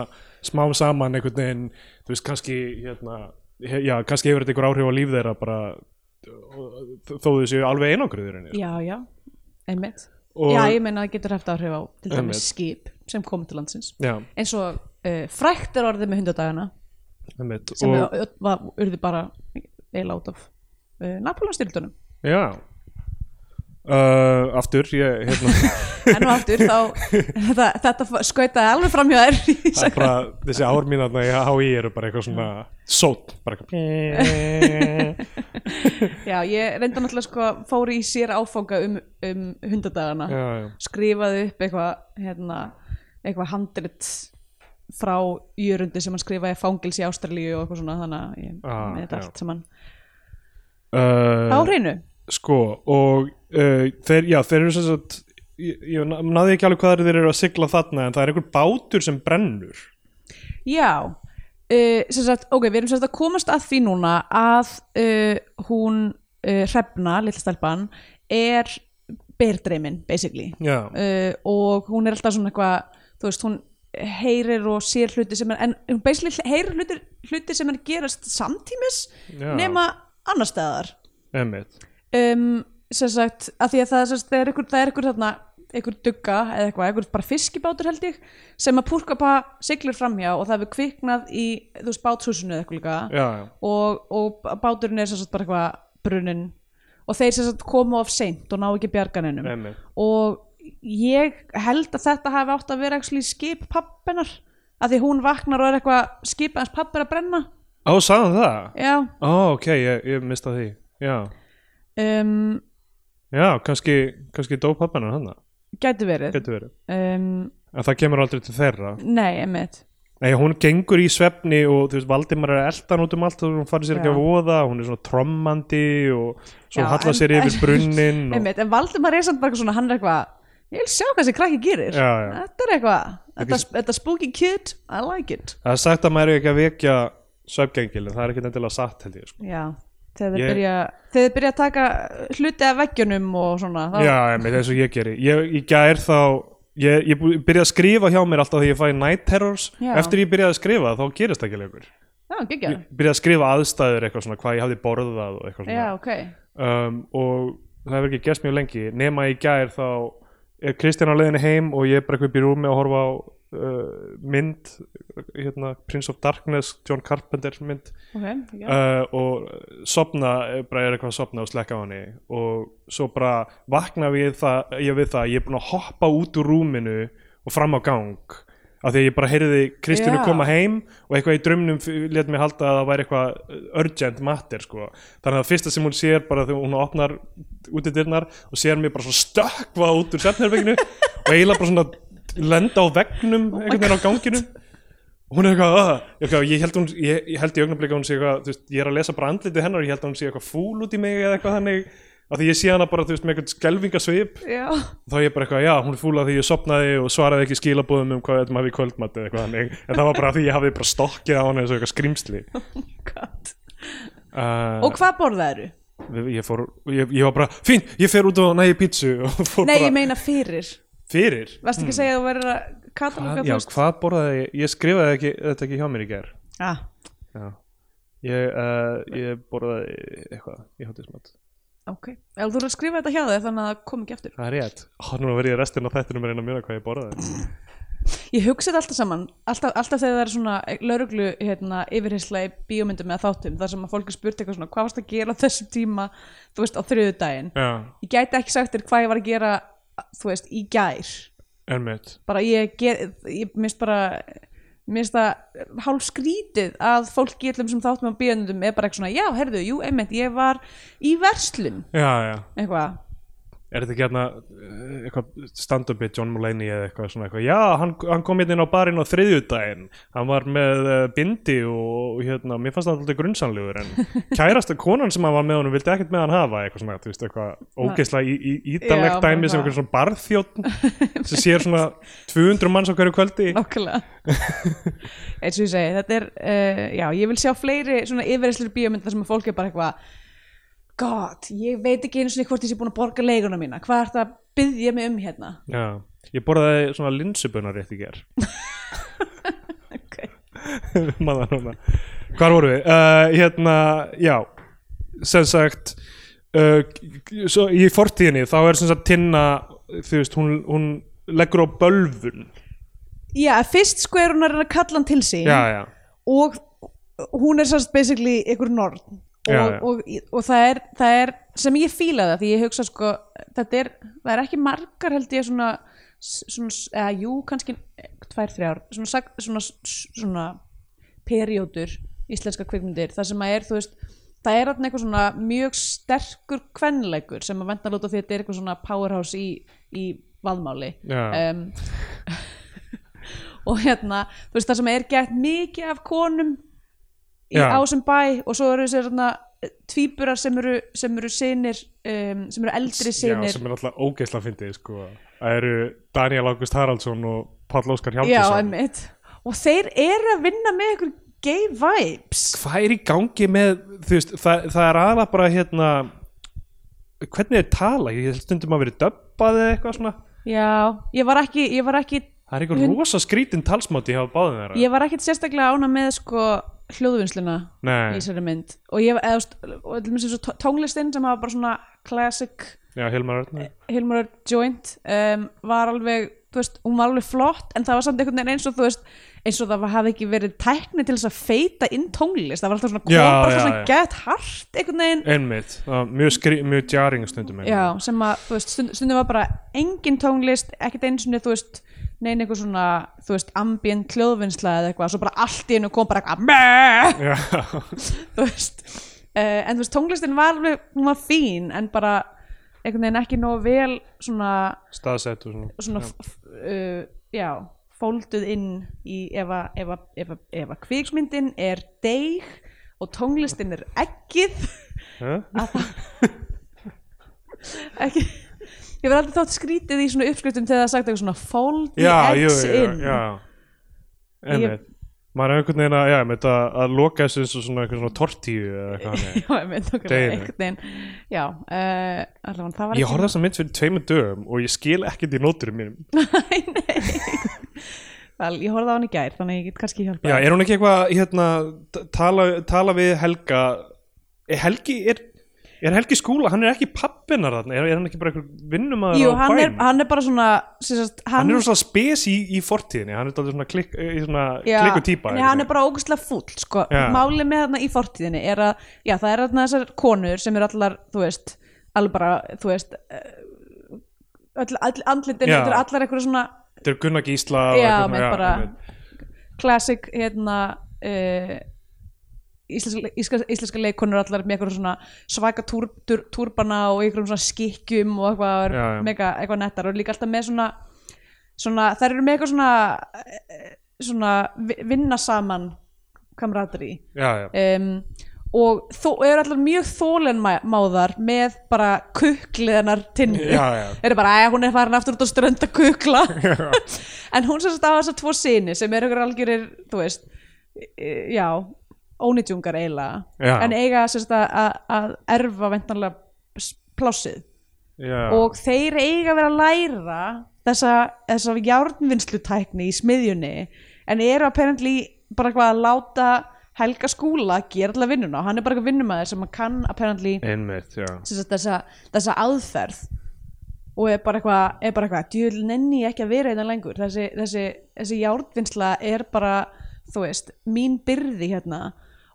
Speaker 1: smám saman einhvern veginn þú veist kannski hérna, he- já, kannski hefur þetta einhver áhrif á líf þeirra bara þó þó þau séu alveg einangruður henni
Speaker 2: já, já einmitt,
Speaker 1: Og-
Speaker 2: já, ég meina að það getur haft áhrif á til
Speaker 1: Einmitt.
Speaker 2: dæmis skip sem kom til landsins
Speaker 1: Já,
Speaker 2: eins og uh, frækt er orðið með hundadagana
Speaker 1: einmitt
Speaker 2: sem
Speaker 1: og,
Speaker 2: og... var, urðu bara eiginlega út af uh, Napoleonstyrldunum
Speaker 1: Já uh, Aftur, ég hérna
Speaker 2: enn og aftur þá (laughs) þetta, þetta skautaði alveg fram hjá þær í
Speaker 1: það er
Speaker 2: sag-
Speaker 1: bara, þessi ár mín að HÍ eru bara eitthvað svona sót bara eitthvað
Speaker 2: já, ég reynda náttúrulega sko fóri í sér áfanga um, um hundadagana
Speaker 1: já, já.
Speaker 2: skrifaði upp eitthvað hérna, eitthvað handrit frá jörundi sem hann skrifaði fangils í Ástralíu og eitthvað svona þannig að ég
Speaker 1: Ah,
Speaker 2: með þetta
Speaker 1: já.
Speaker 2: allt saman á
Speaker 1: Uh,
Speaker 2: hreinu
Speaker 1: sko og uh, þeir, já, þeir eru sem sagt ég, ég na- náði ekki alveg hvað þeir eru að sigla þarna en það er einhver bátur sem brennur
Speaker 2: Já, uh, sem sagt, ok, við erum sem sagt að komast að því núna að uh, hún uh, hrefna, litla stelpan, er berdreimin, basically.
Speaker 1: já,
Speaker 2: Uh, og hún er alltaf svona eitthvað, þú veist, hún heyrir og sér hluti sem er, en hún basically heyrir hluti, hluti sem er að gerast samtímis
Speaker 1: Já.
Speaker 2: nema annar staðar.
Speaker 1: emmitt
Speaker 2: Um, sem sagt, að því að það, sem sagt, það er ykkur, það er ykkur þarna, ykkur dugga eða eitthvað, ykkur bara fiskibátur held ég sem að púrkapa siglir framhjá og það hefur kviknað í, þú veist, bátshúsinu eða eitthvað líka
Speaker 1: já, já,
Speaker 2: og, og báturinn er sem sagt bara eitthvað brunnin og þeir sem sagt koma of seint og ná ekki bjarganinum
Speaker 1: emmitt
Speaker 2: og ég held að þetta hafi átt að vera actually skip pappenar að því hún vaknar og er eitthvað skip hans pappir að brenna
Speaker 1: Ó, sagði hann það?
Speaker 2: já,
Speaker 1: Ó, ok, ég, ég mista því Já,
Speaker 2: um,
Speaker 1: já kannski, kannski dó pappanar hann
Speaker 2: gæti verið
Speaker 1: Gæti verið
Speaker 2: um,
Speaker 1: En það kemur aldrei til þeirra
Speaker 2: nei, emitt
Speaker 1: Nei, hún gengur í svefni og þú veist, Valdimar er eldan út um allt og hún farið sér ekki
Speaker 2: Já.
Speaker 1: að voða, hún er svona trommandi og svo
Speaker 2: Já,
Speaker 1: hallar
Speaker 2: en-
Speaker 1: sér
Speaker 2: (laughs)
Speaker 1: yfir brunnin og
Speaker 2: einmitt, en Valdimar er samt bara eitthvað svona hann er eitthvað, ég vil sjá hvað þessi krakki gerir
Speaker 1: Já, já.
Speaker 2: þetta er eitthvað þetta, þetta spooky kid, I like it
Speaker 1: það er sagt að maður er ekki að vekja svefgengil en það er ekki endilega satt held ég sko.
Speaker 2: já, þegar
Speaker 1: Ég-
Speaker 2: þeir byrja þegar þeir byrja að taka hluti af veggjunum og svona, þá,
Speaker 1: Já, emi, það er svo ég geri ég, ég gær þá, ég, ég bú- byrja að skrifa hjá mér alltaf þegar ég fæ night terrors
Speaker 2: Já.
Speaker 1: eftir ég byrjaði að skrifa þá gerist það ekki lengur
Speaker 2: já, geggja
Speaker 1: ég byrjaði að skrifa aðstæður eitthvað svona hvað ég hafði borðað og eitthvað svona
Speaker 2: já, ok,
Speaker 1: um, og það hefur ekki gerst mjög lengi nema í gær þá er Kristján á leiðinni heim og ég er bara eitthvað upp í rúmi að horfa á uh, mynd hérna, Prince of Darkness, John Carpenter mynd
Speaker 2: ok, geggja
Speaker 1: uh, og sopna, eh, bara er eitthvað að sopna og slekka á henni og svo bara vakna við það, ég við það ég er búin að hoppa út úr rúminu og fram á gang af því að ég bara heyrði Kristjánu
Speaker 2: Já.
Speaker 1: koma heim og eitthvað í draumnum f- lét mig halda að það væri eitthvað uh, urgent matter sko. þannig að það fyrsta sem hún sér bara þegar hún opnar út í dyrnar og sér mig bara svo stökkva út úr sefnherbygginu og eiginlega bara svona lenda á veggnum einhvern veginn á ganginum hún er eitthvað, "Ah." ég, eitthvað ég held hún, ég, ég held í augnablik að hún sé eitthvað, þú veist, ég er að lesa bara andlitið hennar og ég held að hún sé eitthvað fúl út í mig eða eitthvað þannig af því ég sé hana bara, þú veist, með einhvern skelfingasvip
Speaker 2: Já, (laughs)
Speaker 1: þá er ég bara eitthvað, já, hún er fúla því ég sopnaði og svaraði ekki skilabóðum um hvað maður í kvöldmatt eða eitthvað þannig, en það var bara af því ég hafði bara stokkið á hana eins og eitthvað
Speaker 2: (laughs)
Speaker 1: skrýmsli
Speaker 2: gott
Speaker 1: uh,
Speaker 2: Og hvað borðaðu?
Speaker 1: við- ég fór, ég, ég var bara fín, ég fer út og næ í pítsu (laughs) og fór
Speaker 2: Nei,
Speaker 1: bara
Speaker 2: ég meina fyrir
Speaker 1: fyrir
Speaker 2: Varst ekki að segja að þú verður að katalóga
Speaker 1: hvað, já, hvað borðaði ég, ég skrifaði ekki, þetta ekki hjá mér í ger
Speaker 2: ah,
Speaker 1: já, ég, uh, ég borðaði eitthvað, ég hátis mat
Speaker 2: Ok, ef þú verður að skrifa þetta hjá þig þannig að það kom ekki aftur
Speaker 1: það er rétt, Ó, nú verð ég restin á þættinum að reyna að mjöna hvað ég borðaði
Speaker 2: Ég hugsa þetta alltaf saman, alltaf, alltaf þegar það er svona lauruglu hérna, yfirheysla í bíómyndum eða þáttum þar sem að fólk er spurt eitthvað svona hvað varst að gera á þessum tíma, þú veist, á þriðu daginn
Speaker 1: já,
Speaker 2: Ég gæti ekki sagt þér hvað ég var að gera þú veist, í gær
Speaker 1: ennmitt
Speaker 2: bara ég, ger, ég mist bara mist það hálf skrítið að fólk í allum sem þáttum á bíómyndum er bara eitthvað svona, já, herðu, jú, einmitt ég var í verslun,
Speaker 1: já, já,
Speaker 2: eitthvað
Speaker 1: Er þetta ekki hérna eh, eitthvað stand-upið John Mulaney eða eitthvað svona eitthvað Já, hann, hann kom hérna inn á barinn á þriðjudaginn Hann var með uh, bindi og hérna, mér fannst það alltaf grunnsanlegur en
Speaker 2: (laughs)
Speaker 1: kærasta konan sem hann var með honum vildi ekkert með hann hafa eitthvað svona, þú veist, eitthvað ógeðslega í- í-
Speaker 2: Já,
Speaker 1: ídalegt
Speaker 2: bara
Speaker 1: dæmi sem
Speaker 2: það.
Speaker 1: eitthvað svona barþjótt
Speaker 2: (laughs)
Speaker 1: sem sér svona 200 manns á hverju kvöldi
Speaker 2: Nákvæmlega eins og ég segi, þetta er uh, já, ég vil sjá fleiri svona yfirreyslir bíómyndar sem að fólk er bara eitthvað God, ég veit ekki einu svona hvort ég sé búin að borga leiguna mína, hvað er þetta að byggja mig um hérna
Speaker 1: Já, ég borðaði svona linsubunnar rétt í ger
Speaker 2: okay.
Speaker 1: maður núna um hvar vorum við, uh, hérna já, sem sagt uh, svo, í fortíðinni þá er sem sagt Tinna þú veist, hún, hún leggur á bölvun
Speaker 2: Já, fyrst sko er hún að reyna að kalla hann til sín
Speaker 1: já, já,
Speaker 2: og hún er sérst basically ykkur norn og,
Speaker 1: Já, já.
Speaker 2: og, og það, er, það er sem ég fíla það því ég hugsa sko þetta er, það er ekki margar held ég svona, svona eða jú kannski tvær, þrjár svona, sag- svona, svona periódur íslenska kvikmyndir þar sem að er þú veist það er þarna eitthvað svona mjög sterkur kvenleikur sem að venda lóta því að þetta er eitthvað svona powerhouse í, í vaðmáli
Speaker 1: Já.
Speaker 2: um, og hérna þú veist það sem er gett mikið af konum í
Speaker 1: Já.
Speaker 2: ásum bæ og svo eru þessi hérna, tvíburar sem eru, sem eru sinir um, sem eru eldri
Speaker 1: já
Speaker 2: sinir
Speaker 1: sem er alltaf ógeðsla fyndið sko. það eru Daniel August Haraldsson og Páll Óskar
Speaker 2: já,
Speaker 1: Hjálpsson
Speaker 2: einmitt og þeir eru að vinna með ykkur gay vibes
Speaker 1: hvað er í gangi með þú veist, það, það er aðla bara hérna hvernig þið tala, ég held stundum að verið döbbað eða eitthvað svona
Speaker 2: já, ég var ekki ég var ekki,
Speaker 1: það er eitthvað rosa skrítin talsmáti hjá báðum þeirra
Speaker 2: ég var ekki sérstaklega ána með sko hljóðvinnsluna í
Speaker 1: Nei,
Speaker 2: þessari mynd og ég eða, þú veist, og til dæmis eins og tó- tónlistin sem hafa bara svona classic
Speaker 1: já, Hilmar Örn
Speaker 2: Hilmar Örn Joint um, var alveg, þú veist, hún var alveg flott en það var samt einhvern veginn eins og þú veist eins og það var- hafði ekki verið tækni til þess að feita inn tónlist, það var alltaf svona kom
Speaker 1: Já,
Speaker 2: bara
Speaker 1: já,
Speaker 2: eitthvað svona
Speaker 1: já.
Speaker 2: gett hart einhvern veginn,
Speaker 1: Einmitt, það var mjög, skri, mjög djaring stundum einmitt.
Speaker 2: já, sem að þú veist, stund, stundum var bara engin tónlist ekkert eins og þú veist neina einhver svona, þú veist, ambient hljóðvinnsla eða eitthvað, svo bara allt í hennu kom bara eitthvað "Meh!" (laughs)
Speaker 1: Já, (laughs)
Speaker 2: þú veist uh, en þú veist, tónlistin var alveg, hún var fín en bara einhvern veginn ekki nóg vel svona
Speaker 1: staðsett og svona,
Speaker 2: svona
Speaker 1: Já.
Speaker 2: já. Uh, já, fólduð inn í ef að- ef að- ef að- ef að kviksmyndin er deig og tónlistin er
Speaker 1: (laughs)
Speaker 2: ekkið
Speaker 1: Hæ?
Speaker 2: ekki Ég verði aldrei þátt skrítið í svona uppskriftum þegar það er sagt eitthvað svona fold the
Speaker 1: já, jú,
Speaker 2: eggs
Speaker 1: jú,
Speaker 2: in
Speaker 1: já Einmitt Maður er einhvern veginn að, já, einmitt að, að loka þessu eins og svona einhvern svona tortíu eða eitthvað hannig
Speaker 2: (laughs) Já, ég mynd okkur
Speaker 1: Deginum.
Speaker 2: einhvern veginn Já, uh, allavega það var
Speaker 1: Ég
Speaker 2: (laughs)
Speaker 1: horfði þess að mynd fyrir tveimur dögum og ég skil ekkert í nóturum mínum
Speaker 2: Vel, Ég horfði á hann í gær, þannig að ég get kannski hjálpa
Speaker 1: Já, er hún ekki eitthvað, hérna, t- tala, tala við Helga Er Helgi, er, er Helgi skúla, hann er ekki pappinar þarna, er, er hann ekki bara einhver vinnumæður
Speaker 2: Jú, hann er, hann er bara svona sem sagt,
Speaker 1: hann er svona spes í, í fortíðinni hann er dálítið svona, klik, í svona
Speaker 2: Já,
Speaker 1: klikku típa
Speaker 2: Nei, hann er bara ógustlega fúll sko.
Speaker 1: Já.
Speaker 2: Málið með þarna í fortíðinni er að já, það er þarna þessar konur sem eru allar þú veist, alveg bara þú veist eh, öll, öll andlitin,
Speaker 1: Já.
Speaker 2: þetta eru allar einhverja svona
Speaker 1: þetta er Gunnar Gísla og
Speaker 2: já,
Speaker 1: eitthvað svona,
Speaker 2: með bara
Speaker 1: einmitt.
Speaker 2: classic hérna uh, íslenska, íslenska, íslenska leikonur allar með einhverjum svona svaka túr, túr, túrbana og einhverjum svona skikkjum og eitthvað, og eru
Speaker 1: Já, já.
Speaker 2: mega, eitthvað nettar og líka alltaf með svona, svona þær eru með eitthvað svona eh, svona vi- vinna saman kamratri
Speaker 1: já, já,
Speaker 2: um, og þó, eru allar mjög þólenmáðar með bara kukliðanar tinnu
Speaker 1: Já, já.
Speaker 2: eru bara, að hún er farin aftur út á strönd að kukla
Speaker 1: (laughs)
Speaker 2: en hún sem sagt á þess að tvo sinni sem eru ykkur algjörir, þú veist e, já, ónýtjungar eiginlega
Speaker 1: Já.
Speaker 2: en eiga sem sagt að- að að erfa ventanlega s- plássið
Speaker 1: Já.
Speaker 2: og þeir eiga að vera að læra þessa, þessa járnvinnslutækni í smiðjunni en eru apparently bara hvað að láta Helga Skúla gera allar vinnuna og hann er bara eitthvað vinnumæður sem hann kann apparently
Speaker 1: Einmitt, já.
Speaker 2: sem sagt, þessa, þessa aðferð og er bara eitthvað, er bara eitthvað djúl nenni ég ekki að vera einnig lengur þessi, þessi, þessi járnvinnsla er bara þú veist, mín byrði hérna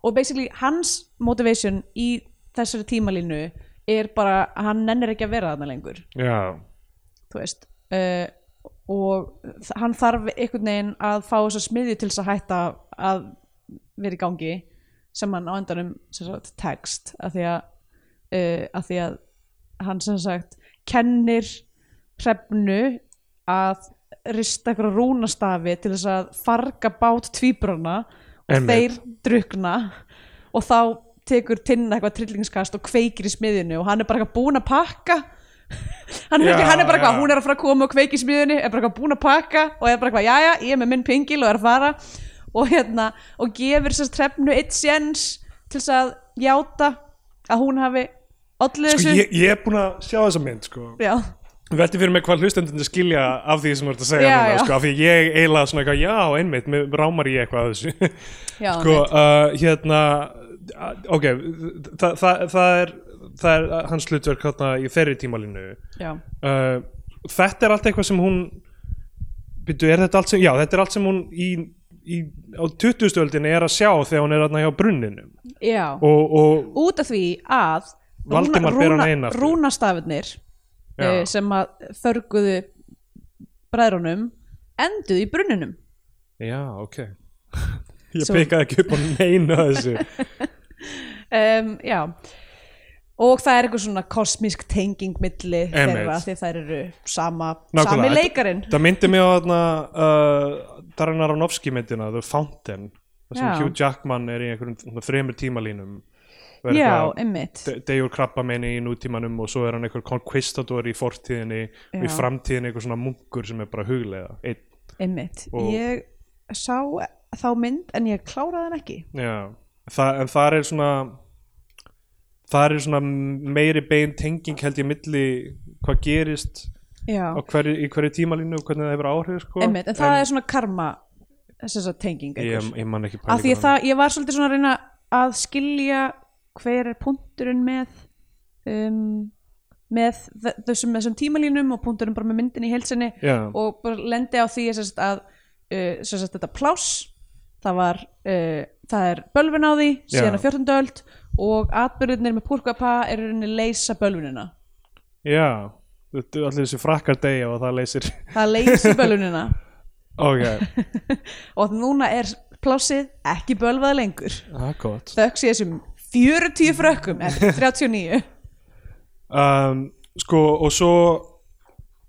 Speaker 2: og basically hans motivation í þessari tímalínu er bara að hann nennir ekki að vera þarna lengur
Speaker 1: Já.
Speaker 2: þú veist uh, og þ- hann þarf einhvern veginn að fá þessa smiðju til þess að hætta að vera í gangi sem hann á endanum sem sagt, text af því að, uh, af því að hann sem sagt kennir hrefnu að rista eitthvað rúnastafi til þess að farga bát tvíbrana og
Speaker 1: Einmitt.
Speaker 2: þeir drukna og þá tekur tinna eitthvað trillingskast og kveikir í smiðinu og hann er bara eitthvað búinn að pakka hann er,
Speaker 1: Já,
Speaker 2: ekki, hann er bara
Speaker 1: já.
Speaker 2: eitthvað, hún er að fara að koma og kveiki í smiðunni er bara eitthvað búin að pakka og er bara eitthvað, jæja, ég er með minn pingil og er að fara og hérna, og gefur sér trefnu eitt séns til þess að játa að hún hafi allir
Speaker 1: Sko,
Speaker 2: þessu
Speaker 1: ég, ég er búin að sjá þessa mynd, sko.
Speaker 2: já,
Speaker 1: Velti fyrir mig hvað hlustendunni skilja af því sem þú ert að segja
Speaker 2: Já,
Speaker 1: núna,
Speaker 2: já.
Speaker 1: sko. Af því ég eiginlega svona eitthvað, já, einmitt, mér rámar ég eitthvað
Speaker 2: (laughs)
Speaker 1: að þessu.
Speaker 2: já,
Speaker 1: sko, uh, hérna, uh, ok, það, það, það er, það er uh, hans hlutverk hérna í þeirri tímalínu.
Speaker 2: já.
Speaker 1: Uh, þetta er allt eitthvað sem hún, byrju, er þetta allt sem, já, þetta er allt sem hún í, í, á 20. öldinni er að sjá þegar hún er hérna hjá brunninum.
Speaker 2: já.
Speaker 1: Og, og,
Speaker 2: út af því að
Speaker 1: Valdimar ber hana inn aftur.
Speaker 2: rúnastafinir
Speaker 1: Já.
Speaker 2: eh, sem að förguðu bræðrunum enduðu í brunninum
Speaker 1: já, ok. (laughs) Ég
Speaker 2: Svo-
Speaker 1: pekaði ekki upp á neina
Speaker 2: (laughs)
Speaker 1: þessu.
Speaker 2: um, já og það er eitthvað svona kosmísk tenging milli
Speaker 1: Einmitt.
Speaker 2: þeirra því þær eru sama, sami
Speaker 1: Nákvæmlega,
Speaker 2: leikarinn
Speaker 1: þetta- Þetta myndi mig á þarna uh, Darren Aronofsky myndina, The Fountain þar sem
Speaker 2: Já.
Speaker 1: Hugh Jackman er í einhverjum svona þremur tímalínum Og er
Speaker 2: já,
Speaker 1: eitthvað
Speaker 2: einmitt
Speaker 1: de- degur krabba meini í nútímanum og svo er hann einhver conquistador í fortíðinni og í
Speaker 2: Já.
Speaker 1: framtíðinni einhver svona munkur sem er bara huglega Einn.
Speaker 2: einmitt,
Speaker 1: Og-
Speaker 2: ég sá þá mynd en ég kláraði hann ekki
Speaker 1: Já. Þa, en þar er svona þar er svona meiri bein tenging held ég milli hvað gerist
Speaker 2: já,
Speaker 1: á hverju, í hverju tímalínu og hvernig það hefur áhrif sko.
Speaker 2: einmitt, en það er svona karma þess að tenging einhver.
Speaker 1: ég, ég man ekki
Speaker 2: af því
Speaker 1: pælingu
Speaker 2: að það, ég var svolítið svona að reyna að skilja hver er punkturinn með um, með þ- þessum, þessum tímalínum og punkturinn bara með myndin í heilsinni
Speaker 1: Já.
Speaker 2: og bara lendi á því sérst, að uh, sérst, þetta pláss það var, uh, það er bölvun á því
Speaker 1: Já.
Speaker 2: síðan á 14. öld og atbyrðinir með púrkapa eru rauninni að leysa bölvunina
Speaker 1: Já, þetta er allir þessi frakkar degja og það leysir (laughs)
Speaker 2: það leysi bölvunina (laughs)
Speaker 1: Ok,
Speaker 2: og núna er plássið ekki bölvað lengur
Speaker 1: það er gott
Speaker 2: þökk sé þessum 40 frökkum en 39
Speaker 1: um, Sko, og svo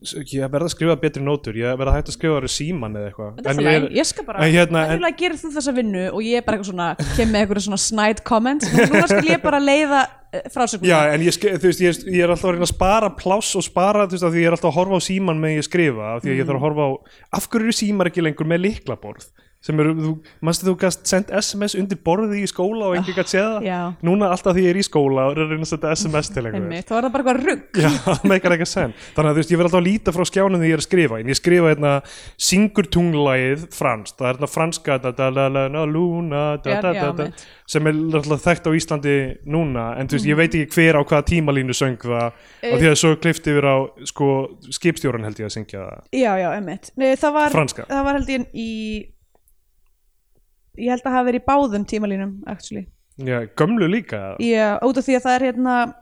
Speaker 1: s- ég verð að skrifa betri nótur ég verð að hægt að skrifa það í síman eða eitthvað
Speaker 2: Þetta er
Speaker 1: En
Speaker 2: ég,
Speaker 1: ég,
Speaker 2: ég skal bara,
Speaker 1: en hérna, en-
Speaker 2: venjulega gerir þú þessa vinnu og ég er bara eitthvað svona, kem með eitthvað svona snide comments, en núna skal ég bara leiða eh, frásögnum.
Speaker 1: Já, en ég, ske- þú veist, ég, ég er alltaf að reyna að spara pláss og spara, þú veist, af því ég er alltaf að horfa á síman með ég skrifa, af því að ég
Speaker 2: Mm.
Speaker 1: þarf að horfa á af hverju eru símar ekki lengur með liklaborð sem eru, þú, mannstu þú gast sendt SMS undir borðið í skóla og enginn gætt séð það
Speaker 2: Ah, já.
Speaker 1: núna alltaf því ég er í skóla og er að reyna að senda SMS til einhverjum
Speaker 2: Einmitt, þá er það bara eitthvað rugg.
Speaker 1: Já, það meikar ekki að senn Þannig að þú veist, ég verð alltaf að líta frá skjánum þegar ég er að skrifa En ég skrifa hérna, syngur tunglægið franskt Það er hérna franska da, da, la, la, na, luna, da,
Speaker 2: Já,
Speaker 1: da, da,
Speaker 2: já,
Speaker 1: da,
Speaker 2: mitt. Mhm.
Speaker 1: Sem er alltaf þekkt á Íslandi núna En þú veist, ég veit ekki hver á hvaða tímalínu söng það Og
Speaker 2: Eh.
Speaker 1: því að svo klift yfir á sko, skipstjóran held ég að syngja það
Speaker 2: Já, já, einmitt. Nei, það var,
Speaker 1: Franska.
Speaker 2: það var held ég í, ég held að hafa verið í báðum tímalínum, actually.
Speaker 1: Já, gömlu líka
Speaker 2: Já, út af því að það er hérna,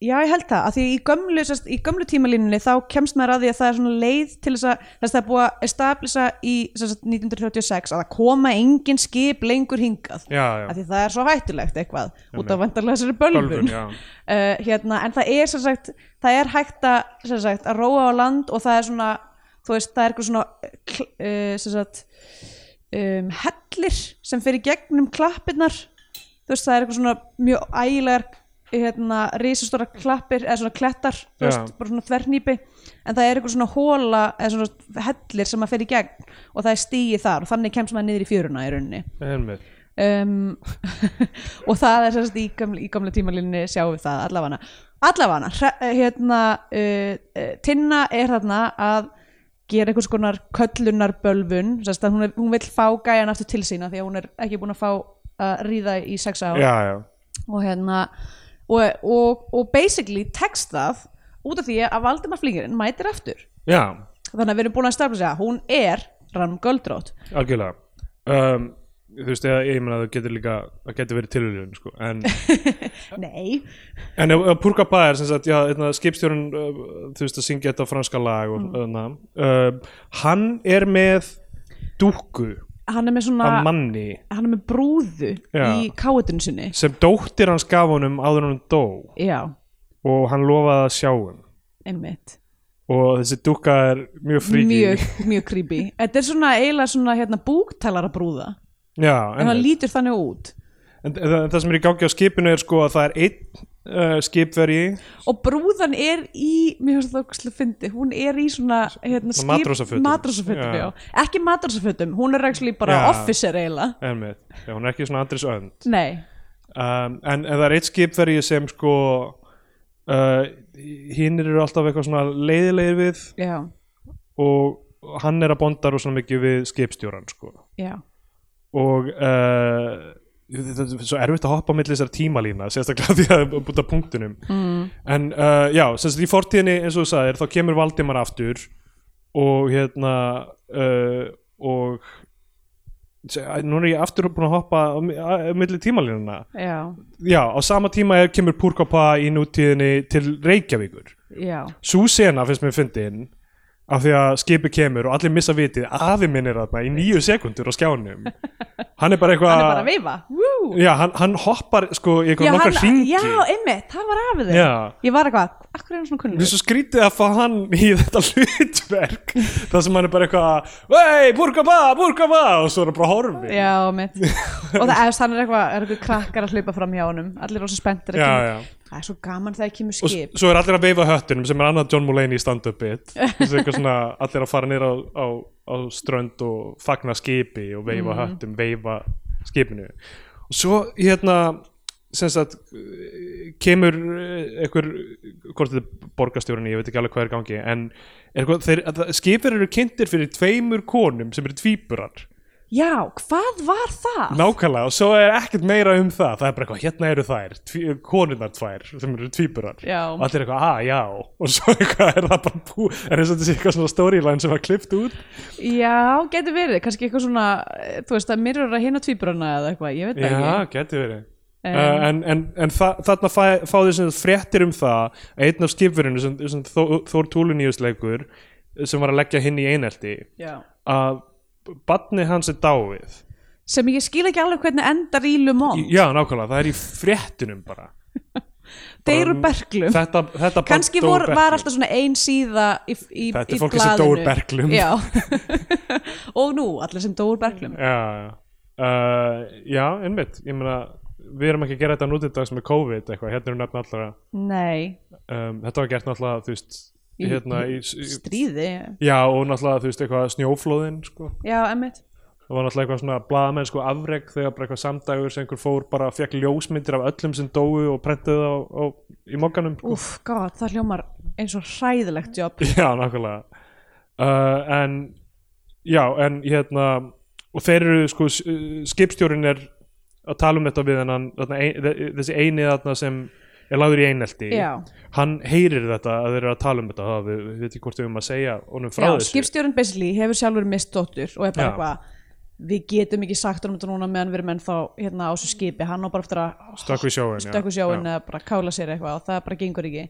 Speaker 2: já, ég held það, að því í gömlu, sest, í gömlu tímalínunni þá kemst maður að því að það er svona leið til þess að, þess að það er búið að establisha í sest, 1936 að það koma engin skip lengur hingað.
Speaker 1: Já, já,
Speaker 2: af því það er svo hættulegt eitthvað út af vandarlega þessari bölvun,
Speaker 1: Bölvun, já.
Speaker 2: (laughs) Uh, hérna, en það er sem sagt það er hægt að, sem sagt, að róa á land og það er svona þú veist, það er eitthvað svona kl- eh, uh, sem sagt um, hellir sem fer í gegnum klappirnar þú veist það er eitthvað svona mjög ægilegar hérna risastóra klappir eða svona klettar, þú
Speaker 1: Já.
Speaker 2: veist, bara svona þvernýpi en það er eitthvað svona hóla eða svona hellir sem að fer í gegn og það er stíi þar og þannig kemst maður niður í fjöruna í rauninni
Speaker 1: Einmitt.
Speaker 2: um, (laughs) og það er sérst í, gamla- í gamla tímalínni sjáum við það allafana allafana, hre- eh, hérna uh, uh, Tinna er þarna að gera einhvers konar köllunarbölvun sérst að hún, er, hún vill fá gæjan aftur til sína því að hún er ekki búin að fá að ríða í sex ár
Speaker 1: Já, já,
Speaker 2: og hérna og, og, og basically tekst það út af því að Valdemar Flingurinn mætir aftur
Speaker 1: já,
Speaker 2: þannig að við erum búin að starfa sig að hún er rann göldrótt
Speaker 1: algjörlega um, Þú veist, eða ég meina að það getur líka það getur verið tilhjörðun, sko en,
Speaker 2: nei,
Speaker 1: En ef ef Purga Bæ er sem sagt, já, einna, skipstjórun uh, þú veist að syngja þetta á franska lag og, mm. uh, hann er með dúkku
Speaker 2: hann er með svona
Speaker 1: af manni
Speaker 2: hann er með brúðu
Speaker 1: Já.
Speaker 2: í káetun sinni
Speaker 1: sem dóttir hans gaf honum áður en hann dó
Speaker 2: já,
Speaker 1: og hann lofaði að sjá hann
Speaker 2: einmitt
Speaker 1: og þessi dúkka er mjög fríki
Speaker 2: mjög, mjög creepy þetta er svona eiginlega svona hérna, búktalara brúða
Speaker 1: já,
Speaker 2: en það
Speaker 1: einmitt.
Speaker 2: lítur þannig út
Speaker 1: en, en, en það sem er í gangi á skipinu er sko að það er einn uh, skipverji
Speaker 2: og brúðan er í mér finnst það okkur fyndi, hún er í svona hérna, skip-
Speaker 1: matrósafötum.
Speaker 2: matrósafötum,
Speaker 1: Já.
Speaker 2: já. ekki matrósafötum, hún er actually bara
Speaker 1: Já.
Speaker 2: officer eiginlega
Speaker 1: einmitt, já, hún er ekki svona Andris Önd
Speaker 2: nei,
Speaker 1: um, en, en það er eitt skipverji sem sko uh, hinn eru alltaf eitthvað svona leiðilegir við
Speaker 2: já,
Speaker 1: og hann er að bonda rosalega mikið við skipstjóran sko
Speaker 2: já
Speaker 1: og uh, þetta er svo erfitt að hoppa millir þessar tímalína sérstaklega (laughs) því að búta punktunum mm. en uh, já, sem sagt í fortíðinni eins og þú sagðir, þá kemur Valdimar aftur og hérna uh, og se- æ, núna er ég aftur búin að hoppa á mi- á- á milli tímalínuna
Speaker 2: já,
Speaker 1: já, á sama tíma er, kemur Púrkapa í nútíðinni til Reykjavíkur
Speaker 2: já,
Speaker 1: svo sena finnst mér fyndin af því að skipi kemur og allir missa vitið afi minn er þarna í nýju sekundur á skjánum hann er bara eitthvað
Speaker 2: hann er bara að veifa Woo!
Speaker 1: já, hann, hann hoppar sko í Ah. eitthvað nokkar
Speaker 2: hann-
Speaker 1: hringi
Speaker 2: já, einmitt, það var afið þig
Speaker 1: Já.
Speaker 2: ég var eitthvað, akkur er hann svona
Speaker 1: Mér
Speaker 2: kunnur
Speaker 1: er svo skrítið að fá hann í þetta hlutverk þar sem hann er bara eitthvað Vei, burka ba, burka ba og svo er hann bara horfi
Speaker 2: Já, mitt Og það eðst, hann er eitthvað, er eitthvað krakkar að hlaupa fram hjá honum Allir rosa spenntir að
Speaker 1: Já,
Speaker 2: kemur-
Speaker 1: já.
Speaker 2: Það er svo gaman þegar kemur
Speaker 1: og s-
Speaker 2: skip
Speaker 1: svo er allir að veifa höttunum sem er annað John Mulaney í stand-up bit Þessi eitthvað svona, allir að fara nýra á, á, á strönd og fagna skipi og veifa höttum, veifa skipinu og svo hérna sem sagt eh, kemur eh, einhver hvort þetta er borgarstjórinn, ég veit ekki alveg hvað er í gangi en er eitthvað, þeir, að það- skipir eru kynntir fyrir tveimur konum sem eru tvíburar
Speaker 2: Já, hvað var það?
Speaker 1: nákvæmlega og svo er ekkert meira um það það er bara eitthvað, hérna eru þær tví, konunnar tvær sem eru tvíburar
Speaker 2: Já.
Speaker 1: og allir eitthvað, að já og svo (laughs) eitthvað er það bara bú er eins og þetta sé eitthvað svona storyline sem var klift út
Speaker 2: Já, getur verið, kannski eitthvað svona eh, Þú veist, að mirror að hinna tvíbrana eða eitthvað Ég veit það
Speaker 1: já,
Speaker 2: ekki
Speaker 1: geti verið Uh, en, en, en þa þarna fá, fá því sem fréttir um það að einn af skipverinu sem, sem Þó- Þór Túluníusleikur sem var að leggja hinn í einelti
Speaker 2: Já.
Speaker 1: að badni hans er dáið
Speaker 2: Sem ég skil ekki alveg hvernig endar í Lumon
Speaker 1: já nákvæmlega, það er í fréttinum bara
Speaker 2: Deyru berglum
Speaker 1: þetta, þetta barn
Speaker 2: Um. Kannski
Speaker 1: dó
Speaker 2: vor,
Speaker 1: úr
Speaker 2: var
Speaker 1: berklum.
Speaker 2: alltaf svona ein síða í, í,
Speaker 1: Þetta er
Speaker 2: í
Speaker 1: fólkið sem dó úr
Speaker 2: blaðinu.
Speaker 1: berklum.
Speaker 2: Já, (laughs) og nú, allir sem dóur berglum
Speaker 1: já, já. uh, já, einmitt ég meina, við erum ekki að gera þetta nú til dags með COVID eitthvað, hérna eru nefn allra
Speaker 2: Nei,
Speaker 1: um, þetta var gert náttúrulega, þú veist
Speaker 2: Í-
Speaker 1: hérna í, í,
Speaker 2: stríði
Speaker 1: já, og náttúrulega, þú veist, eitthvað snjóflóðin sko,
Speaker 2: Já, emmitt
Speaker 1: það var náttúrulega eitthvað svona blaðamenn sko afreg þegar bara eitthvað samdægur sem einhver fór bara, fekk ljósmyndir af öllum sem dóu og prentuðu á, á, í mokkanum sko.
Speaker 2: Úf, god, það hljómar eins og hræðilegt jobb
Speaker 1: (laughs) Já, nákvæmlega uh, En Já, en hérna Og þeir eru, sko, s- uh, skipstjórinn er að tala um þetta við hennan þarna, ein, þe- þessi eini þarna sem er lagður í einelti
Speaker 2: Já.
Speaker 1: hann heyrir þetta að þeir eru að tala um þetta það, við, við veit ekki hvort við um að segja honum frá
Speaker 2: Já,
Speaker 1: þessu
Speaker 2: skipstjórinn basically hefur sjálfur mist dóttur og er bara
Speaker 1: Já.
Speaker 2: eitthvað við getum ekki sagt um þetta núna meðan við erum ennþá hérna á þessu skipi, hann á bara eftir að
Speaker 1: Stökkva í sjóinn, já.
Speaker 2: stökkva í sjóinn
Speaker 1: Já.
Speaker 2: eða bara kála sér eitthvað og það bara gengur ekki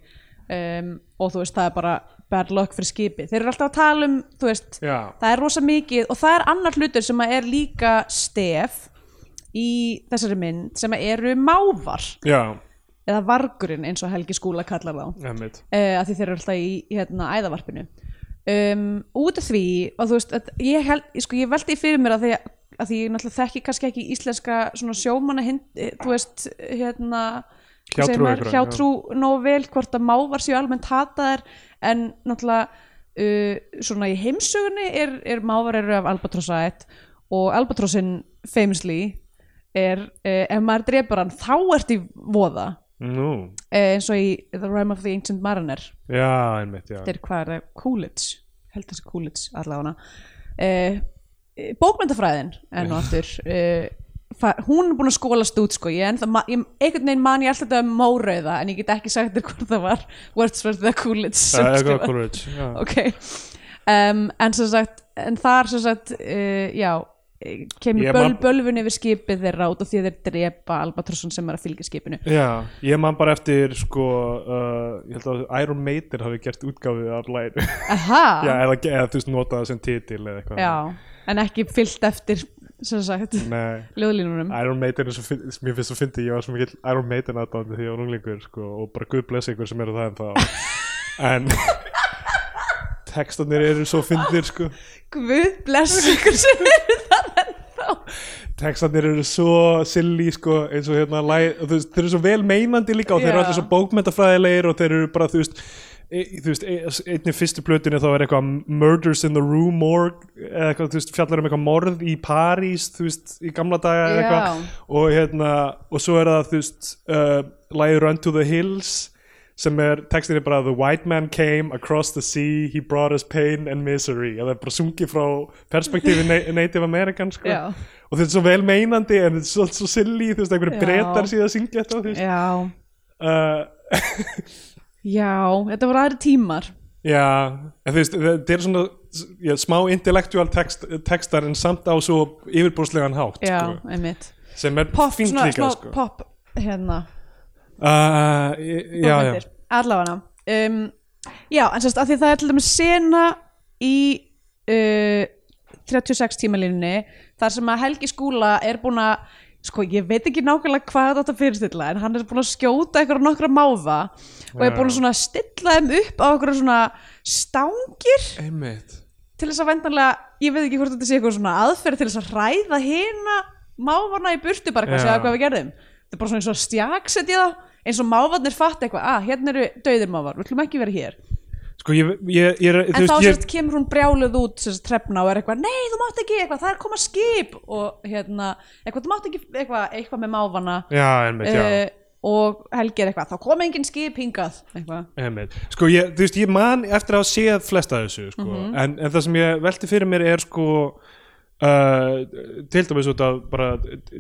Speaker 2: um, og þú veist, það er bara bad luck fyrir skipi, þeir eru alltaf að tala um þú veist,
Speaker 1: Já.
Speaker 2: það er rosa mikið og það er annar hlutur sem að er líka stef í þessari mynd sem að eru mávar
Speaker 1: Já,
Speaker 2: eða vargurinn eins og Helgi Skúla kallar þá
Speaker 1: emmitt
Speaker 2: uh, að því þeir eru alltaf í hérna, æðavarpinu um, út af því og þú veist, að, ég, held, ég, sko, ég veldi fyrir mér að því að að því ég náttúrulega þekki kannski ekki íslenska svona sjómanna eh, þú veist, hérna hvað segir
Speaker 1: Hjátrú
Speaker 2: maður,
Speaker 1: einhverja,
Speaker 2: hjátrú nóg vel hvort að mávar séu almennt hataðar en náttúrulega uh, svona í heimsögunni er, er mávar eru af albatrossaðett og albatrossin famously er uh, ef maður drepur hann þá ert í voða
Speaker 1: Nú,
Speaker 2: uh, eins og í The Rime of the Ancient Mariner
Speaker 1: já, einmitt, já.
Speaker 2: þetta er hvað er það, Coolidge held þessi Coolidge allavega uh, bókmyndafræðin enn og aftur uh, hún er búin að skólast út sko ég, ennþá, ma- ég, einhvern veginn man ég alltaf þetta um mórauða en ég get ekki sagt þér hvort það var Wordsworth eða Coolidge sem
Speaker 1: Það er
Speaker 2: skrifaði
Speaker 1: eitthvað Coolidge, já.
Speaker 2: (laughs) ok um, en sem sagt en þar sem sagt uh, já eh, kemur
Speaker 1: Ég
Speaker 2: böl,
Speaker 1: man-
Speaker 2: bölvun yfir skipið þeirra út og því að þeir drepa Albatrosson sem er að fylgja skipinu
Speaker 1: Já, ég man bara eftir sko, uh, ég held að Iron Maiden hafi gert útgáfið af læri
Speaker 2: aha,
Speaker 1: Já, eða, eða þú veist notað það sem titil eða eitthvað
Speaker 2: já en ekki fyllt eftir sem sagt
Speaker 1: Nei,
Speaker 2: ljóðlínunum
Speaker 1: Iron Maiden er svo, fyn- mér finnst svo fyndi, ég var svo mikill Iron Maiden aðdáðandi því ég var unglingur sko, og bara guð blessi ykkur sem eru það en þá en textanir eru svo fyndir sko
Speaker 2: Guð bless ykkur sem eru það ennþá
Speaker 1: textanir eru svo silly sko, eins og hérna læ, og þú veist, þeir eru svo vel meinandi líka og þeir eru
Speaker 2: Já.
Speaker 1: allir svo bókmentafræðilegir og þeir eru bara þú veist e, þú veist, e, einni fyrstu plötinu þá er eitthvað murders in the rue morgue eða eitthvað, þú veist, fjallar um eitthvað morð í París, þú veist, í gamla daga eða
Speaker 2: Já.
Speaker 1: eitthvað, og hérna og svo er það, þú veist, uh, lægir Run to the Hills sem er, textin er bara The white man came across the sea he brought us pain and misery og það er bara sungið frá
Speaker 2: (laughs)
Speaker 1: perspektífi na- Native American sko
Speaker 2: Já.
Speaker 1: og þetta er svo vel meinandi en þetta er svolítið svo silly þú veist, einhverju
Speaker 2: Já.
Speaker 1: bretar síðan að syngja þetta þú veist.
Speaker 2: Já,
Speaker 1: uh, (laughs)
Speaker 2: já, þetta voru aðri tímar
Speaker 1: já, en þú veist þetta er svona já, smá intellectual text, textar en samt á svo yfirbrúslegan hátt
Speaker 2: Já,
Speaker 1: sko,
Speaker 2: einmitt
Speaker 1: sem er
Speaker 2: Pop,
Speaker 1: fínt
Speaker 2: svona,
Speaker 1: líka
Speaker 2: svona
Speaker 1: sko.
Speaker 2: pop hérna,
Speaker 1: uh, já, já,
Speaker 2: bókmyndir Allavega um, Já, en sérst, af því það er til dæmis sena í uh, 36 tímalínunni þar sem að Helgi Skúla er búin að sko, ég veit ekki nákvæmlega hvað þetta fyrirstilla en hann er búin að skjóta einhverja nokkra máva og er búin að svona stilla þeim upp á einhverja svona stangir
Speaker 1: einmitt
Speaker 2: til þess að vendanlega, ég veit ekki hvort þetta sé eitthvað svona aðferð til þess að hræða hina mávana í burtu bara hvað
Speaker 1: Já.
Speaker 2: segja hvað við gerðum þetta er bara svona eins og stjaksetja það eins og mávarnir fatt eitthvað, að hérna eru dauðir mávar við ætlum ekki vera hér
Speaker 1: sko, ég, ég, ég,
Speaker 2: en
Speaker 1: þú
Speaker 2: þá
Speaker 1: veist,
Speaker 2: sérst kemur hún brjáluð út sérst trefna og er eitthvað, nei þú mátt ekki eitthvað það er að koma skip og hérna eitthvað, þú mátt ekki eitthvað, eitthvað með mávana
Speaker 1: ég já, einmitt, já
Speaker 2: Eh, og Helgi er eitthvað, þá kom engin skip hingað eitthvað,
Speaker 1: Einmitt. Sko ég, þú veist, ég man eftir að hafa séð flesta af þessu, sko,
Speaker 2: Mhm.
Speaker 1: en, en það sem ég velti fyrir mér er sko uh, til dæmis út af bara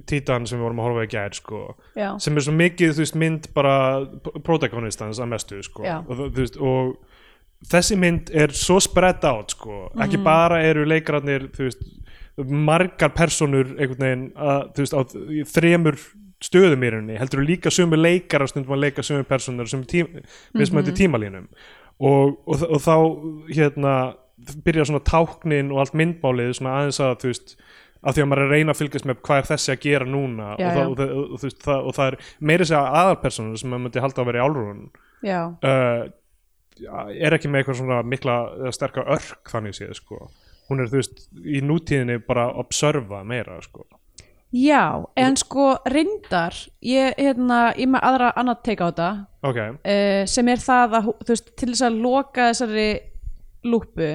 Speaker 1: títan sem við vorum að horfa í gær, sko
Speaker 2: Já.
Speaker 1: sem er svo mikið, þú veist, mynd bara p- protagonistans að mestu, sko
Speaker 2: Já.
Speaker 1: og, þú- þú veist, og þessi mynd er svo spread out, sko
Speaker 2: Mhm.
Speaker 1: ekki bara eru leikararnir, þú veist margar personur einhvern veginn að, þú veist, á í þremur stöðum í rauninni, heldur þú líka sömu leikar að stundum að leika sömu personur sem tím,
Speaker 2: Mhm.
Speaker 1: mismöndi tímalínum og, og, þ- og þá hérna byrja svona táknin og allt myndmálið svona aðeins að þú veist að því að maður er að reyna að fylgjast með hvað er þessi að gera núna og,
Speaker 2: Já, já.
Speaker 1: það, og, það, og, þú veist, það, og það er meiri segja aðalpersonur sem maður myndi halda að vera í álrún
Speaker 2: já,
Speaker 1: uh, er ekki með eitthvað svona mikla eða sterka örk þannig séð sko hún er þú veist í nútíðinni bara að observa meira sko
Speaker 2: já en sko reyndar ég, hérna, ég er með aðra annað teika á þetta
Speaker 1: ok,
Speaker 2: uh, sem er það að hú- þú veist, til þess að loka þessari lúpu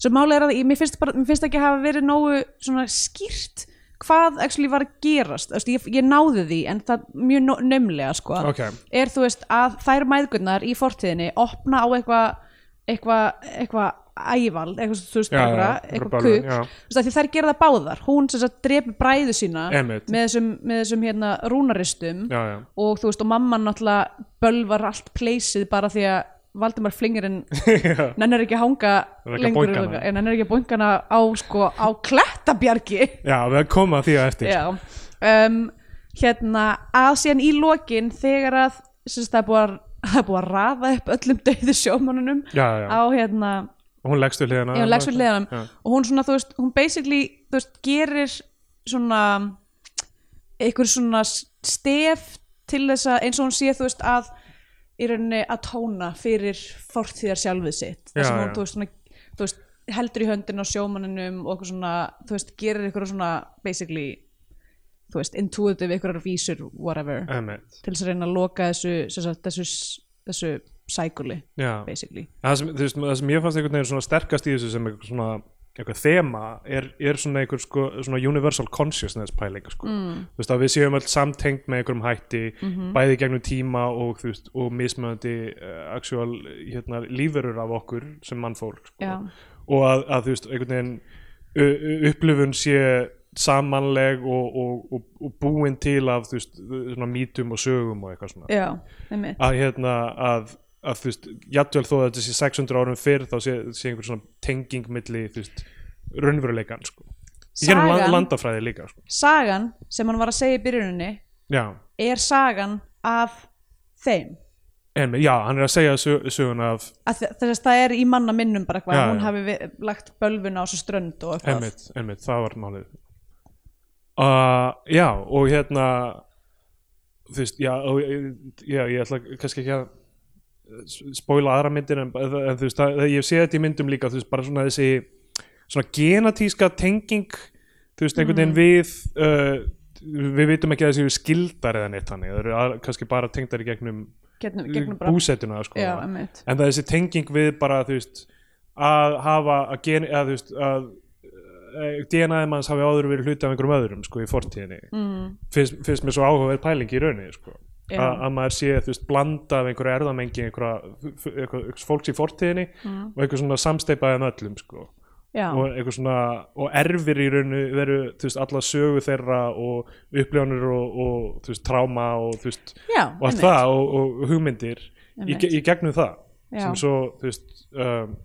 Speaker 2: svo máli er að ég, mér, finnst bara, mér finnst ekki hafa verið nógu svona skýrt hvað actually var að gerast Þú veist, ég, ég náði því en það mjög no- naumlega sko.
Speaker 1: Ok.
Speaker 2: er þú veist að þær mæðgurnar í fortíðinni opna á eitthvað eitthvað eitthva æval eitthvað þú veist
Speaker 1: Já, já,
Speaker 2: bara eitthvað, eitthvað
Speaker 1: rebellion,
Speaker 2: kuk
Speaker 1: já.
Speaker 2: Þú veist, af því þær gera það báðar hún sem sagt drepi bræðu sína
Speaker 1: Einmitt.
Speaker 2: með þessum, með þessum hérna rúnaristum
Speaker 1: já já
Speaker 2: og þú veist og mamman náttúrulega bölvar allt pleysið bara því að Valdimar
Speaker 1: (laughs)
Speaker 2: Flingirinn nennir ekki að hanga
Speaker 1: Hann er ekki að
Speaker 2: lengur
Speaker 1: boinka hana.
Speaker 2: en nennir ekki að bónkana á sko á klettabjargi
Speaker 1: já, við komum að því að eftir sko.
Speaker 2: já um, hérna að síðan í lokin þegar að sérst, það, er búið að, (laughs) það er búið að raða upp öllum dauðu sjómanunum
Speaker 1: já, já,
Speaker 2: á hérna
Speaker 1: og hún leggst við hliðina
Speaker 2: já, hún leggst við hliðanum
Speaker 1: Já.
Speaker 2: og hún svona, þú veist, hún basically þú veist, gerir svona einhver svona stef til þess að eins og hún sé, þú veist, að í rauninni að tóna fyrir fortíðar sjálfið sitt
Speaker 1: Já,
Speaker 2: þess að hún,
Speaker 1: já.
Speaker 2: þú veist, svona, þú veist heldur í höndin á sjómaninum og eitthvað svona, þú veist, gerir eitthvað svona basically, þú veist, intuitive eitthvað vísur, whatever
Speaker 1: Emmett
Speaker 2: til þess að reyna að loka þessu sem sagt, þessu, þessu sækuli
Speaker 1: Já,
Speaker 2: basically
Speaker 1: það sem, þú veist, það sem ég fannst einhvern veginn svona sterkast í þessu sem eitthvað svona eitthvað þema er, er svona einhver sko, svona universal consciousness pæling sko. mm. þú veist að við séum öll samtengt með einhverjum hætti, bæði gegnum tíma og þú veist, og mismöðandi uh, actual, hérna, lífurur af okkur sem mannfólk sko.
Speaker 2: Já.
Speaker 1: og að, að þú veist, einhvern veginn ö- ö- upplifun sé samanleg og, og, og, og búin til af þú veist, svona mítum og sögum og eitthvað svona
Speaker 2: já, einmitt
Speaker 1: að hérna að, að þú veist, jafnvel þó að þetta sé 600 árum fyrr þá sé, sé einhver svona tenging milli, þú veist, raunveruleikan sko. Ég hérna land,
Speaker 2: Sagan-
Speaker 1: landafræði líka sko.
Speaker 2: sagan sem hann var að segja í byrjuninni
Speaker 1: Já,
Speaker 2: er sagan af þeim
Speaker 1: en, já, hann er að segja sög, söguna af
Speaker 2: Af því- þess að það er í manna minnum bara eitthvað
Speaker 1: Já,
Speaker 2: að hún
Speaker 1: já.
Speaker 2: hafi við, lagt bölvun á þessu strönd og eitthvað
Speaker 1: Emmitt, Emmitt, það var málið uh, Já, og hérna þú veist, já, og, já ég ætla kannski ekki að spóila aðra myndir en, en, en þú veist, það, ég sé þetta í myndum líka þú veist, bara svona þessi svona genatíska tenging þú veist, einhvern veginn
Speaker 2: Mm.
Speaker 1: við uh, við vitum ekki að þessi eru skildar eða neitt þannig, það eru að, kannski bara tengdar í gegnum,
Speaker 2: gegnum, gegnum bara
Speaker 1: búsetuna sko,
Speaker 2: Já, einmitt.
Speaker 1: en það er þessi tenging við bara þú veist, að hafa að, gen, að, þú veist, að eh, DNA-ið manns hafi áður verið hluti af einhverjum öðrum sko, í fortíðinni mm. finnst, finnst mér svo áhugaverð pæling í rauninni sko.
Speaker 2: Já.
Speaker 1: að, að maður sé þú veist, blanda af einhverju erðamengi einhverja, einhverja, einhverja fólks í fortíðinni og einhver svona samsteipaðum öllum sko.
Speaker 2: Mm. já,
Speaker 1: og einhver svona og erfir í rauninu veru þú veist, alla sögu þeirra og uppljónir og, og þú veist, tráma og þú veist,
Speaker 2: Já,
Speaker 1: og allt
Speaker 2: einmitt.
Speaker 1: það og, og hugmyndir í,
Speaker 2: Einmitt.
Speaker 1: ge- í gegnum það
Speaker 2: Já.
Speaker 1: sem svo, þú veist um,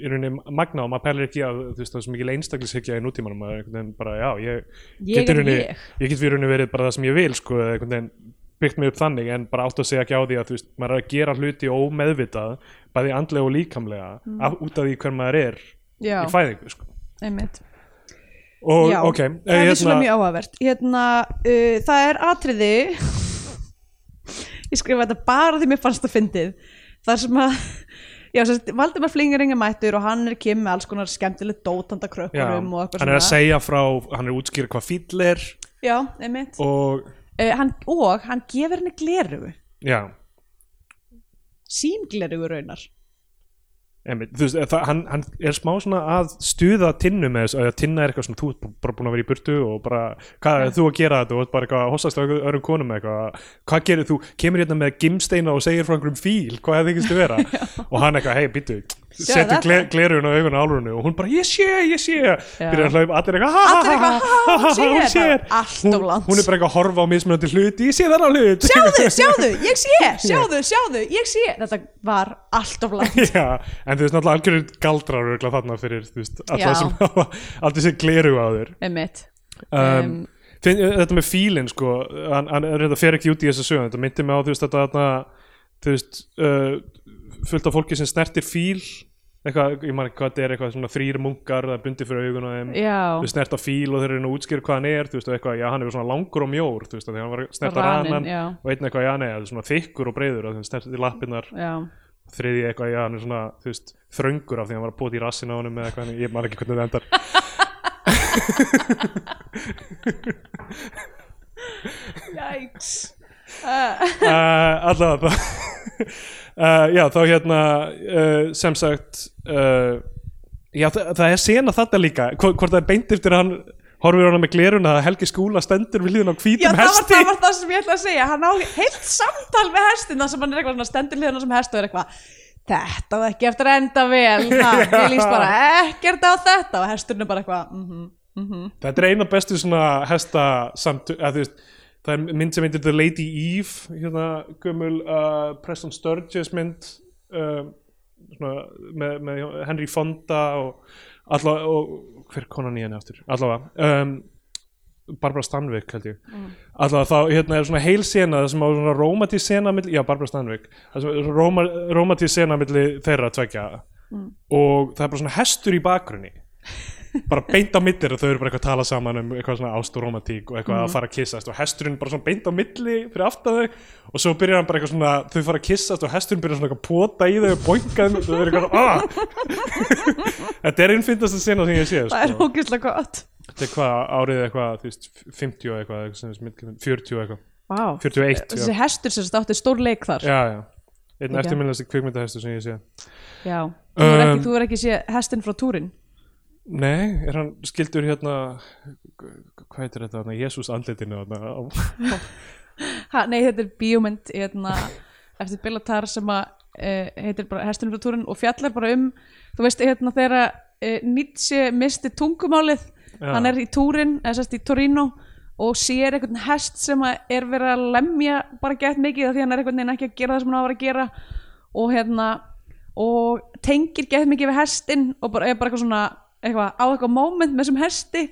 Speaker 1: í rauninni magna og maður pælir ekki að þú veist, það er svo mikil einstaklishyggja í nútímanum að einhvern veginn bara, já, ég,
Speaker 2: Ég
Speaker 1: get í
Speaker 2: er
Speaker 1: rauninni,
Speaker 2: ég.
Speaker 1: ég get í rauninni verið bara það sem ég vil, sko, eða einhvern veginn byggt mig upp þannig en bara átt að segja ekki á því að þú veist, maður er að gera hluti ómeðvitað bæði andlega og líkamlega af, út af því hver maður er
Speaker 2: Mm. Já.
Speaker 1: í fæðingu, sko
Speaker 2: einmitt
Speaker 1: og,
Speaker 2: já,
Speaker 1: ok, eh,
Speaker 2: það er vissulega mjög áhugavert hérna, uh, það er atriði (laughs) ég skrifa þetta bara því mér fannst það fyndið þar sem að (laughs) já, sérst, Valdimar Flingering er mættur og hann er kim með alls konar skemmtilegt
Speaker 1: já,
Speaker 2: dótanda krökkurum og eitthvað
Speaker 1: hann er að segja frá hann er að útskýra hvað fýll er
Speaker 2: já, einmitt
Speaker 1: og,
Speaker 2: uh, hann, og hann gefur henni glerugu
Speaker 1: já,
Speaker 2: sínglerugu raunar
Speaker 1: Einmitt, þú veist, það, hann, hann er smá svona að stuða tinnu með þess að tinna er eitthvað svona þú ert bara búin að vera í burtu og bara hvað er þú að gera þetta og ert bara eitthvað að hossast á einhver- öðrum konum með eitthvað, hvað gerir þú kemur hérna með gimsteina og segir frá einhverjum fíl hvað það þykist þú vera og hann eitthvað, hei, býttu,
Speaker 2: þetta.
Speaker 1: setur gle, glerun á augun á álurinu og hún bara, ég sé, ég sé byrjar að hlaupa, allir eitthvað, ha, ha,
Speaker 2: Allir
Speaker 1: ha,
Speaker 2: eitthvað, ha,
Speaker 1: ha, ha,
Speaker 2: hún
Speaker 1: hún
Speaker 2: sér
Speaker 1: sér
Speaker 2: þetta. Allt
Speaker 1: Hún-
Speaker 2: of langt.
Speaker 1: hún er bara eitthvað að horfa á mismunandi hluti, ég sé þarna hlut
Speaker 2: sjáðu, sjáðu, ég (laughs) sé, sjáðu, sjáðu ég sé, þetta var allt of langt
Speaker 1: (laughs) Já, en þú veist náttúrulega algjörður galdrar örgulega þarna fyrir, þú veist,
Speaker 2: Já.
Speaker 1: alltaf sem hafa, alltaf sem gleru á þér.
Speaker 2: (laughs) einmitt
Speaker 1: Um, finn, þetta með fílinn, sko, hann, hann er þetta fer ekki út í þessa sögum, þetta myndi mig á, þú veist, þetta þarna, þú veist, uh, fullt af fólki sem snertir fíl, eitthvað, ég man ekki hvað þetta er, eitthvað svona þrýr munkar, það er bundið fyrir augun á þeim,
Speaker 2: Já.
Speaker 1: þú snerta fíl og þeir eru nú útskýr hvað hann er, þú veist, og eitthvað, já, hann er svona langur og mjór, þú veist, þegar hann var að snerta
Speaker 2: Raninn,
Speaker 1: ranan
Speaker 2: já.
Speaker 1: og einn eitthvað, já, nei, það er svona þykkur og breiður, þannig snertir lappirnar
Speaker 2: já,
Speaker 1: þriði eitthvað, já, hann er svona, þú veist, þröngur af því að hann var að bóta í rassin á honum eða eitthvað, en ég man ekki hvernig það endar.
Speaker 2: (laughs) jæks
Speaker 1: uh, allavega (laughs) það. uh, já, þá hérna, uh, sem sagt, uh, já, það, það er sena þetta líka, hvort, hvort það er beint eftir að hann horfir á hana með gleruna að Helgi Skúla stendur við hliðin á
Speaker 2: Já,
Speaker 1: hvítum
Speaker 2: það var,
Speaker 1: um hesti.
Speaker 2: það var það sem ég ætla að segja Hann á heilt samtal með hestin þar sem hann er eitthvað svona stendur hliðina sem hest og er eitthvað Þetta var ekki eftir að enda vel ha, Ég líst bara ekkert á þetta og hesturinn er bara eitthvað mm
Speaker 1: Þetta er eina bestu svona hesta samt, að þú veist, það er mynd sem myndir The Lady Eve, hérna gömul uh, Preston Sturges mynd um, svona, með, með Henry Fonda og allavega, og hver er konan í henni aftur, allavega um, Barbara Stanwyck held ég
Speaker 2: Mm.
Speaker 1: allavega þá, hérna er svona heil sena það sem á svona rómatí sena milli, já Barbara Stanwyck það sem er róma,
Speaker 2: Mm.
Speaker 1: rómatí sena milli þeirra tveggja og það er bara svona hestur í bakgrunni bara beint á millir og þau eru bara eitthvað að tala saman um eitthvað svona ást og romantík og
Speaker 2: Mm.
Speaker 1: eitthvað að fara að kissast og hesturinn bara svona beint á milli fyrir aftan þau og svo byrjar hann bara eitthvað svona þau fara að kissast og hesturinn byrjar svona eitthvað að pota í þau og boinga þeim og þau eru eitthvað svona "Ah!" (laughs) þetta er einn fyndast að sena sem ég sé
Speaker 2: það er
Speaker 1: sko.
Speaker 2: ógeðslega gott
Speaker 1: þetta er hvað árið eitthvað þú veist, 50 og eitthvað, eitthvað sem er mitt- 40 og eitthvað
Speaker 2: Vá.
Speaker 1: 41
Speaker 2: þessi
Speaker 1: já,
Speaker 2: hestur sem þetta átti stór leik þar
Speaker 1: já, já. einn
Speaker 2: Ok.
Speaker 1: eftirminnlegasti kvikmyndahestur sem ég sé
Speaker 2: Já. Þú er ekki,
Speaker 1: Um,
Speaker 2: þú er ekki sé hestin frá túrin
Speaker 1: Nei, er hann skildur hérna hvað heitir þetta, hérna, Jésús andlitinu hérna, á-
Speaker 2: ha, nei þetta er bíómynd hérna, eftir Bilatar sem að uh, heitir bara hestin frá túrin og fjallar bara um þú veist hérna þegar uh, Nietzsche misti tungumálið
Speaker 1: Já.
Speaker 2: hann er í túrin, eða sérst í Torino og sér einhvern hest sem að er verið að lemja bara gett mikið af því að hann er einhvern veginn ekki að gera það sem hann á að vera að gera og hérna og tengir gett mikið við hestinn og bara, er bara eitthvað svona eitthvað, á eitthvað moment með þessum hesti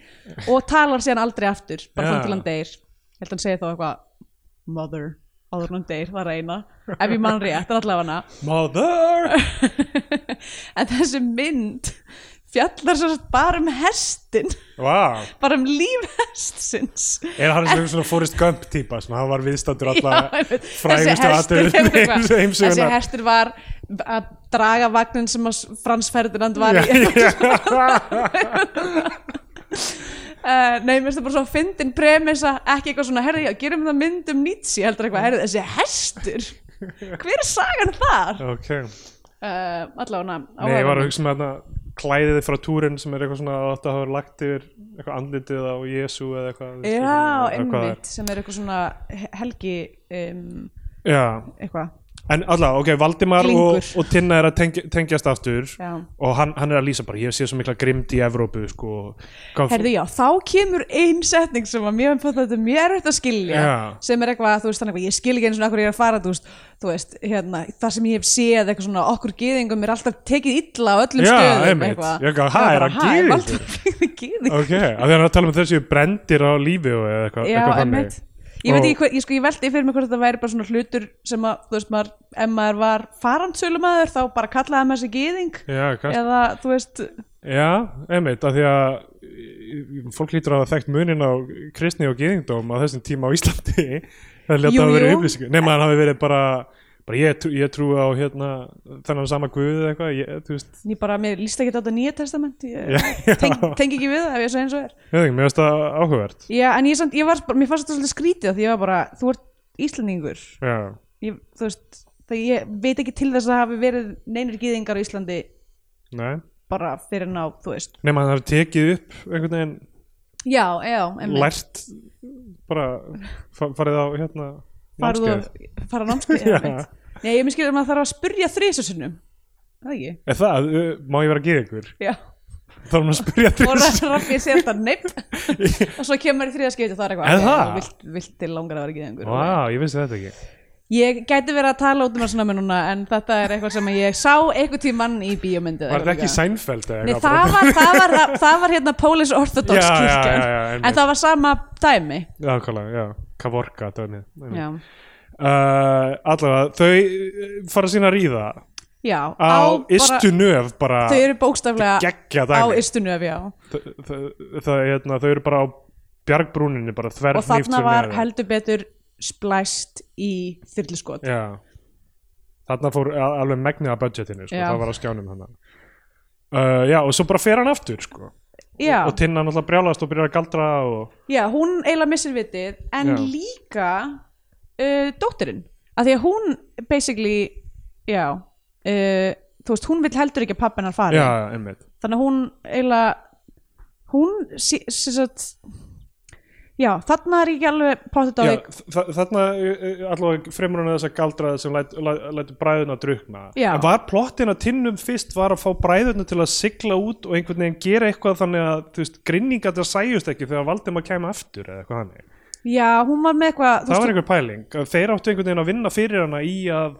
Speaker 2: og talar síðan aldrei aftur bara
Speaker 1: Já.
Speaker 2: þannig til hann deyr ég held að hann segi þá eitthvað mother áður en hann deyr, það er eina ef ég mann rétt, það er allavega hana
Speaker 1: Mother
Speaker 2: en þessi mynd fjallar svo bara um hestin
Speaker 1: Vá,
Speaker 2: bara um líf hestsins (laughs)
Speaker 1: er hann sem svona Forrest Gump típa, svona hann var viðstandur
Speaker 2: Já,
Speaker 1: alla
Speaker 2: einmitt.
Speaker 1: frægustu
Speaker 2: Þessi hestur
Speaker 1: (laughs)
Speaker 2: hefur eitthvað-
Speaker 1: aðtöður
Speaker 2: þessi
Speaker 1: heimsugunar
Speaker 2: hestur var að draga vagnin sem að Frans Ferdinand var í (laughs) uh, nei, mér finnst það bara svo fyndin premissa, ekki eitthvað svona herri, já, gerum það mynd um Nietzsche, heldur eitthvað herri, þessi hestur, hver er sagan þar?
Speaker 1: (laughs) Ok,
Speaker 2: Uh, allavega,
Speaker 1: nei, ég var að hugsa með hérna klæðið frá túrin sem er eitthvað svona að þetta hafa lagt yfir eitthvað andlitið á Jésu eða eitthvað þú veist,
Speaker 2: já,
Speaker 1: eitthvað um hvað það er.
Speaker 2: einmitt, sem er eitthvað svona he- helgi um,
Speaker 1: Já,
Speaker 2: eitthvað,
Speaker 1: En allavega, ok, Valdimar og,
Speaker 2: Glingur.
Speaker 1: og Tinna er að tengja, tengjast aftur
Speaker 2: Já.
Speaker 1: og hann, hann er að lýsa bara, ég sé svo mikla grimd í Evrópu, sko Hvað-
Speaker 2: Herðu já, þá kemur ein setning sem að mér fannst þetta mjög erfitt að skilja
Speaker 1: Já.
Speaker 2: sem er eitthvað, þú veist, þannig að ég skil ekki eins og hverju ég er að fara, þú veist, þú veist hérna, það sem ég hef séð, eitthvað svona okkur gyðingum er alltaf tekið illa á öllum
Speaker 1: Já,
Speaker 2: stöðum
Speaker 1: einmitt. Ég er eitthvað, ha, er hann gyðingur?
Speaker 2: (laughs) gyðing?
Speaker 1: Ok, af því hann er að tala um þessi brendir á lífi og eða eitthvað
Speaker 2: Já,
Speaker 1: eitthvað
Speaker 2: einmitt Ég veit
Speaker 1: Og-
Speaker 2: ekki, hver, ég, sko, ég veldi fyrir mig hvort þetta væri bara svona hlutur sem að, þú veist, maður, ef maður var farandsölumæður þá bara kallaði maður sig gyðing
Speaker 1: Já, kannski,
Speaker 2: eða, þú veist,
Speaker 1: já, einmitt, af því að í- í- fólk lítur að hafa þekkt munin á kristni og gyðingdóm á þessum tíma á Íslandi (laughs) það er
Speaker 2: Jú,
Speaker 1: ljótt að vera
Speaker 2: jú.
Speaker 1: upplýsingu Nei, maður hafi verið bara, bara ég, trú, ég trú á hérna, þennan sama guð eða eitthvað, ég, þú veist
Speaker 2: ég bara, mér líst ekki á þetta nýja testament,
Speaker 1: Já,
Speaker 2: ég (laughs)
Speaker 1: já.
Speaker 2: tengi tengi ekki við það ef ég er svo eins og er
Speaker 1: Ég veit ekki, mér finnst það áhugavert
Speaker 2: Já, en ég, samt, ég var, bara- mér fannst þetta svolítið skrítið af því ég var bara, þú ert Íslandingur
Speaker 1: Já,
Speaker 2: ég, þú veist, það ég veit ekki til þess að hafi verið neinir gýðingar á Íslandi
Speaker 1: nei
Speaker 2: bara fyrir ná, þú veist
Speaker 1: Nefn að hann hafi tekið upp einhvern veginn
Speaker 2: Já, já,
Speaker 1: lært bara fa- farið á hérna
Speaker 2: farið
Speaker 1: námskeið.
Speaker 2: að fara á námskeið
Speaker 1: (laughs) Já.
Speaker 2: já. einmitt. Nei, ég miskir að maður þarf að spurja þrísusunum Það ekki,
Speaker 1: Er það, uh, má ég vera að geða ykkur? (laughs)
Speaker 2: já
Speaker 1: Þá er hún að spyrja til
Speaker 2: og
Speaker 1: þess
Speaker 2: rafið sér þetta
Speaker 1: (laughs)
Speaker 2: neitt og svo kemur í þriða skipti og það er
Speaker 1: Er
Speaker 2: eitthvað ok,
Speaker 1: það?
Speaker 2: þú vilt, vilt til langar að vera gýðingur
Speaker 1: Vá, ég vissi þetta ekki
Speaker 2: Ég gæti verið að tala út um það svona með núna en þetta er eitthvað sem ég sá einhvern tímann í bíómyndu
Speaker 1: Var þetta ekki Seinfeld eða
Speaker 2: Nei,
Speaker 1: eitthvað?
Speaker 2: það var, það var, það var hérna Polish
Speaker 1: Já,
Speaker 2: Orthodox
Speaker 1: já,
Speaker 2: kirkjan
Speaker 1: já, já, einmitt.
Speaker 2: en það var sama dæmi
Speaker 1: Já, kalla, já, Kavorka dæmið
Speaker 2: já,
Speaker 1: uh, Allavega, þau uh, fara sína að ríða
Speaker 2: já
Speaker 1: á, ystu nöf bara
Speaker 2: þau eru bókstaflega
Speaker 1: geggja
Speaker 2: á
Speaker 1: dæmi
Speaker 2: ystunöf, já
Speaker 1: Þau- þau- þau hérna, þau eru bara á bjargbrúninni bara þverf
Speaker 2: og þarna var heldur betur splæst í þyrluskot
Speaker 1: Já Þarna fór a- alveg megnið að budgetinu sko.
Speaker 2: Já.
Speaker 1: það var á skjánum hann uh, Já, og svo bara fer hann aftur sko.
Speaker 2: já,
Speaker 1: og tinna hann alltaf brjálast og byrjar að galdra og...
Speaker 2: já, hún eiginlega missir vitið en
Speaker 1: Já.
Speaker 2: líka uh, dóttirinn, af því að hún basically, já uh, þú veist, hún vill heldur ekki að pappin hann fari
Speaker 1: Já, einmitt
Speaker 2: þannig að hún eiginlega hún sí, sí, satt, já, þarna er ég ekki alveg pottet á
Speaker 1: Já,
Speaker 2: því
Speaker 1: þa- þarna uh, allavega fremur hann þess að galdra sem læt- læ- lætur bræðuna drukna
Speaker 2: Já.
Speaker 1: en var plottin að tinnum fyrst var að fá bræðuna til að sigla út og einhvern veginn gera eitthvað þannig að þú veist, grinningar það sæjust ekki þegar Valdimar kæma aftur eða eitthvað hannig
Speaker 2: já, hún var með eitthvað
Speaker 1: það
Speaker 2: þú
Speaker 1: var
Speaker 2: veist,
Speaker 1: einhver pæling, að þeir áttu einhvern veginn að vinna fyrir hana í að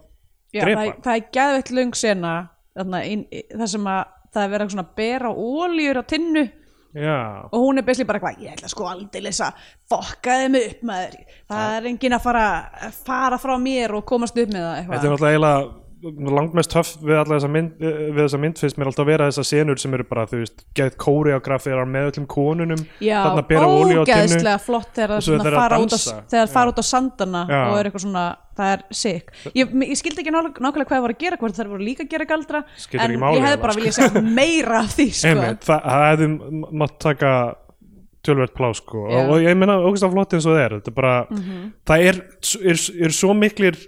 Speaker 2: já,
Speaker 1: drepa
Speaker 2: það, er-
Speaker 1: hann.
Speaker 2: það er geðveitt löng sena þarna, inn, í- þar sem að það er verið eitthvað svona að bera óljur á tinnu
Speaker 1: Já,
Speaker 2: og hún er besli bara eitthvað, ég ætla sko aldeilis að fokka þeim upp maður það er enginn að fara, að fara frá mér og komast upp með það
Speaker 1: Þetta er
Speaker 2: eitthvað
Speaker 1: náttúrulega eiginlega langmest höf við alla þessa mynd, við þessa mynd finnst mér alltaf vera þessar senur sem eru bara, þú veist, gæð kóreografíðar með öllum konunum,
Speaker 2: Já,
Speaker 1: þarna bera olíu á tinnu.
Speaker 2: ógeðslega flott þegar
Speaker 1: Og svo
Speaker 2: það
Speaker 1: þegar þær
Speaker 2: fara, út á,
Speaker 1: dansa.
Speaker 2: þegar þær fara út á sandana
Speaker 1: Já.
Speaker 2: og er eitthvað svona, það er sick ég, m- ég skildi ekki nál- nákvæmlega hvað það var að gera hvort þær voru líka að gera galdra
Speaker 1: Skiptir
Speaker 2: en
Speaker 1: ekki máli
Speaker 2: ég hefði
Speaker 1: eiginlega,
Speaker 2: bara
Speaker 1: sko.
Speaker 2: viljað sjá meira af því sko.
Speaker 1: Einmitt, það, það hefði m- mátt taka tölvert plá sko
Speaker 2: Já. Mhm.
Speaker 1: og ég meina ógust af flott eins og það er þetta er bara, það er, er, er svo miklir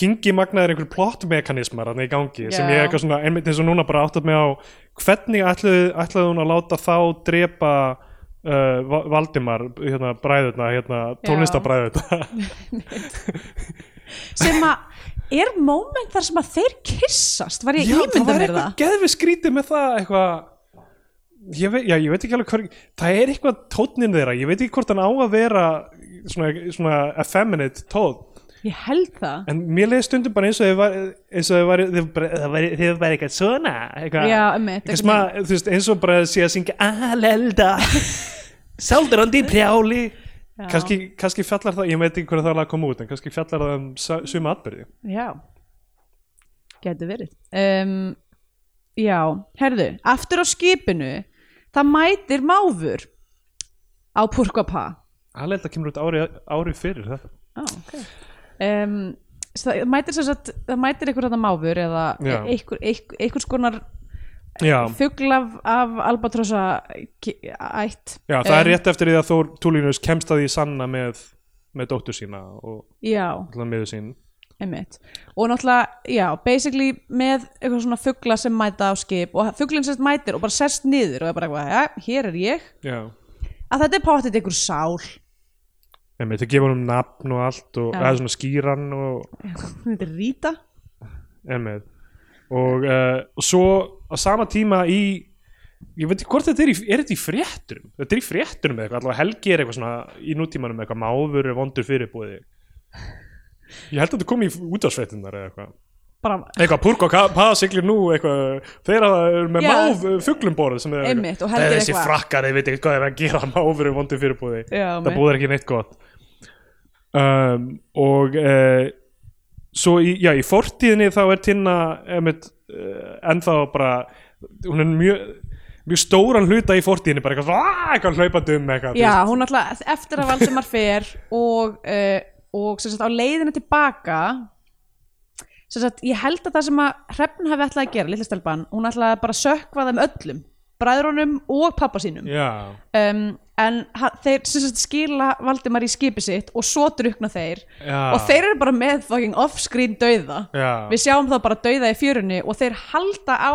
Speaker 1: kingi magnaðir einhver plottmekanismar þarna í gangi sem
Speaker 2: Já.
Speaker 1: ég eitthvað svona, einmitt eins og núna bara áttat mig á hvernig ætlaði, ætlaði hún að láta þá drepa uh, Va- Valdimar, hérna bræðurna hérna tónlistabræðurna
Speaker 2: sem að er moment þar sem að þeir kissast var ég
Speaker 1: Já,
Speaker 2: að
Speaker 1: það
Speaker 2: ímynda
Speaker 1: var
Speaker 2: mér
Speaker 1: eitthvað
Speaker 2: það
Speaker 1: geðvið skrítið með það eitthvað ég veit, já, ég veit ekki alveg hver það er eitthvað tónnin þeirra, ég veit ekki hvort hann á að vera svona, svona effeminate tónn,
Speaker 2: ég held það
Speaker 1: en mér leiði stundum bara eins og þið var eins og þið var, þið bara, það væri- þið var eitthvað svona eitthvað,
Speaker 2: Já, einmitt,
Speaker 1: eitthvað sem að, þú veist, eins og bara sé að syngja
Speaker 2: (laughs)
Speaker 1: alelda saldrandi prjáli kannski, kannski fjallar það, ég veit ekki hvernig það er að koma út en kannski fjallar það um sa- suma atbyrði
Speaker 2: já, getur verið um, já, herðu aftur á skipinu það mætir máfur á Purkopá
Speaker 1: alelda kemur út ári, ári fyrir þetta
Speaker 2: Á, ok. um, svo það mætir sem sagt það mætir einhver þetta máfur eða
Speaker 1: Já.
Speaker 2: einhver, einhver, einhvers konar
Speaker 1: já,
Speaker 2: fugl af, af albatrossa ki- ætt
Speaker 1: Já, það er
Speaker 2: Um,
Speaker 1: rétt eftir því að Þór Túlínus kemst að því sanna með, með dóttur sína og
Speaker 2: já,
Speaker 1: alltaf miður sín.
Speaker 2: einmitt og náttúrulega, já, basically með eitthvað svona fugla sem mæta á skip og fuglinn sem sagt mætir og bara sest niður og er bara eitthvað, já, hér er ég
Speaker 1: Já.
Speaker 2: að þetta er páttið einhver sál
Speaker 1: Emi, þau gefa honum nafn og allt og
Speaker 2: Já.
Speaker 1: eða svona skýran og
Speaker 2: þetta er Rita
Speaker 1: emi. Og uh, svo á sama tíma í, ég veit ekki hvort þetta er í, er þetta í frétturum? Þetta er í frétturum eða eitthvað, allavega Helgi er eitthvað svona í nútímanum eitthvað máfur er vondur fyrirbúði. Ég held að þetta kom í útvarsfréttunar eða eitthvað.
Speaker 2: bara,
Speaker 1: Eitthvað, púrk og paða siglir nú eitthvað, þeirra eru með
Speaker 2: Já.
Speaker 1: máf fuglumborð sem er
Speaker 2: Einmitt, og
Speaker 1: það
Speaker 2: heldur
Speaker 1: er þessi
Speaker 2: eitthvað.
Speaker 1: frakkar, þeir veit ekki hvað þeir eru að gera (laughs) máfur er vondið fyrirbúði,
Speaker 2: Já,
Speaker 1: það
Speaker 2: einmitt.
Speaker 1: búður ekki neitt gott um, og uh, svo í, já, í fortíðinni þá er Tinna einmitt, uh, ennþá bara hún er mjög mjög stóran hluta í fortíðinni, bara eitthvað, svona, "Ah", eitthvað hlaupandi um eitthvað, þú
Speaker 2: já,
Speaker 1: veist.
Speaker 2: hún náttúrulega eftir að Valdimar fer og, uh, og sem sagt, á leiðinu tilbaka sem sagt, ég held að það sem að Hrefn hafi ætlaði að gera, litla stelpan hún ætlaði bara að sökva þeim öllum bræðrunum og pappa sínum
Speaker 1: já,
Speaker 2: um, en ha- þeir sem sagt, skila Valdimar í skipi sitt og svo drukna þeir
Speaker 1: Já.
Speaker 2: og þeir eru bara með fucking offscreen dauða
Speaker 1: Já.
Speaker 2: við sjáum þá bara dauða í fjörunni og þeir halda á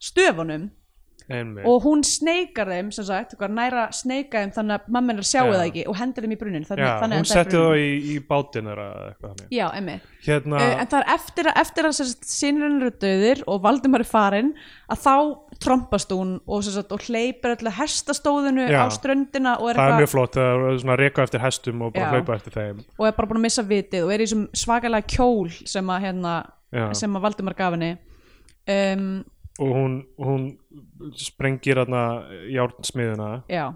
Speaker 2: stöfunum
Speaker 1: einmitt
Speaker 2: og hún sneikar þeim sem sagt, eitthvað, næra sneika þeim þannig að mamma hennar sjáu
Speaker 1: Já.
Speaker 2: það ekki og hendur þeim í brunin þannig,
Speaker 1: já,
Speaker 2: þannig
Speaker 1: hún setti þá í, í bátinn þeirra eða eitthvað þannig.
Speaker 2: já, emmi
Speaker 1: hérna,
Speaker 2: Uh, en það er eftir að, eftir að sem sagt, sinur hennar eru döðir og Valdimar er farinn að þá trompast hún og, sem sagt, og hleypir öllu hestastóðinu
Speaker 1: Já.
Speaker 2: á ströndina og er,
Speaker 1: það er mjög
Speaker 2: eitthvað,
Speaker 1: flott það er svona að reka eftir hestum og bara
Speaker 2: Já.
Speaker 1: hlaupa eftir þeim
Speaker 2: og er bara búin að missa vitið og er í þessum svakalega kjól sem að, hérna,
Speaker 1: Já.
Speaker 2: sem að Valdimar gaf henni um,
Speaker 1: og hún, hún sprengir hérna járnsmiðuna
Speaker 2: já,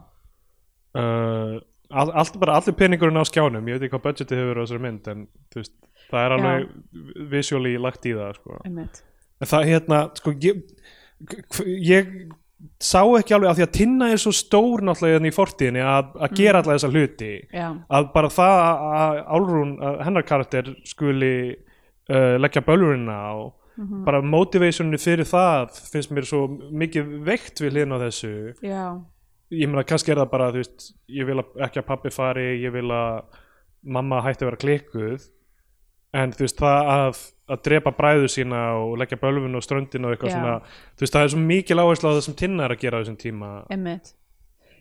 Speaker 1: uh, all, all, bara allir peningurinn á skjánum ég veit ekki hvað budgetið hefur á þessari mynd en þú veist, það er alveg visjóli lagt í það sko.
Speaker 2: einmitt
Speaker 1: en það hérna sko, ég, hv- ég sá ekki alveg af því að Tinna er svo stór náttúrulega hérna í fortíðinni að, að
Speaker 2: Mm.
Speaker 1: gera alla þessa hluti
Speaker 2: Já.
Speaker 1: að bara það að- að Álrún að hennar karakter skuli uh, leggja bölurina á bara motivationinu fyrir það finnst mér svo mikið veikt við hliðin á þessu
Speaker 2: já,
Speaker 1: ég meina kannski er það bara þú veist, ég vil að- ekki að pappi fari ég vil að mamma hætti að vera klikkuð en þú veist það að að drepa bræðu sína og leggja bölvun og ströndin og eitthvað
Speaker 2: Já.
Speaker 1: svona þú veist það er svo mikil áherslu á það sem tinnar að gera á þessum tíma
Speaker 2: Einmitt.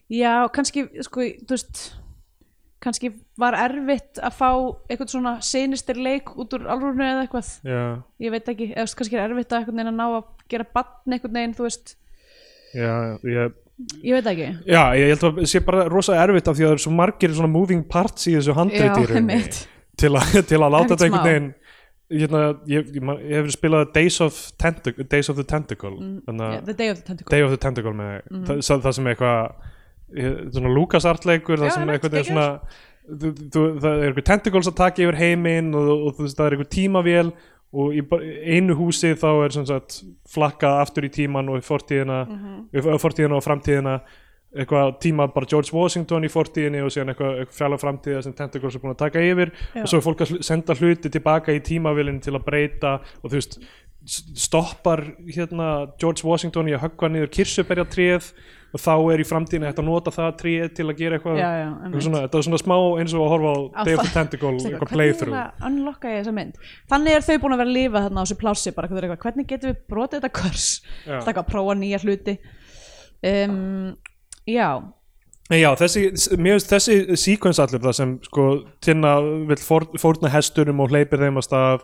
Speaker 2: Já, kannski, sko, þú veist, kannski var erfitt að fá eitthvað svona sinistir leik út úr alvörinu eða eitthvað,
Speaker 1: já,
Speaker 2: ég veit ekki, eða þú veist, kannski er erfitt að eitthvað neina ná að gera bann eitthvað neginn, þú veist,
Speaker 1: já, ég,
Speaker 2: ég veit ekki.
Speaker 1: já, ég held að sé bara rosa erfitt af því að það eru svo margir svona moving parts í þessu handriti
Speaker 2: Já,
Speaker 1: í rauninni
Speaker 2: einmitt.
Speaker 1: til, a, til að láta
Speaker 2: Ekkert
Speaker 1: þetta einhvern
Speaker 2: smá.
Speaker 1: veginn hérna, ég, ég, man- ég hefur spilað Days of, Tentac Days of the Tentacle þannig að
Speaker 2: Yeah, the Day Mm, of the Mm. Tentacle.
Speaker 1: Day of the Tentacle með það, það, það sem eitthvað eh, svona Lucas artleikur það
Speaker 2: Já,
Speaker 1: sem
Speaker 2: einmitt,
Speaker 1: eitthvað er
Speaker 2: geggjað.
Speaker 1: svona þú, þú, það er eitthvað tentacles að taka yfir heiminn og, og, og þú veist, það er eitthvað tímavél og í ba- einu húsi þá er sem sagt flakkað aftur í tíman og í fortíðina,
Speaker 2: Mhm.
Speaker 1: mm fortíðina og framtíðina eitthvað tíma bara George Washington í fortíðinni og síðan eitthvað, eitthvað frjála framtíða sem Tentacles er búin að taka yfir og svo er fólk að sl- senda hluti tilbaka í tímavilin til að breyta og þú veist s- stoppar hérna George Washington í að höggva niður kirsuberja og þá er í framtíðinni hægt að nota það tríð til að gera eitthvað
Speaker 2: Já, já, einmitt.
Speaker 1: eitthvað svona, þetta er svona smá eins og að horfa á Day of the Tentacle, eitthvað playthrough
Speaker 2: Hvernig hérna- unlocka ég þessa mynd? Þannig er þau búin að vera að lifa þarna á þessu plássi bara, hvað þau eru eitthvað, hvernig getum við brotið þetta körs?
Speaker 1: Já.
Speaker 2: Þetta að prófa nýja hluti um, Já,
Speaker 1: En já, þessi, mér finnst þessi sequence allir það sem sko tinna vill fór, fórna hestunum og hleypir þeim að stað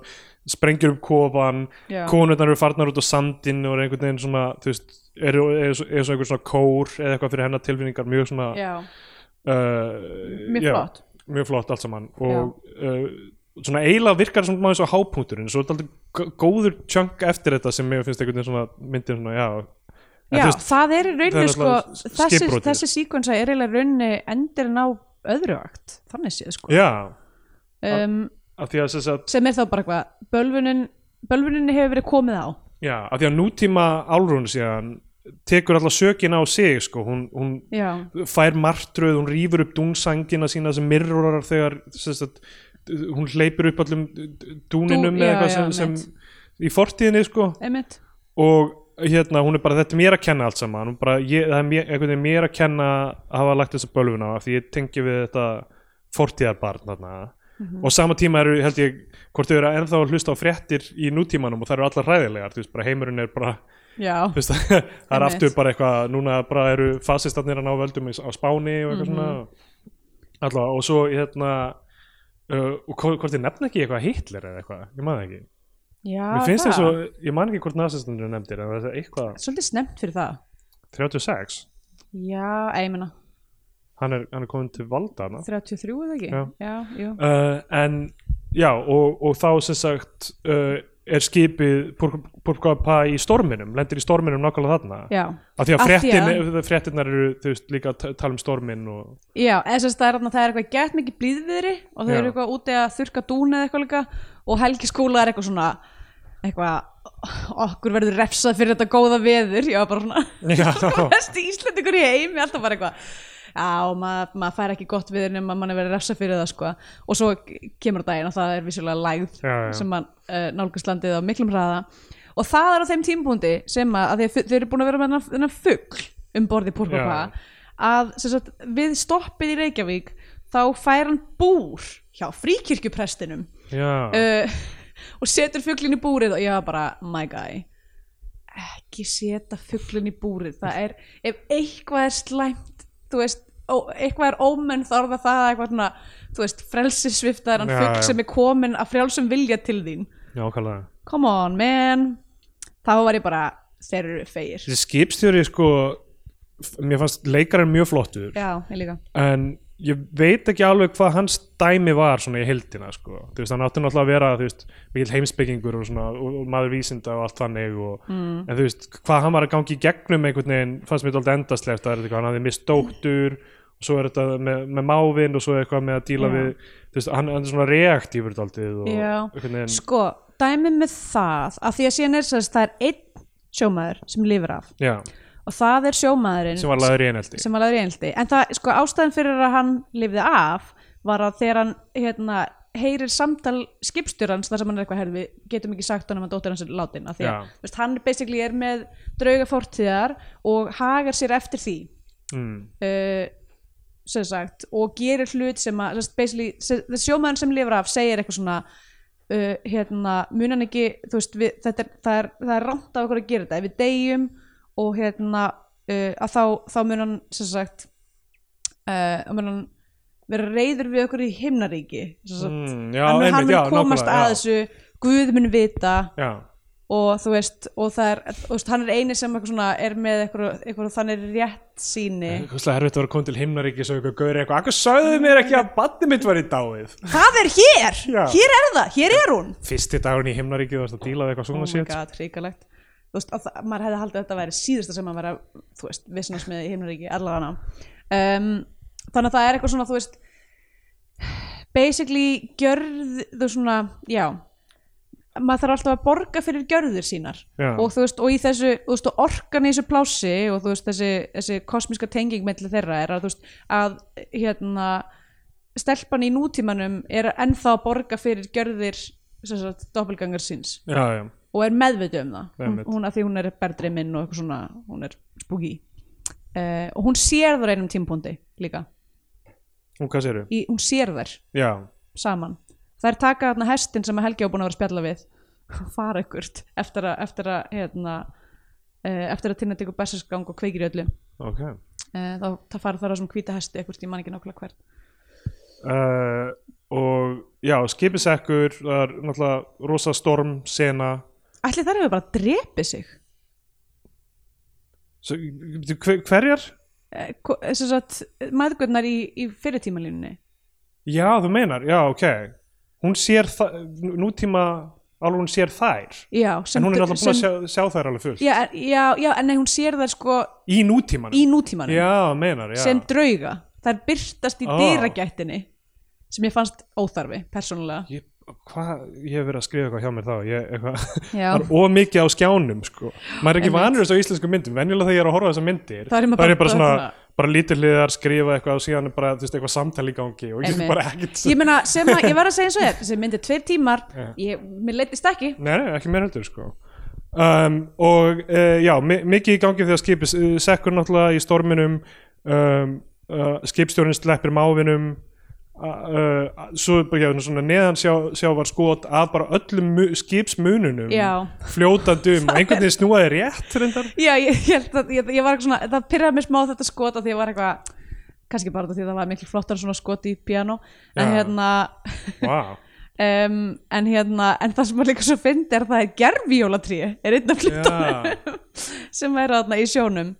Speaker 1: sprengjur upp kofan
Speaker 2: Já.
Speaker 1: konurnar eru farnar út á sandin og eru einhvern veginn svona, þú veist eru er, er svona einhver svona kór eða eitthvað fyrir hennar tilfinningar mjög svona
Speaker 2: já,
Speaker 1: uh,
Speaker 2: Mjög
Speaker 1: já,
Speaker 2: flott.
Speaker 1: mjög flott allt saman og uh, svona eiginlega virkar svona maður eins og hápunkturinn svo er þetta góður chunk eftir þetta sem mér finnst einhvern veginn svona myndin svona, já, En
Speaker 2: já
Speaker 1: þú veist,
Speaker 2: það er í
Speaker 1: það er
Speaker 2: rauninu sko,
Speaker 1: náttúrulega s-
Speaker 2: þessi,
Speaker 1: skipbrotið.
Speaker 2: þessi síkvensa er eiginlega í rauninu endirinn á öðru akt þannig séð sko
Speaker 1: já
Speaker 2: um,
Speaker 1: af því að þess að
Speaker 2: sem er þá bara eitthvað bölvunin, bölvuninni hefur verið komið á
Speaker 1: Já, af því að nútíma álrún síðan tekur alltaf sökin á sig sko, hún, hún
Speaker 2: Já,
Speaker 1: fær martröð, hún rýfur upp dúnsangina sína sem mirrorar þegar sérst, að, hún hleypur upp allum dúninum
Speaker 2: Dú-
Speaker 1: eða
Speaker 2: já,
Speaker 1: eitthvað
Speaker 2: já,
Speaker 1: sem,
Speaker 2: einmitt.
Speaker 1: sem í fortíðinni sko
Speaker 2: einmitt
Speaker 1: og hérna hún er bara þetta er mér að kenna allt saman hún bara, ég, það er mér, einhvern veginn mér að kenna að hafa lagt þessa bölvun á af því ég tengi við þetta fortíðarbarn þarna og sama tíma eru held ég hvort þau eru ennþá að hlusta á fréttir í nútímanum og það eru allar hræðilegar þú veist bara heimurinn er bara
Speaker 2: Já,
Speaker 1: þú veist, (laughs) það er
Speaker 2: Einmitt.
Speaker 1: aftur bara eitthvað núna bara eru fasistarnir að ná völdum í- á Spáni og eitthvað svona allavega og svo hérna uh, og hvo- hvort þið nefna ekki eitthvað Hitler eða eitthvað, ég man það ekki
Speaker 2: já
Speaker 1: mér finnst
Speaker 2: það.
Speaker 1: það svo, ég man ekki hvort nazistarnir eru nefndir en það er eitthvað
Speaker 2: Svolítið snemmt fyrir það
Speaker 1: 36
Speaker 2: Já, ei, ég meina
Speaker 1: hann er, hann er komin til valda hana.
Speaker 2: 33 eða ekki?
Speaker 1: Já.
Speaker 2: já jú.
Speaker 1: uh, en já og, og þá sem sagt uh, er skipið Purkapa í storminum, lendir í storminum nákvæmlega þarna
Speaker 2: Já,
Speaker 1: af því að
Speaker 2: Af því að-
Speaker 1: fréttin, fréttinnar eru þú veist líka að ta- tala um stormin og
Speaker 2: já eða sem sagt það er, þarna- það er eitthvað gett mikið blíðviðri og þau
Speaker 1: Já.
Speaker 2: eru eitthvað úti að þurka dún eða eitthvað líka og Helgi skóla er eitthvað svona eitthvað okkur verður refsað fyrir þetta góða veður já bara svona
Speaker 1: Já.
Speaker 2: (laughs) besti íslendingur í heimi alltaf bara eitthvað já og maður mað fær ekki gott veður nema mann er verið refsað fyrir það sko og svo kemur daginn og það er vissulega lægð
Speaker 1: Já, já.
Speaker 2: sem mann uh, nálgast landið á miklum hraða og það er á þeim tímpúndi sem að, að þeir, þeir eru búin að vera með þennan- þennan fugl um borði Púrkapa
Speaker 1: Já.
Speaker 2: að sem sagt, við stoppið í Reykjavík þá fær hann búr hjá fríkirkjuprestinum
Speaker 1: Já,
Speaker 2: uh, og setur fuglin í búrið og ég var bara, my guy ekki seta fuglin í búrið það er, ef eitthvað er slæmt þú veist, ó, eitthvað er ómenn þá er það það eitthvað svona þú veist, frelsisviftaðan
Speaker 1: Já,
Speaker 2: fugl
Speaker 1: já.
Speaker 2: sem er komin af frjálsum vilja til þín
Speaker 1: nákvæmlega.
Speaker 2: come on man þá var ég bara, þeir eru feir
Speaker 1: Þessi skipstjóri sko, f- mér fannst leikarinn mjög flottur,
Speaker 2: já, ég líka
Speaker 1: en ég veit ekki alveg hvað hans dæmi var svona í heildina sko. Þú veist, hann átti náttúrulega að vera, þú veist, mikill heimsbyggingur og svona, og, og maður vísinda og allt þannig og, mm. en þú veist, hvað hann var að gangi í gegnum einhvern veginn, fannst mér þetta endaslegt, það er eitthvað, hann hafði mist dóttur og svo er þetta með, með mávin og svo eitthvað með að díla
Speaker 2: Já.
Speaker 1: við, þú veist, hann, hann er svona reaktífur daldið og
Speaker 2: Já.
Speaker 1: einhvern veginn,
Speaker 2: sko, dæmi með það að því að síðan er sérst, það er einn sjómaður sem lifir af
Speaker 1: já,
Speaker 2: og það er sjómaðurinn
Speaker 1: sem var laður í einhelti.
Speaker 2: sem var lagður í einhelti en það, sko, ástæðan fyrir að hann lifði af var að þegar hann hérna, heyrir samtal skipstjórans þar sem hann er eitthvað herfi, getum ekki sagt honum að dóttir hans er látin af því
Speaker 1: Já.
Speaker 2: að þú veist, hann basically er með drauga fortíðar og hagar sér eftir því
Speaker 1: Mm.
Speaker 2: uh, sem sagt og gerir hlut sem að sem sagt, basically, sem- the sjómaður sem lifir af segir eitthvað svona uh, hérna, munan ekki þú veist, við, þetta er, það er, það er rámt af okkur að gera þetta, ef við deyjum og hérna, uh, að þá þá munan, sem sagt uh, munan vera reyður við okkur í himnaríki sem sagt,
Speaker 1: Mm, já,
Speaker 2: hann, mun- hann
Speaker 1: einmitt,
Speaker 2: mun
Speaker 1: já,
Speaker 2: komast
Speaker 1: nákvæmlega,
Speaker 2: að
Speaker 1: já.
Speaker 2: þessu Guð mun vita
Speaker 1: Já,
Speaker 2: og þú veist, og það er þú veist, hann er eini sem eitthvað svona er með eitthvað, eitthvað þannig rétt síni
Speaker 1: Hverslega erfitt að vera að koma til himnaríkis og eitthvað gauri eitthvað, akkur sögðu mér ekki að badni mitt var í dáið
Speaker 2: Það er hér,
Speaker 1: Já.
Speaker 2: hér er það, hér er hún
Speaker 1: Fyrsti dagurinn í himnaríkið varst að díla við eitthvað svona
Speaker 2: Oh my
Speaker 1: shit
Speaker 2: god, hrikalegt Þú veist, að, það- maður hefði haldið að þetta væri síðasta sem að vera, þú veist, vissnast með í himnaríki allavega um, Þannig að það er eitthvað svona, þú veist basically gjörð, þú svona, já maður þarf alltaf að borga fyrir gjörðir sínar
Speaker 1: Já.
Speaker 2: og þú veist, og í þessu, þú veist, og orkan í þessu plási og þú veist, þessi, þessi kosmíska tenging melli þeirra er að, þú veist, að hérna, stelpan í nútímanum er ennþá að borga fyrir gjörðir, sem sagt, doppelgangar síns
Speaker 1: já, já,
Speaker 2: og er meðvitið um það hún,
Speaker 1: Einmitt.
Speaker 2: hún að því hún er berðreiminn og eitthvað svona hún er spooky uh, og hún sér þar einum tímpúndi líka
Speaker 1: og hvað séru?
Speaker 2: í, hún sér þær
Speaker 1: Já,
Speaker 2: saman þær taka þarna hestin sem að Helgi á búin að vera að spjalla við og fara ykkurt eftir að eftir að, hérna, uh, eftir að tinna tekur bestarsgang og kveikir í öllu uh,
Speaker 1: ok
Speaker 2: þá, þá fara þar á svona hvíta hesti ykkurt í mann ekki nákvæmlega hvert
Speaker 1: uh, og já, skipisekkur það er náttúrulega rosa storm sena
Speaker 2: ætli þær hefur bara drepið sig
Speaker 1: Svo, bíddu, hver- hverjar?
Speaker 2: Eh, ko- eh, sem sagt, mæðgurnar í, í fyrirtímalínunni
Speaker 1: Já, þú meinar, já, ok hún sér það, nútíma alveg hún sér þær
Speaker 2: já, sem,
Speaker 1: en hún er
Speaker 2: sem,
Speaker 1: náttúrulega búin að sjá, sjá þær alveg fullt
Speaker 2: já, en- já, já, en nei, hún sér þær sko
Speaker 1: í nútímanum
Speaker 2: í nútímanum
Speaker 1: já, meinar, já
Speaker 2: sem drauga þær byrtast í
Speaker 1: Ó.
Speaker 2: oh. dyragættinni sem ég fannst óþarfi, persónulega
Speaker 1: ég, hvað, ég hef verið að skrifa eitthvað hjá mér þá ég, eitthvað,
Speaker 2: Já.
Speaker 1: það er ómikið á skjánum sko. maður er ekki
Speaker 2: Einmitt.
Speaker 1: vanur þessu á íslensku myndum venjulega þegar ég er að horfa á þessar myndir
Speaker 2: Þá er maður
Speaker 1: þá er ég
Speaker 2: bara-
Speaker 1: bara svona,
Speaker 2: bara-
Speaker 1: bara lítið hliðar skrifa eitthvað og síðan er bara, þú veist, eitthvað samtal í gangi og ég
Speaker 2: Einmitt.
Speaker 1: get bara ekkert
Speaker 2: ég meina, sem að, ég var að segja eins og
Speaker 1: (laughs)
Speaker 2: þér sem myndi tveir tímar,
Speaker 1: Já.
Speaker 2: ég, mér leittist ekki
Speaker 1: Nei, nei, ekki mér heldur sko um, og uh, já, mi- mikið í gangi þegar skipið uh, sekkur náttúrulega í storminum um, uh, skipstjórnin sleppir mávinum uh, uh, svo bara, já, svona neðan sjá, sjá var skot að bara öllum mu- skipsmununum
Speaker 2: Já.
Speaker 1: fljótandi
Speaker 2: (laughs)
Speaker 1: um, einhvern veginn snúaði rétt reyndar
Speaker 2: já, ég, ég, held að- ég, ég var eitthvað svona, það pyrraði mér smá þetta skot af því ég var eitthvað kannski bara út af því að það var miklu flottar svona skot í piano en
Speaker 1: Já.
Speaker 2: hérna
Speaker 1: wow.
Speaker 2: um, en hérna, en það sem er líka svo fyndi er að það er gerfjólatrí er einn af hlutunum sem er þarna í sjónum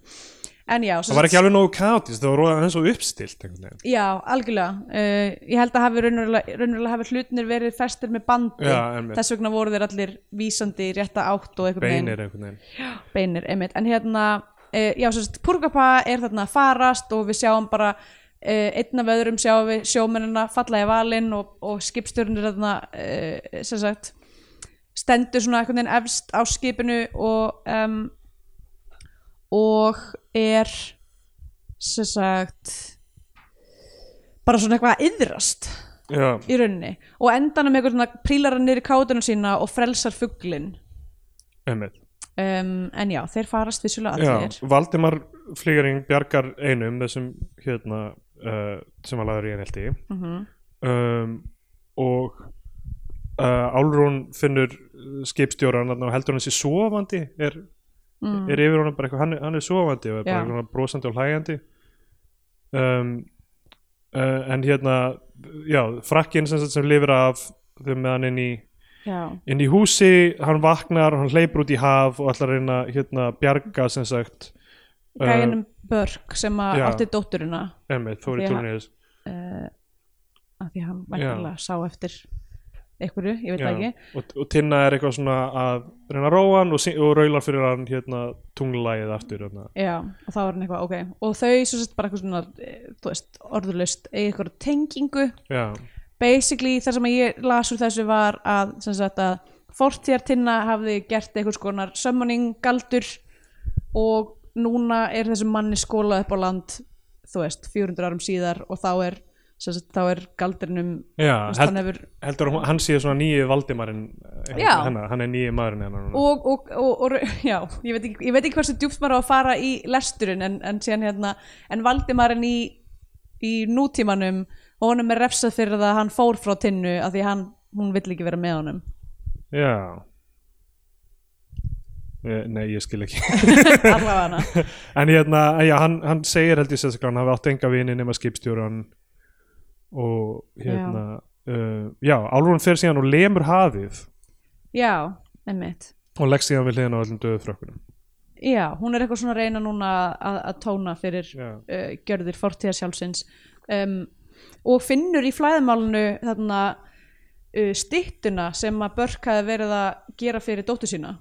Speaker 2: en já, sem
Speaker 1: það var
Speaker 2: sagt-
Speaker 1: ekki alveg nógu kátis það var roðað eins og uppstilt einhvern veginn
Speaker 2: já, algjörlega uh, ég held að hafi raunverulega, raunverulega hafi hlutinir verið festir með bandi
Speaker 1: Já, einmitt.
Speaker 2: þess vegna voru þeir allir vísandi í rétta átt og einhvern veginn-
Speaker 1: beinir einhvern veginn
Speaker 2: beinir einmitt, en hérna uh, já, sem sagt, Púrkapa er þarna að farast og við sjáum bara uh, einn af öðrum sjáum við sjómennina falla í valinn og, og skipstjórnir þarna uh, sem sagt stendur svona einhvern veginn efst á skipinu og um, og er sem sagt bara svona eitthvað að yðrast
Speaker 1: já,
Speaker 2: í rauninni og endanum eitthvað svona prílar hann niður í kátunum sína og frelsar fugglinn
Speaker 1: einmitt
Speaker 2: um, en já, þeir farast vissulega
Speaker 1: Já,
Speaker 2: allir
Speaker 1: Valdimar Flygering bjargar einum þessum hérna uh, sem var laður í einhelti
Speaker 2: Mhm,
Speaker 1: um, og uh, Álrún finnur uh, skipstjóran þarna og heldur hann sér sofandi er, er yfir honum bara eitthvað hann, er- hann er sofandi og er bara
Speaker 2: Já.
Speaker 1: eitthvað svona brosandi og hlægjandi um, uh, en hérna já, frakkinn sem, sagt sem lifir af þau með hann inn í
Speaker 2: já.
Speaker 1: inn í húsi, hann vaknar hann hleypur út í haf og ætlar að reyna hérna bjarga sem sagt
Speaker 2: gæinum Börk sem að
Speaker 1: já.
Speaker 2: átti dótturina
Speaker 1: uh, emmið, Þóri
Speaker 2: Já.
Speaker 1: Túrniðis
Speaker 2: af því hann væntanlega sá eftir einhverju, ég veit það ekki
Speaker 1: og, og Tinna er eitthvað svona að reyna að róa hann og, sy- og raular fyrir hann hérna tunglægið aftur hérna.
Speaker 2: já, og þá var hann eitthvað, ok og þau svo sett bara eitthvað svona eh, þú veist, orðurlaust, eða eitthvað tengingu
Speaker 1: já,
Speaker 2: basically það sem að ég las úr þessu var að, sem sagt að fortíðartinna hafði gert einhvers konar summoning galdur og núna er þessum manni skólað upp á land þú veist, 400 árum síðar og þá er, sem sagt, þá er galdrinum
Speaker 1: já
Speaker 2: Þú veist,
Speaker 1: held,
Speaker 2: hann hefur-
Speaker 1: heldur hún- hann sé svona nýju Valdimarinn eh,
Speaker 2: Já.
Speaker 1: hennar, hann er nýju maðurinn hennar núna.
Speaker 2: og, og, og, og já, ég veit, ekki, ég veit ekki hversu djúpt maður á að fara í lesturinn en, en, síðan, hérna, en Valdimarinn í, í nútímanum og honum er refsað fyrir það að hann fór frá tinnu af því hann, hún vill ekki vera með honum
Speaker 1: já Eh, Nei, ég skil ekki (laughs)
Speaker 2: allavega hana
Speaker 1: En hérna, en já, hann, hann segir held ég sérstaklega að hann hafi átt enga vini nema skipstjóran og hérna já, uh, já Álfrún fer síðan og lemur hafið
Speaker 2: já, emmitt
Speaker 1: og legg síðan við hliðina á öllum döðu frökkunum
Speaker 2: já, hún er eitthvað svona að reyna núna að, að tóna fyrir
Speaker 1: Já.
Speaker 2: uh, gjörðir fortíðar sjálfsins um, og finnur í flæðmálinu þarna uh, styttuna sem að Börk hafi verið að gera fyrir dóttu sína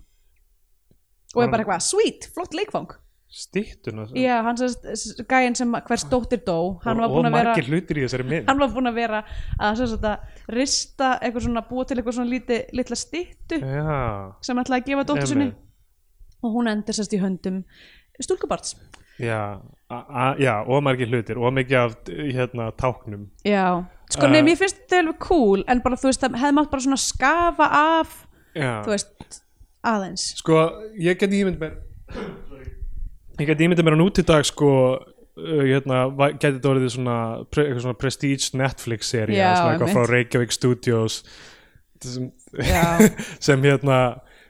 Speaker 2: og er bara eitthvað, sweet, flott leikfang
Speaker 1: Stýttuna
Speaker 2: já, hann sem gæinn sem hvers dóttir dó hann var
Speaker 1: Og
Speaker 2: búin að vera
Speaker 1: margir hlutir í þessari mynd
Speaker 2: hann var búin að vera að, sem sagt, að rista eitthvað svona, búa til eitthvað svona líti, litla styttu
Speaker 1: Já,
Speaker 2: sem ætlaði að gefa dóttur sinni
Speaker 1: Einmitt.
Speaker 2: og hún endur sérst í höndum stúlkubarts
Speaker 1: já, a- a- já, og margir hlutir og mikið af hérna, táknum
Speaker 2: já, sko uh,
Speaker 1: Eh.
Speaker 2: nei, mér finnst þetta alveg cool en bara þú veist, það hefði mátt bara svona skafa af,
Speaker 1: já.
Speaker 2: þú veist aðeins,
Speaker 1: Sko, ég get ímynd mér Ég get ímynd mér að nút í dag sko uh, hérna, va- gæti þetta orðið svona, pre, eitthvað svona prestige Netflix sería
Speaker 2: Já,
Speaker 1: svona eitthvað frá
Speaker 2: einmitt.
Speaker 1: Reykjavík Studios sem,
Speaker 2: Já.
Speaker 1: (laughs) sem hérna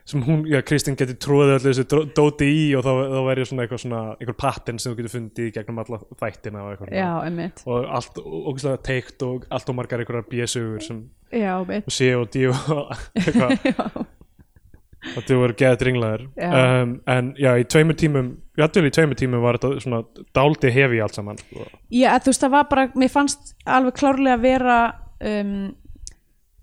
Speaker 1: sem hún, já, Kristín geti tróðið öllu þessu dró- dóti í og þá, þá væri svona eitthvað svona eitthvað pattern sem þú getur fundið í gegnum alla þættina og eitthvað
Speaker 2: (laughs) já, einmitt
Speaker 1: og allt ógæslega teikt og allt og margar einhverjar bjösugur sem
Speaker 2: já, einmitt
Speaker 1: C og D og
Speaker 2: (laughs)
Speaker 1: eitthvað og þau voru geðað dringlaðir
Speaker 2: Já.
Speaker 1: um, en já, í tveimur tímum játvel í tveimur tímum var þetta svona dáldi hefi allt saman sko.
Speaker 2: Já, þú veist, það var bara, mér fannst alveg klárlega að vera um,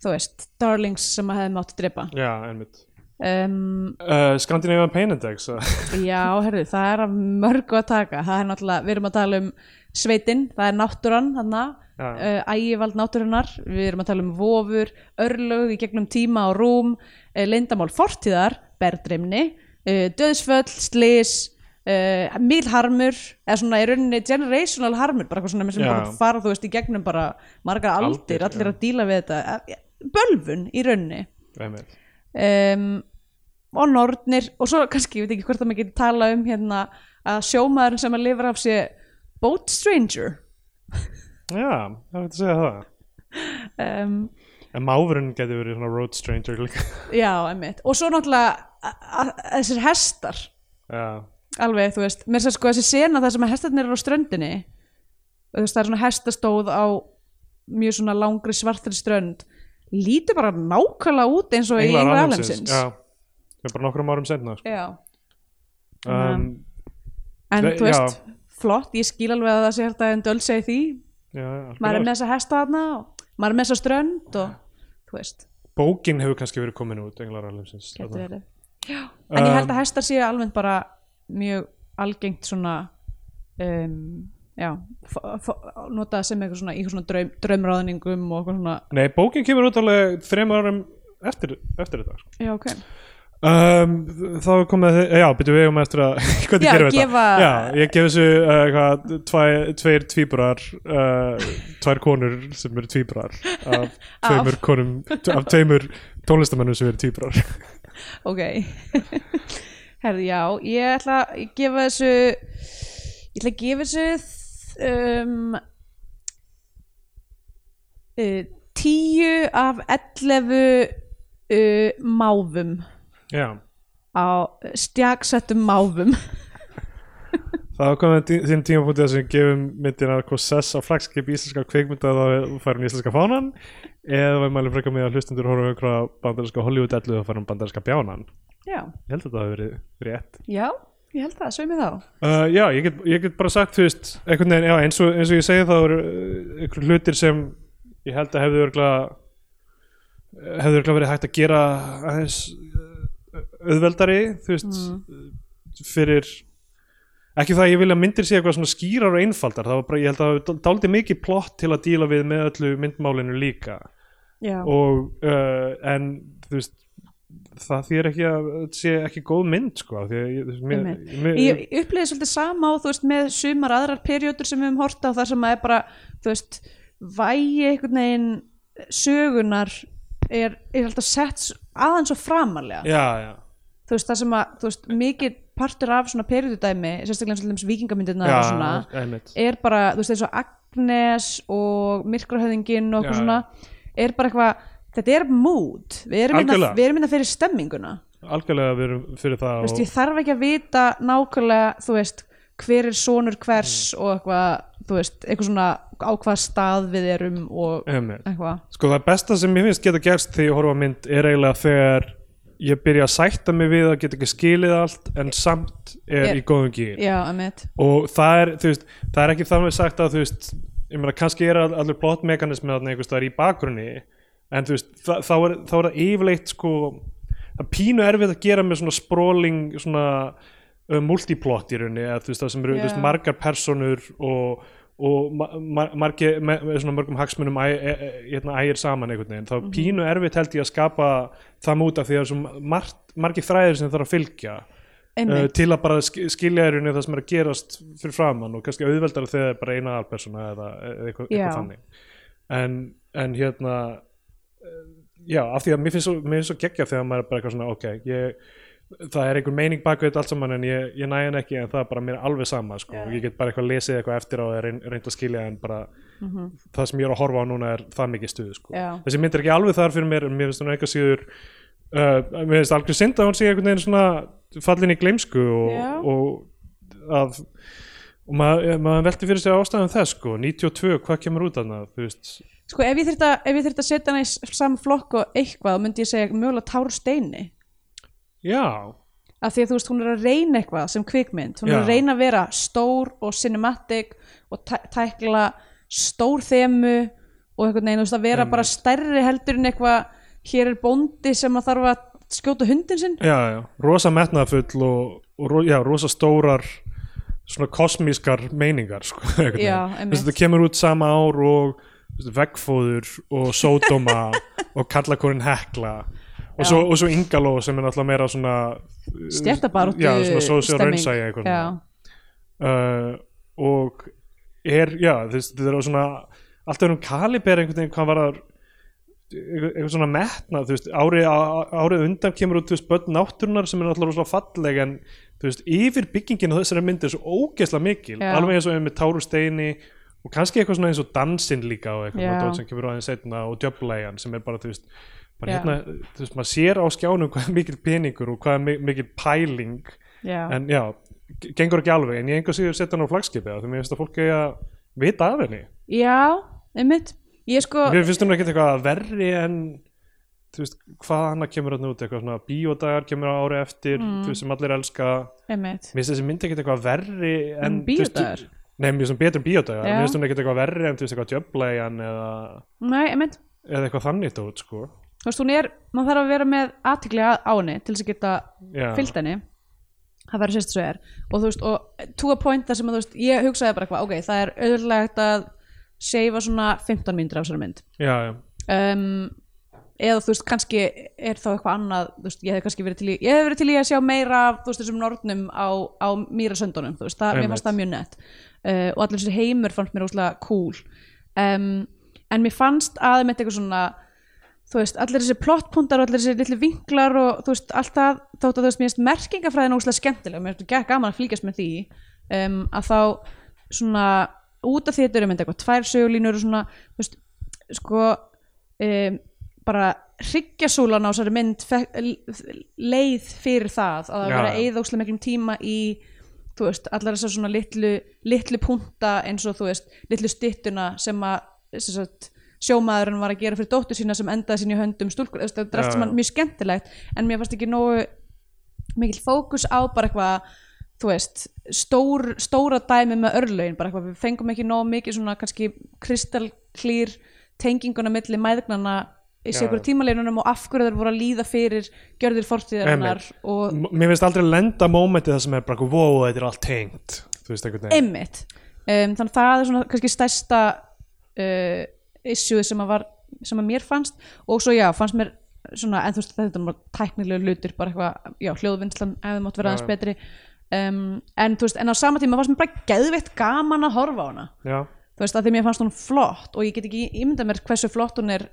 Speaker 2: þú veist, darlings sem að hefði mátt drepa
Speaker 1: já, einmitt
Speaker 2: um,
Speaker 1: uh, Scandinavian Pain Index uh, (laughs)
Speaker 2: Já, herru, það er af mörgu að taka það er náttúrulega, við erum að tala um sveitin, það er náttúran þarna
Speaker 1: Já.
Speaker 2: uh, ægivald náttúrunar við erum að tala um vofur, örlög í gegnum tíma og rúm, uh, leyndamál fortíðar, berðrimni uh, döðsföll, slis uh, milharmur, eða svona í rauninni generational harmur, bara eitthvað svona sem
Speaker 1: Já.
Speaker 2: bara fara þú veist í gegnum bara margar aldir,
Speaker 1: Aldir, já.
Speaker 2: allir að díla við þetta Eh, bölvun í rauninni
Speaker 1: einmitt
Speaker 2: um, og nornir og svo kannski, ég veit ekki hvort að maður getur tala um hérna að sjómaðurinn sem að lifa af sé boat stranger
Speaker 1: já, það er hægt að segja það
Speaker 2: um,
Speaker 1: en máfurinn geti verið svona road stranger líka (laughs)
Speaker 2: já, emmitt og svo náttúrulega a- a- a- þessir hestar
Speaker 1: já,
Speaker 2: alveg, þú veist, mér sér sko þessi sena þar sem að hestarnir eru á ströndinni og þú veist, það er svona hestastóð á mjög svona langri svartri strönd lítur bara nákvæmlega út eins og í
Speaker 1: Englar
Speaker 2: Ingvar
Speaker 1: alheimsins,
Speaker 2: Allemsins
Speaker 1: já, það er bara nokkrum árum senna sko.
Speaker 2: já,
Speaker 1: um,
Speaker 2: en
Speaker 1: Þe-
Speaker 2: þú
Speaker 1: já.
Speaker 2: veist flott, ég skil alveg að það sé hægt að en döl segi því
Speaker 1: já, allt í
Speaker 2: maður er
Speaker 1: lagi.
Speaker 2: með þessa hesta þarna og maður er með þessa strönd og þú veist,
Speaker 1: bókin hefur kannski verið komin út englar alheimsins
Speaker 2: getur
Speaker 1: þarna.
Speaker 2: verið en ég held
Speaker 1: Um,
Speaker 2: að hestar séu almennt bara mjög algengt svona um, já f- f- notað sem eitthvað svona, eitthvað svona draum, draumráðningum og eitthvað svona
Speaker 1: nei, bókin kemur út alveg þrem árum eftir, eftir þetta sko.
Speaker 2: já, ok
Speaker 1: Um, þá er komið, já, byrju við um eftir að (laughs) hvernig
Speaker 2: Já,
Speaker 1: gerum við
Speaker 2: gefa-
Speaker 1: þetta já, ég gef þessu uh, hvað, tvæ, tveir tvíbrar uh, tvær konur sem eru tvíbrar
Speaker 2: (laughs)
Speaker 1: af tveimur konum af tveimur tónlistamennum sem eru tvíbrar
Speaker 2: ok (laughs) herði já, ég ætla að gefa þessu ég ætla að gefa þessu um, uh, tíu af 11 uh, máfum
Speaker 1: (laughs) já,
Speaker 2: á stjagsettum máfum
Speaker 1: þá er komið tí- þeim tímapunktið þar sem við gefum myndina hvað sess á flagskip íslenska kveikmynda þá færum íslenska fánan eða við mælum frekar með að hlustendur horfum okkur á bandarinska Hollywood-ellu þá færum bandarinska bjánan
Speaker 2: já,
Speaker 1: ég held að þetta hafi verið rétt
Speaker 2: já, ég held það, sögum við þá
Speaker 1: Uh, já, ég get, ég get bara sagt, þú veist, einhvern veginn, já, eins og, eins og ég segi þá eru uh, einhver hlutir sem ég held að hefðu örgla hefðu örgla verið hægt að gera aðeins uh, auðveldari, þú veist uh, fyrir ekki það að ég vilja að myndir sé eitthvað svona skýrar og einfaldar, það var bara, ég held að það hafi dálítið mikið plott til að díla við með öllu myndmálinu líka
Speaker 2: já,
Speaker 1: og uh, en þú veist það þýr ekki að þetta sé ekki góð mynd sko, því að ég, mér,
Speaker 2: Einmitt.
Speaker 1: mér,
Speaker 2: ég upplýði svolítið sama og þú veist með sumar aðrar periodur sem við höfum hort á þar sem að er bara, þú veist vægi einhvern veginn sögunar er, er alltaf sett s- aðeins og framarlega
Speaker 1: já, já
Speaker 2: þú veist, það sem að, þú veist, mikið partur af svona periodudæmi, sérstaklega eins og til dæmis vikingamyndirna
Speaker 1: Já,
Speaker 2: og svona,
Speaker 1: einmitt.
Speaker 2: er bara, þú veist, eins og Agnes og Myrkrahöðingin og eitthvað
Speaker 1: Já,
Speaker 2: svona, er bara eitthvað, þetta er mood, við erum hérna
Speaker 1: Algjörlega.
Speaker 2: við erum hérna fyrir stemminguna,
Speaker 1: algjörlega við erum fyrir það
Speaker 2: þú
Speaker 1: og,
Speaker 2: veist, ég þarf ekki að vita nákvæmlega, þú veist, hver er sonur hvers
Speaker 1: Mm.
Speaker 2: og eitthvað, þú veist, eitthvað svona á hvað stað við erum og
Speaker 1: einmitt.
Speaker 2: eitthvað,
Speaker 1: sko það besta sem ég finnst geta gerst þegar ég horfa á mynd er eiginlega þegar ég byrja að sætta mig við að geta ekki skilið allt en samt er
Speaker 2: Er-
Speaker 1: í góðum gýr
Speaker 2: já, emitt,
Speaker 1: og það er, þú veist, það er ekki þannig sagt að þú veist, ég meina kannski er all- allur plottmekanismi þarna einhvers staðar í bakgrunni en þú veist, þa þá, er, þá er það yfirleitt sko, það er pínu erfitt að gera með svona sprawling svona uh, multiplot í rauninni eða þú veist það sem eru
Speaker 2: Já.
Speaker 1: yeah. veist, margar personur og, og ma ma margi, me, með svona mörgum hagsmunum æ- e- e- hérna, ægir saman einhvern veginn þá pínu erfitt held ég að skapa það út af því að það er svo margt, margi þræðir sem þarf að fylgja Uh,
Speaker 2: einmitt,
Speaker 1: til að bara sk- skilja í rauninni það sem er að gerast fyrir framann og kannski auðveldara þegar það er bara eina alpersona eða, eða eitthvað,
Speaker 2: Já.
Speaker 1: eitthvað þannig en, en hérna eh, já, af því að mér finnst svo, mér finnst svo geggja þegar maður er bara eitthvað svona ok, ég, það er einhver meining bak við þetta allt saman en ég, ég næ hann ekki en það er bara mér alveg sama sko, og ég get bara eitthvað lesið eitthvað eftir á og reyn- reynt að skilja en bara það sem ég er að horfa á núna er það mikið stuð sko.
Speaker 2: Mhm. Já.
Speaker 1: þessi mynd er ekki alveg þar fyrir mér en mér finnst hún eitthvað síður uh, mér finnst algjör synd að hún sé einhvern veginn svona fallin í gleimsku
Speaker 2: Já.
Speaker 1: og, og að og maður, maður velti fyrir sig ástæðan þess sko 92, hvað kemur út þarna þú veist,
Speaker 2: sko ef ég þyrfti að, ef ég þyrfti að setja hana í s- sama flokk og eitthvað þá myndi ég segja mögulega társteini
Speaker 1: já,
Speaker 2: af því að þú veist hún er að reyna eitthvað sem kvikmynd hún er að
Speaker 1: Já.
Speaker 2: reyna að vera stór og cinematic og tæ tækla stór þemu og einhvern veginn þú veist að vera bara stærri heldur en eitthvað hér er bóndi sem að þarf að skjóta hundin sinn
Speaker 1: já, já rosa metnaðfull og, og ro- já, rosa stórar svona kosmískar meiningar sko, (laughs) einhvern veginn.
Speaker 2: Já,
Speaker 1: Þú
Speaker 2: einmitt.
Speaker 1: veist, þetta kemur út sama ár og þú veist, vegfóður og
Speaker 2: (laughs)
Speaker 1: sódóma og kallakorinn hekla og svo, og svo Ingaló sem er náttúrulega meira svona uh,
Speaker 2: stjættabaráttu
Speaker 1: já, svona sósíu
Speaker 2: stemming.
Speaker 1: raunsæja einhvern
Speaker 2: já,
Speaker 1: veginn. uh, og er, já, þess, þetta er á svona allt öðrum kaliber einhvern veginn hvað var að eitthvað eitthvað svona metna þú veist, árið, á- árið undan kemur út þú veist, börn náttúrunar sem er náttúrulega rosalega falleg en þú veist, yfir byggingin á þessari mynd er svo ógeðslega mikil
Speaker 2: Já.
Speaker 1: alveg eins og með Táru Steini og kannski eitthvað svona eins og dansinn líka og eitthvað
Speaker 2: Já.
Speaker 1: svona dót sem kemur aðeins setna og djöflæjan sem er bara, þú veist, bara
Speaker 2: Já.
Speaker 1: hérna, þú veist, maður sér á skjánum hvað er mikil peningur og hvað er mi- mikil pæling
Speaker 2: já.
Speaker 1: en já, g- gengur ekki alveg en ég einhver síður setja hann á flagskipið af því mér finnst að fólk eigi að vita af henni
Speaker 2: já, einmitt ég sko,
Speaker 1: mér finnst hún ekkert eitthvað verri en þú veist, hvað annað kemur hann út eitthvað svona bíódagar kemur á ári eftir
Speaker 2: Mm.
Speaker 1: þú veist sem allir elska mér
Speaker 2: einmitt
Speaker 1: finnst þessi mynd ekkert eitthvað verri en
Speaker 2: En Um bíódagar?
Speaker 1: nei, mér finnst hún betur en bíódagar
Speaker 2: Já.
Speaker 1: mér finnst hún ekkert eitthvað verri en þú veist eitthvað djöflegjan eða,
Speaker 2: nei, einmitt
Speaker 1: eða eitthvað þannig tótt sko
Speaker 2: þú veist hún er, maður þarf að vera með aðtikli á henni til þess að geta
Speaker 1: Já.
Speaker 2: fyllt henni það verður sérst svo er og þú veist, og to a point þar sem að þú veist ég hugsaði bara eitthvað, ok, það er auðvitað að seifa svona 15 mínútur af svona mynd
Speaker 1: já, já,
Speaker 2: um, eða þú veist, kannski er þá eitthvað annað, þú veist, ég hef kannski verið til í ég hef verið til í að sjá meira af, þú veist, þessum nornum á, á mýrasöndunum, þú veist það, mér
Speaker 1: Einmitt.
Speaker 2: fannst það mjög nett uh, og allir þessi heimur fannst mér óslega cool um, en mér fannst aðeim eitthvað svona þú veist, allir þessi plottpuntar og allir þessi litlu vinklar og þú veist, allt það þótt að þú veist, mér finnst merkingafræðin óslega skemmtileg og mér finnst gekk gaman að fylgjast með því um, að þá svona út af því þetta eru mynd eitthvað tvær sögulínur og svona, þú veist, sko um, bara hryggjasúlan á þessari mynd fe- l- leið fyrir það að það
Speaker 1: Já,
Speaker 2: vera
Speaker 1: já.
Speaker 2: eigið óslega miklum tíma í þú veist, allar þessar svona litlu litlu punta eins og þú veist litlu styttuna sem að sem sagt, sjómaðurinn var að gera fyrir dóttur sína sem endaði sín í höndum stúlkur, þú veist, það er
Speaker 1: Já,
Speaker 2: allt saman
Speaker 1: já.
Speaker 2: mjög skemmtilegt en mér fannst ekki nógu mikill fókus á bara eitthvað þú veist, stór, stóra dæmi með örlögin, bara eitthvað, við fengum ekki nógu mikið svona kannski kristalklýr tenginguna milli mæðgnana í
Speaker 1: Já.
Speaker 2: segur tímalinunum og af hverju þeir voru að líða fyrir gjörðir fortíðarinnar
Speaker 1: Einmitt.
Speaker 2: og
Speaker 1: M- mér finnst aldrei lenda mómenti það sem er bara eitthvað, wow, þetta er allt tengt þú veist einhvern veginn
Speaker 2: einmitt um, þannig að það er svona kannski stærsta uh, issue sem að, var, sem að mér fannst og svo já, fannst mér svona, en þú veist þetta var tæknilega hlutir bara eitthvað, já, hljóðvinnslan ef það mátt vera
Speaker 1: Já,
Speaker 2: aðeins
Speaker 1: já.
Speaker 2: betri um, en þú veist, en á sama tíma fannst mér bara geðveitt gaman að horfa á hana
Speaker 1: já,
Speaker 2: þú veist, að því mér fannst hún flott og ég get ekki ímynda mér hversu flott hún er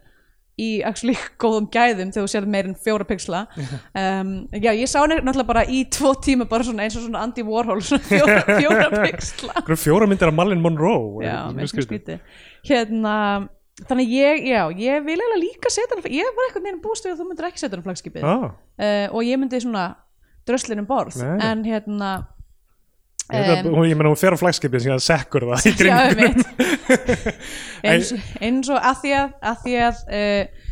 Speaker 2: í actually (laughs) góðum gæðum þegar þú sér meir en fjóra pixla
Speaker 1: (laughs)
Speaker 2: um, já, ég sá henni náttúrulega bara í tvo tíma bara svona eins og svona Andy Warhol svona fjóra,
Speaker 1: (laughs)
Speaker 2: fjóra pixla
Speaker 1: Einhverju fjóra myndir af Malin Monroe
Speaker 2: já,
Speaker 1: eitthvað,
Speaker 2: mér
Speaker 1: mjög
Speaker 2: finnst
Speaker 1: skrítið.
Speaker 2: skrítið hérna, þannig að ég, já, ég vil eiginlega líka setja hann, ég var eitthvað neginn búist við að þú myndir ekki setja hann flagskipið
Speaker 1: ah,
Speaker 2: uh, og ég myndi svona dröslinum borð,
Speaker 1: Nei.
Speaker 2: en hérna
Speaker 1: ég, um, hún, ég meina hún fer á flagskipið síðan sekkur það í
Speaker 2: já,
Speaker 1: kring
Speaker 2: einmitt
Speaker 1: (laughs)
Speaker 2: (laughs) eins, eins og að því að, að, því að uh,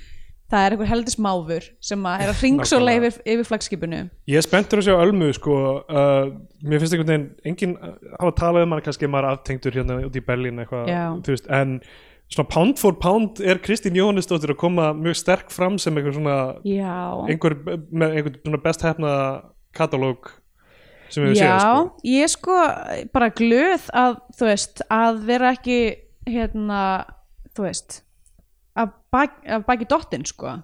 Speaker 2: það er einhver heldis máfur sem að er að hringsóla
Speaker 1: Nákvæmlega.
Speaker 2: yfir, yfir flagskipinu
Speaker 1: ég er spenntur að sjá Ölmu sko, uh, mér finnst einhvern veginn enginn uh, hafa talað um hann kannski maður er aftengtur hérna út í Berlín eitthvað
Speaker 2: Já.
Speaker 1: þú veist, en svona pound for pound er Kristín Jóhannesdóttir að koma mjög sterk fram sem einhver svona
Speaker 2: já,
Speaker 1: einhver, með einhvern svona best hefna katalóg sem við
Speaker 2: Já,
Speaker 1: séð sko.
Speaker 2: ég er sko bara glöð að, þú veist, að vera ekki, hérna, þú veist, að, bak, að baki dottinn, sko.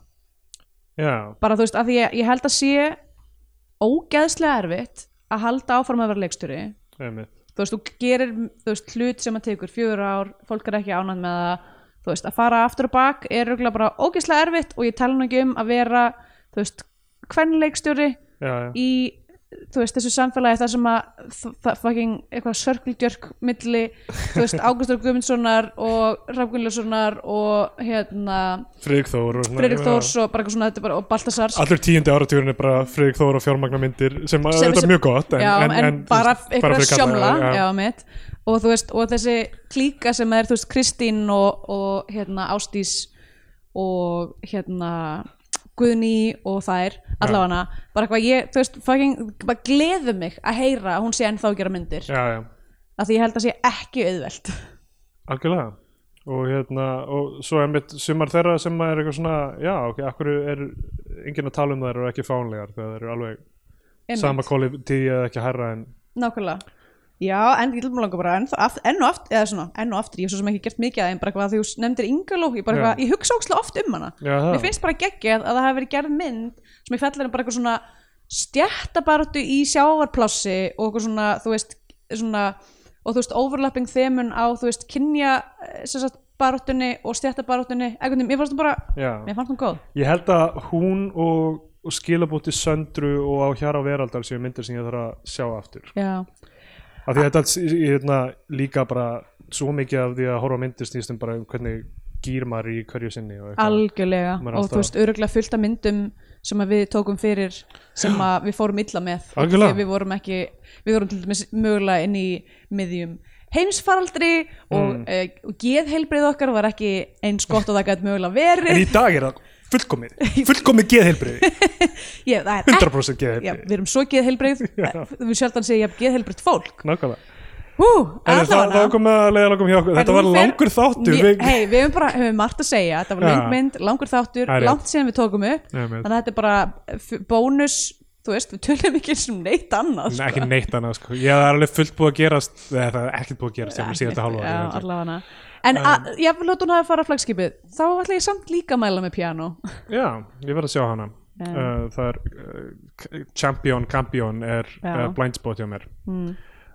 Speaker 1: Já,
Speaker 2: Bara, þú veist, að því ég, ég held að sé ógeðslega erfitt að halda áfram að vera leikstjóri.
Speaker 1: einmitt.
Speaker 2: Þú veist, þú gerir, þú veist, hlut sem að tekur fjögur ár, fólk er ekki ánægð með það, þú veist, að fara aftur og bak er röglega bara ógeðslega erfitt og ég tala nú ekki um að vera, þú veist, hvern leikstjóri
Speaker 1: já, já,
Speaker 2: í þú veist, þessu samfélagi þar sem að f- f- fucking eitthvað sörkuldjörk milli, þú veist, Ágústur Guðmundssonar og Rafgunljóssonar og hérna
Speaker 1: Friðrik Þór og svona,
Speaker 2: Freirik
Speaker 1: já.
Speaker 2: Þórs og bara eitthvað svona þetta er bara, og Baltasars
Speaker 1: Allur tíundi áratugurinn er bara Friðrik Þór og fjármagna myndir sem að
Speaker 2: Sem-
Speaker 1: þetta
Speaker 2: sem-
Speaker 1: er mjög gott en,
Speaker 2: já, en, bara eitthvað
Speaker 1: fyrir kalla,
Speaker 2: sjómla
Speaker 1: já.
Speaker 2: já, mitt og þú veist, og þessi klíka sem er, þú veist, Kristín og, og hérna Ástís og hérna Guðný og þær allavega bara eitthvað ég, þú veist, fucking, bara gleðu mig að heyra að hún sé ennþá að gera myndir
Speaker 1: já, já,
Speaker 2: að því ég held að sé ekki auðvelt (laughs)
Speaker 1: algjörlega og hérna, og svo einmitt sumar þeirra sem maður er eitthvað svona já, ok, akkur er enginn að tala um þær og ekki fánlegar þegar þeir eru alveg
Speaker 2: Einmitt.
Speaker 1: sama quality eða ekki hærra en
Speaker 2: nákvæmlega já, en ég langa bara enn, aft, enn og aftur eða svona, enn og aftur, ég hef svo sem ekki gert mikið að þeim bara hvað því þú nefndir Ingaló, ég bara
Speaker 1: Já.
Speaker 2: hvað ég hugsa ókslega oft um hana
Speaker 1: Já, það.
Speaker 2: mér finnst bara geggjað að það hafi verið gerð mynd sem ég fellir um bara eitthvað svona stjættabaratu í sjávarplássi og eitthvað svona, þú veist svona, og þú veist, overlapping þemun á, þú veist, kynja eh, sem sagt, barátunni og stjættabarátunni einhvern veginn, mér fannst hún bara,
Speaker 1: já.
Speaker 2: mér fannst hún góð
Speaker 1: Ég held að hún og, og skilabóti söndru og á hjara á veraldar séu myndir sem ég þarf að sjá aftur.
Speaker 2: já,
Speaker 1: Af því þetta er hérna, líka bara svo mikið af því að horfa á myndir snýst um bara um hvernig gýr maður í hverju sinni og eitthvað.
Speaker 2: algjörlega
Speaker 1: Maður er
Speaker 2: og
Speaker 1: alltaf-
Speaker 2: þú veist öruglega fullt af myndum sem að við tókum fyrir sem að við fórum illa með
Speaker 1: Algjörlega.
Speaker 2: Því við vorum ekki, við vorum til dæmis mögulega inn í miðjum heimsfaraldri og, mm. og geðheilbrið okkar var ekki eins gott og það gæti mögulega
Speaker 1: En
Speaker 2: verið
Speaker 1: í dag er það
Speaker 2: (laughs)
Speaker 1: fullkomið, fullkomið geðheilbriði,
Speaker 2: ég, það er ekki,
Speaker 1: 100%
Speaker 2: já,
Speaker 1: geðheilbriði.
Speaker 2: við erum svo geðheilbrið
Speaker 1: (laughs)
Speaker 2: við sjaldan segja jafn geðheilbrið fólk
Speaker 1: Nákvæmlega.
Speaker 2: (laughs) Hú,
Speaker 1: En það, það
Speaker 2: allavega
Speaker 1: kom að leiða langum hjá okkur. Þetta var langur þáttur.
Speaker 2: við... Hei, við höfum bara höfum margt að segja Þetta var
Speaker 1: Já.
Speaker 2: löng mynd, langur
Speaker 1: Það
Speaker 2: þáttur,
Speaker 1: er rétt.
Speaker 2: langt síðan við tókum upp
Speaker 1: Nei, með-
Speaker 2: Þannig að þetta er bara f- bónus Þú veist, við tölum ekki eins og neitt annað
Speaker 1: Nei, ekki neitt annað sko. Ég það er alveg fullt búið að gerast, eða það er ekkert búið að gerast, ég Um, með
Speaker 2: (laughs)
Speaker 1: síðan þetta hálfa.
Speaker 2: Já, allavega En að- ég vil láta hún hafa að fara að flagskipið Þá ætla ég samt líka að mæla með piano
Speaker 1: Já, ég verð að sjá hana uh, Það er uh, k- Champion, Campion er uh,
Speaker 2: Já. Mm.
Speaker 1: blind spot hjá mér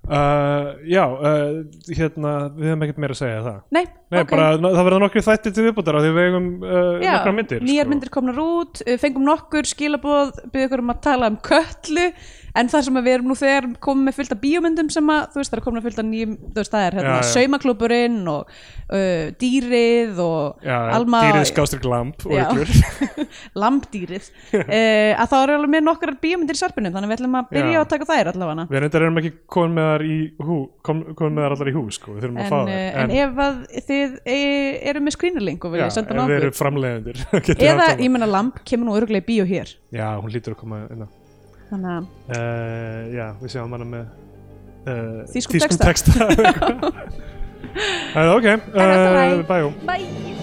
Speaker 1: uh, Já, uh, hérna við hefum ekkert meira að segja það
Speaker 2: (laughs) Nei,
Speaker 1: Nei,
Speaker 2: ok.
Speaker 1: bara, það verða nokkri þættir til viðbútar af því við eigum uh,
Speaker 2: Já,
Speaker 1: nokkra myndir sko.
Speaker 2: nýjar myndir komnar út, uh, fengum nokkur skilaboð, byggðum ykkur um að tala um köllu en það sem að við erum nú þegar komum með fullta bíómyndum sem að þú veist það er komin að fullta nýjum, þú veist það er hérna,
Speaker 1: Já, já.
Speaker 2: saumaklúburinn og uh, dýrið og
Speaker 1: Já,
Speaker 2: Alma
Speaker 1: dýrið skástur glamp og
Speaker 2: Já.
Speaker 1: ykkur
Speaker 2: (laughs) lambdýrið uh, að þá eru alveg með nokkrar bíómyndir í sarpinum þannig að við ætlum að byrja
Speaker 1: Já.
Speaker 2: að taka þær allavega
Speaker 1: Við reyndar erum ekki komin með þar í hú kom, komin með þar allar í hú sko, við þurfum
Speaker 2: en,
Speaker 1: að fá
Speaker 2: uh,
Speaker 1: þær
Speaker 2: en ef að þið e, eru með skrínirling og
Speaker 1: já,
Speaker 2: viljið senda hann
Speaker 1: ef við
Speaker 2: okkur
Speaker 1: erum framleiðendur (laughs) getum við
Speaker 2: eða
Speaker 1: haft
Speaker 2: ég
Speaker 1: hana.
Speaker 2: menna lamb kemur nú öruglega í bíó hér
Speaker 1: Já, hún lítur að koma innan
Speaker 2: þannig að
Speaker 1: uh, Já, við sjáum hana með uh,
Speaker 2: Þýskum (laughs)
Speaker 1: (laughs) texta, texta. Það er Eh, ok,
Speaker 2: allt í lagi.
Speaker 1: uh, bæjum
Speaker 2: bye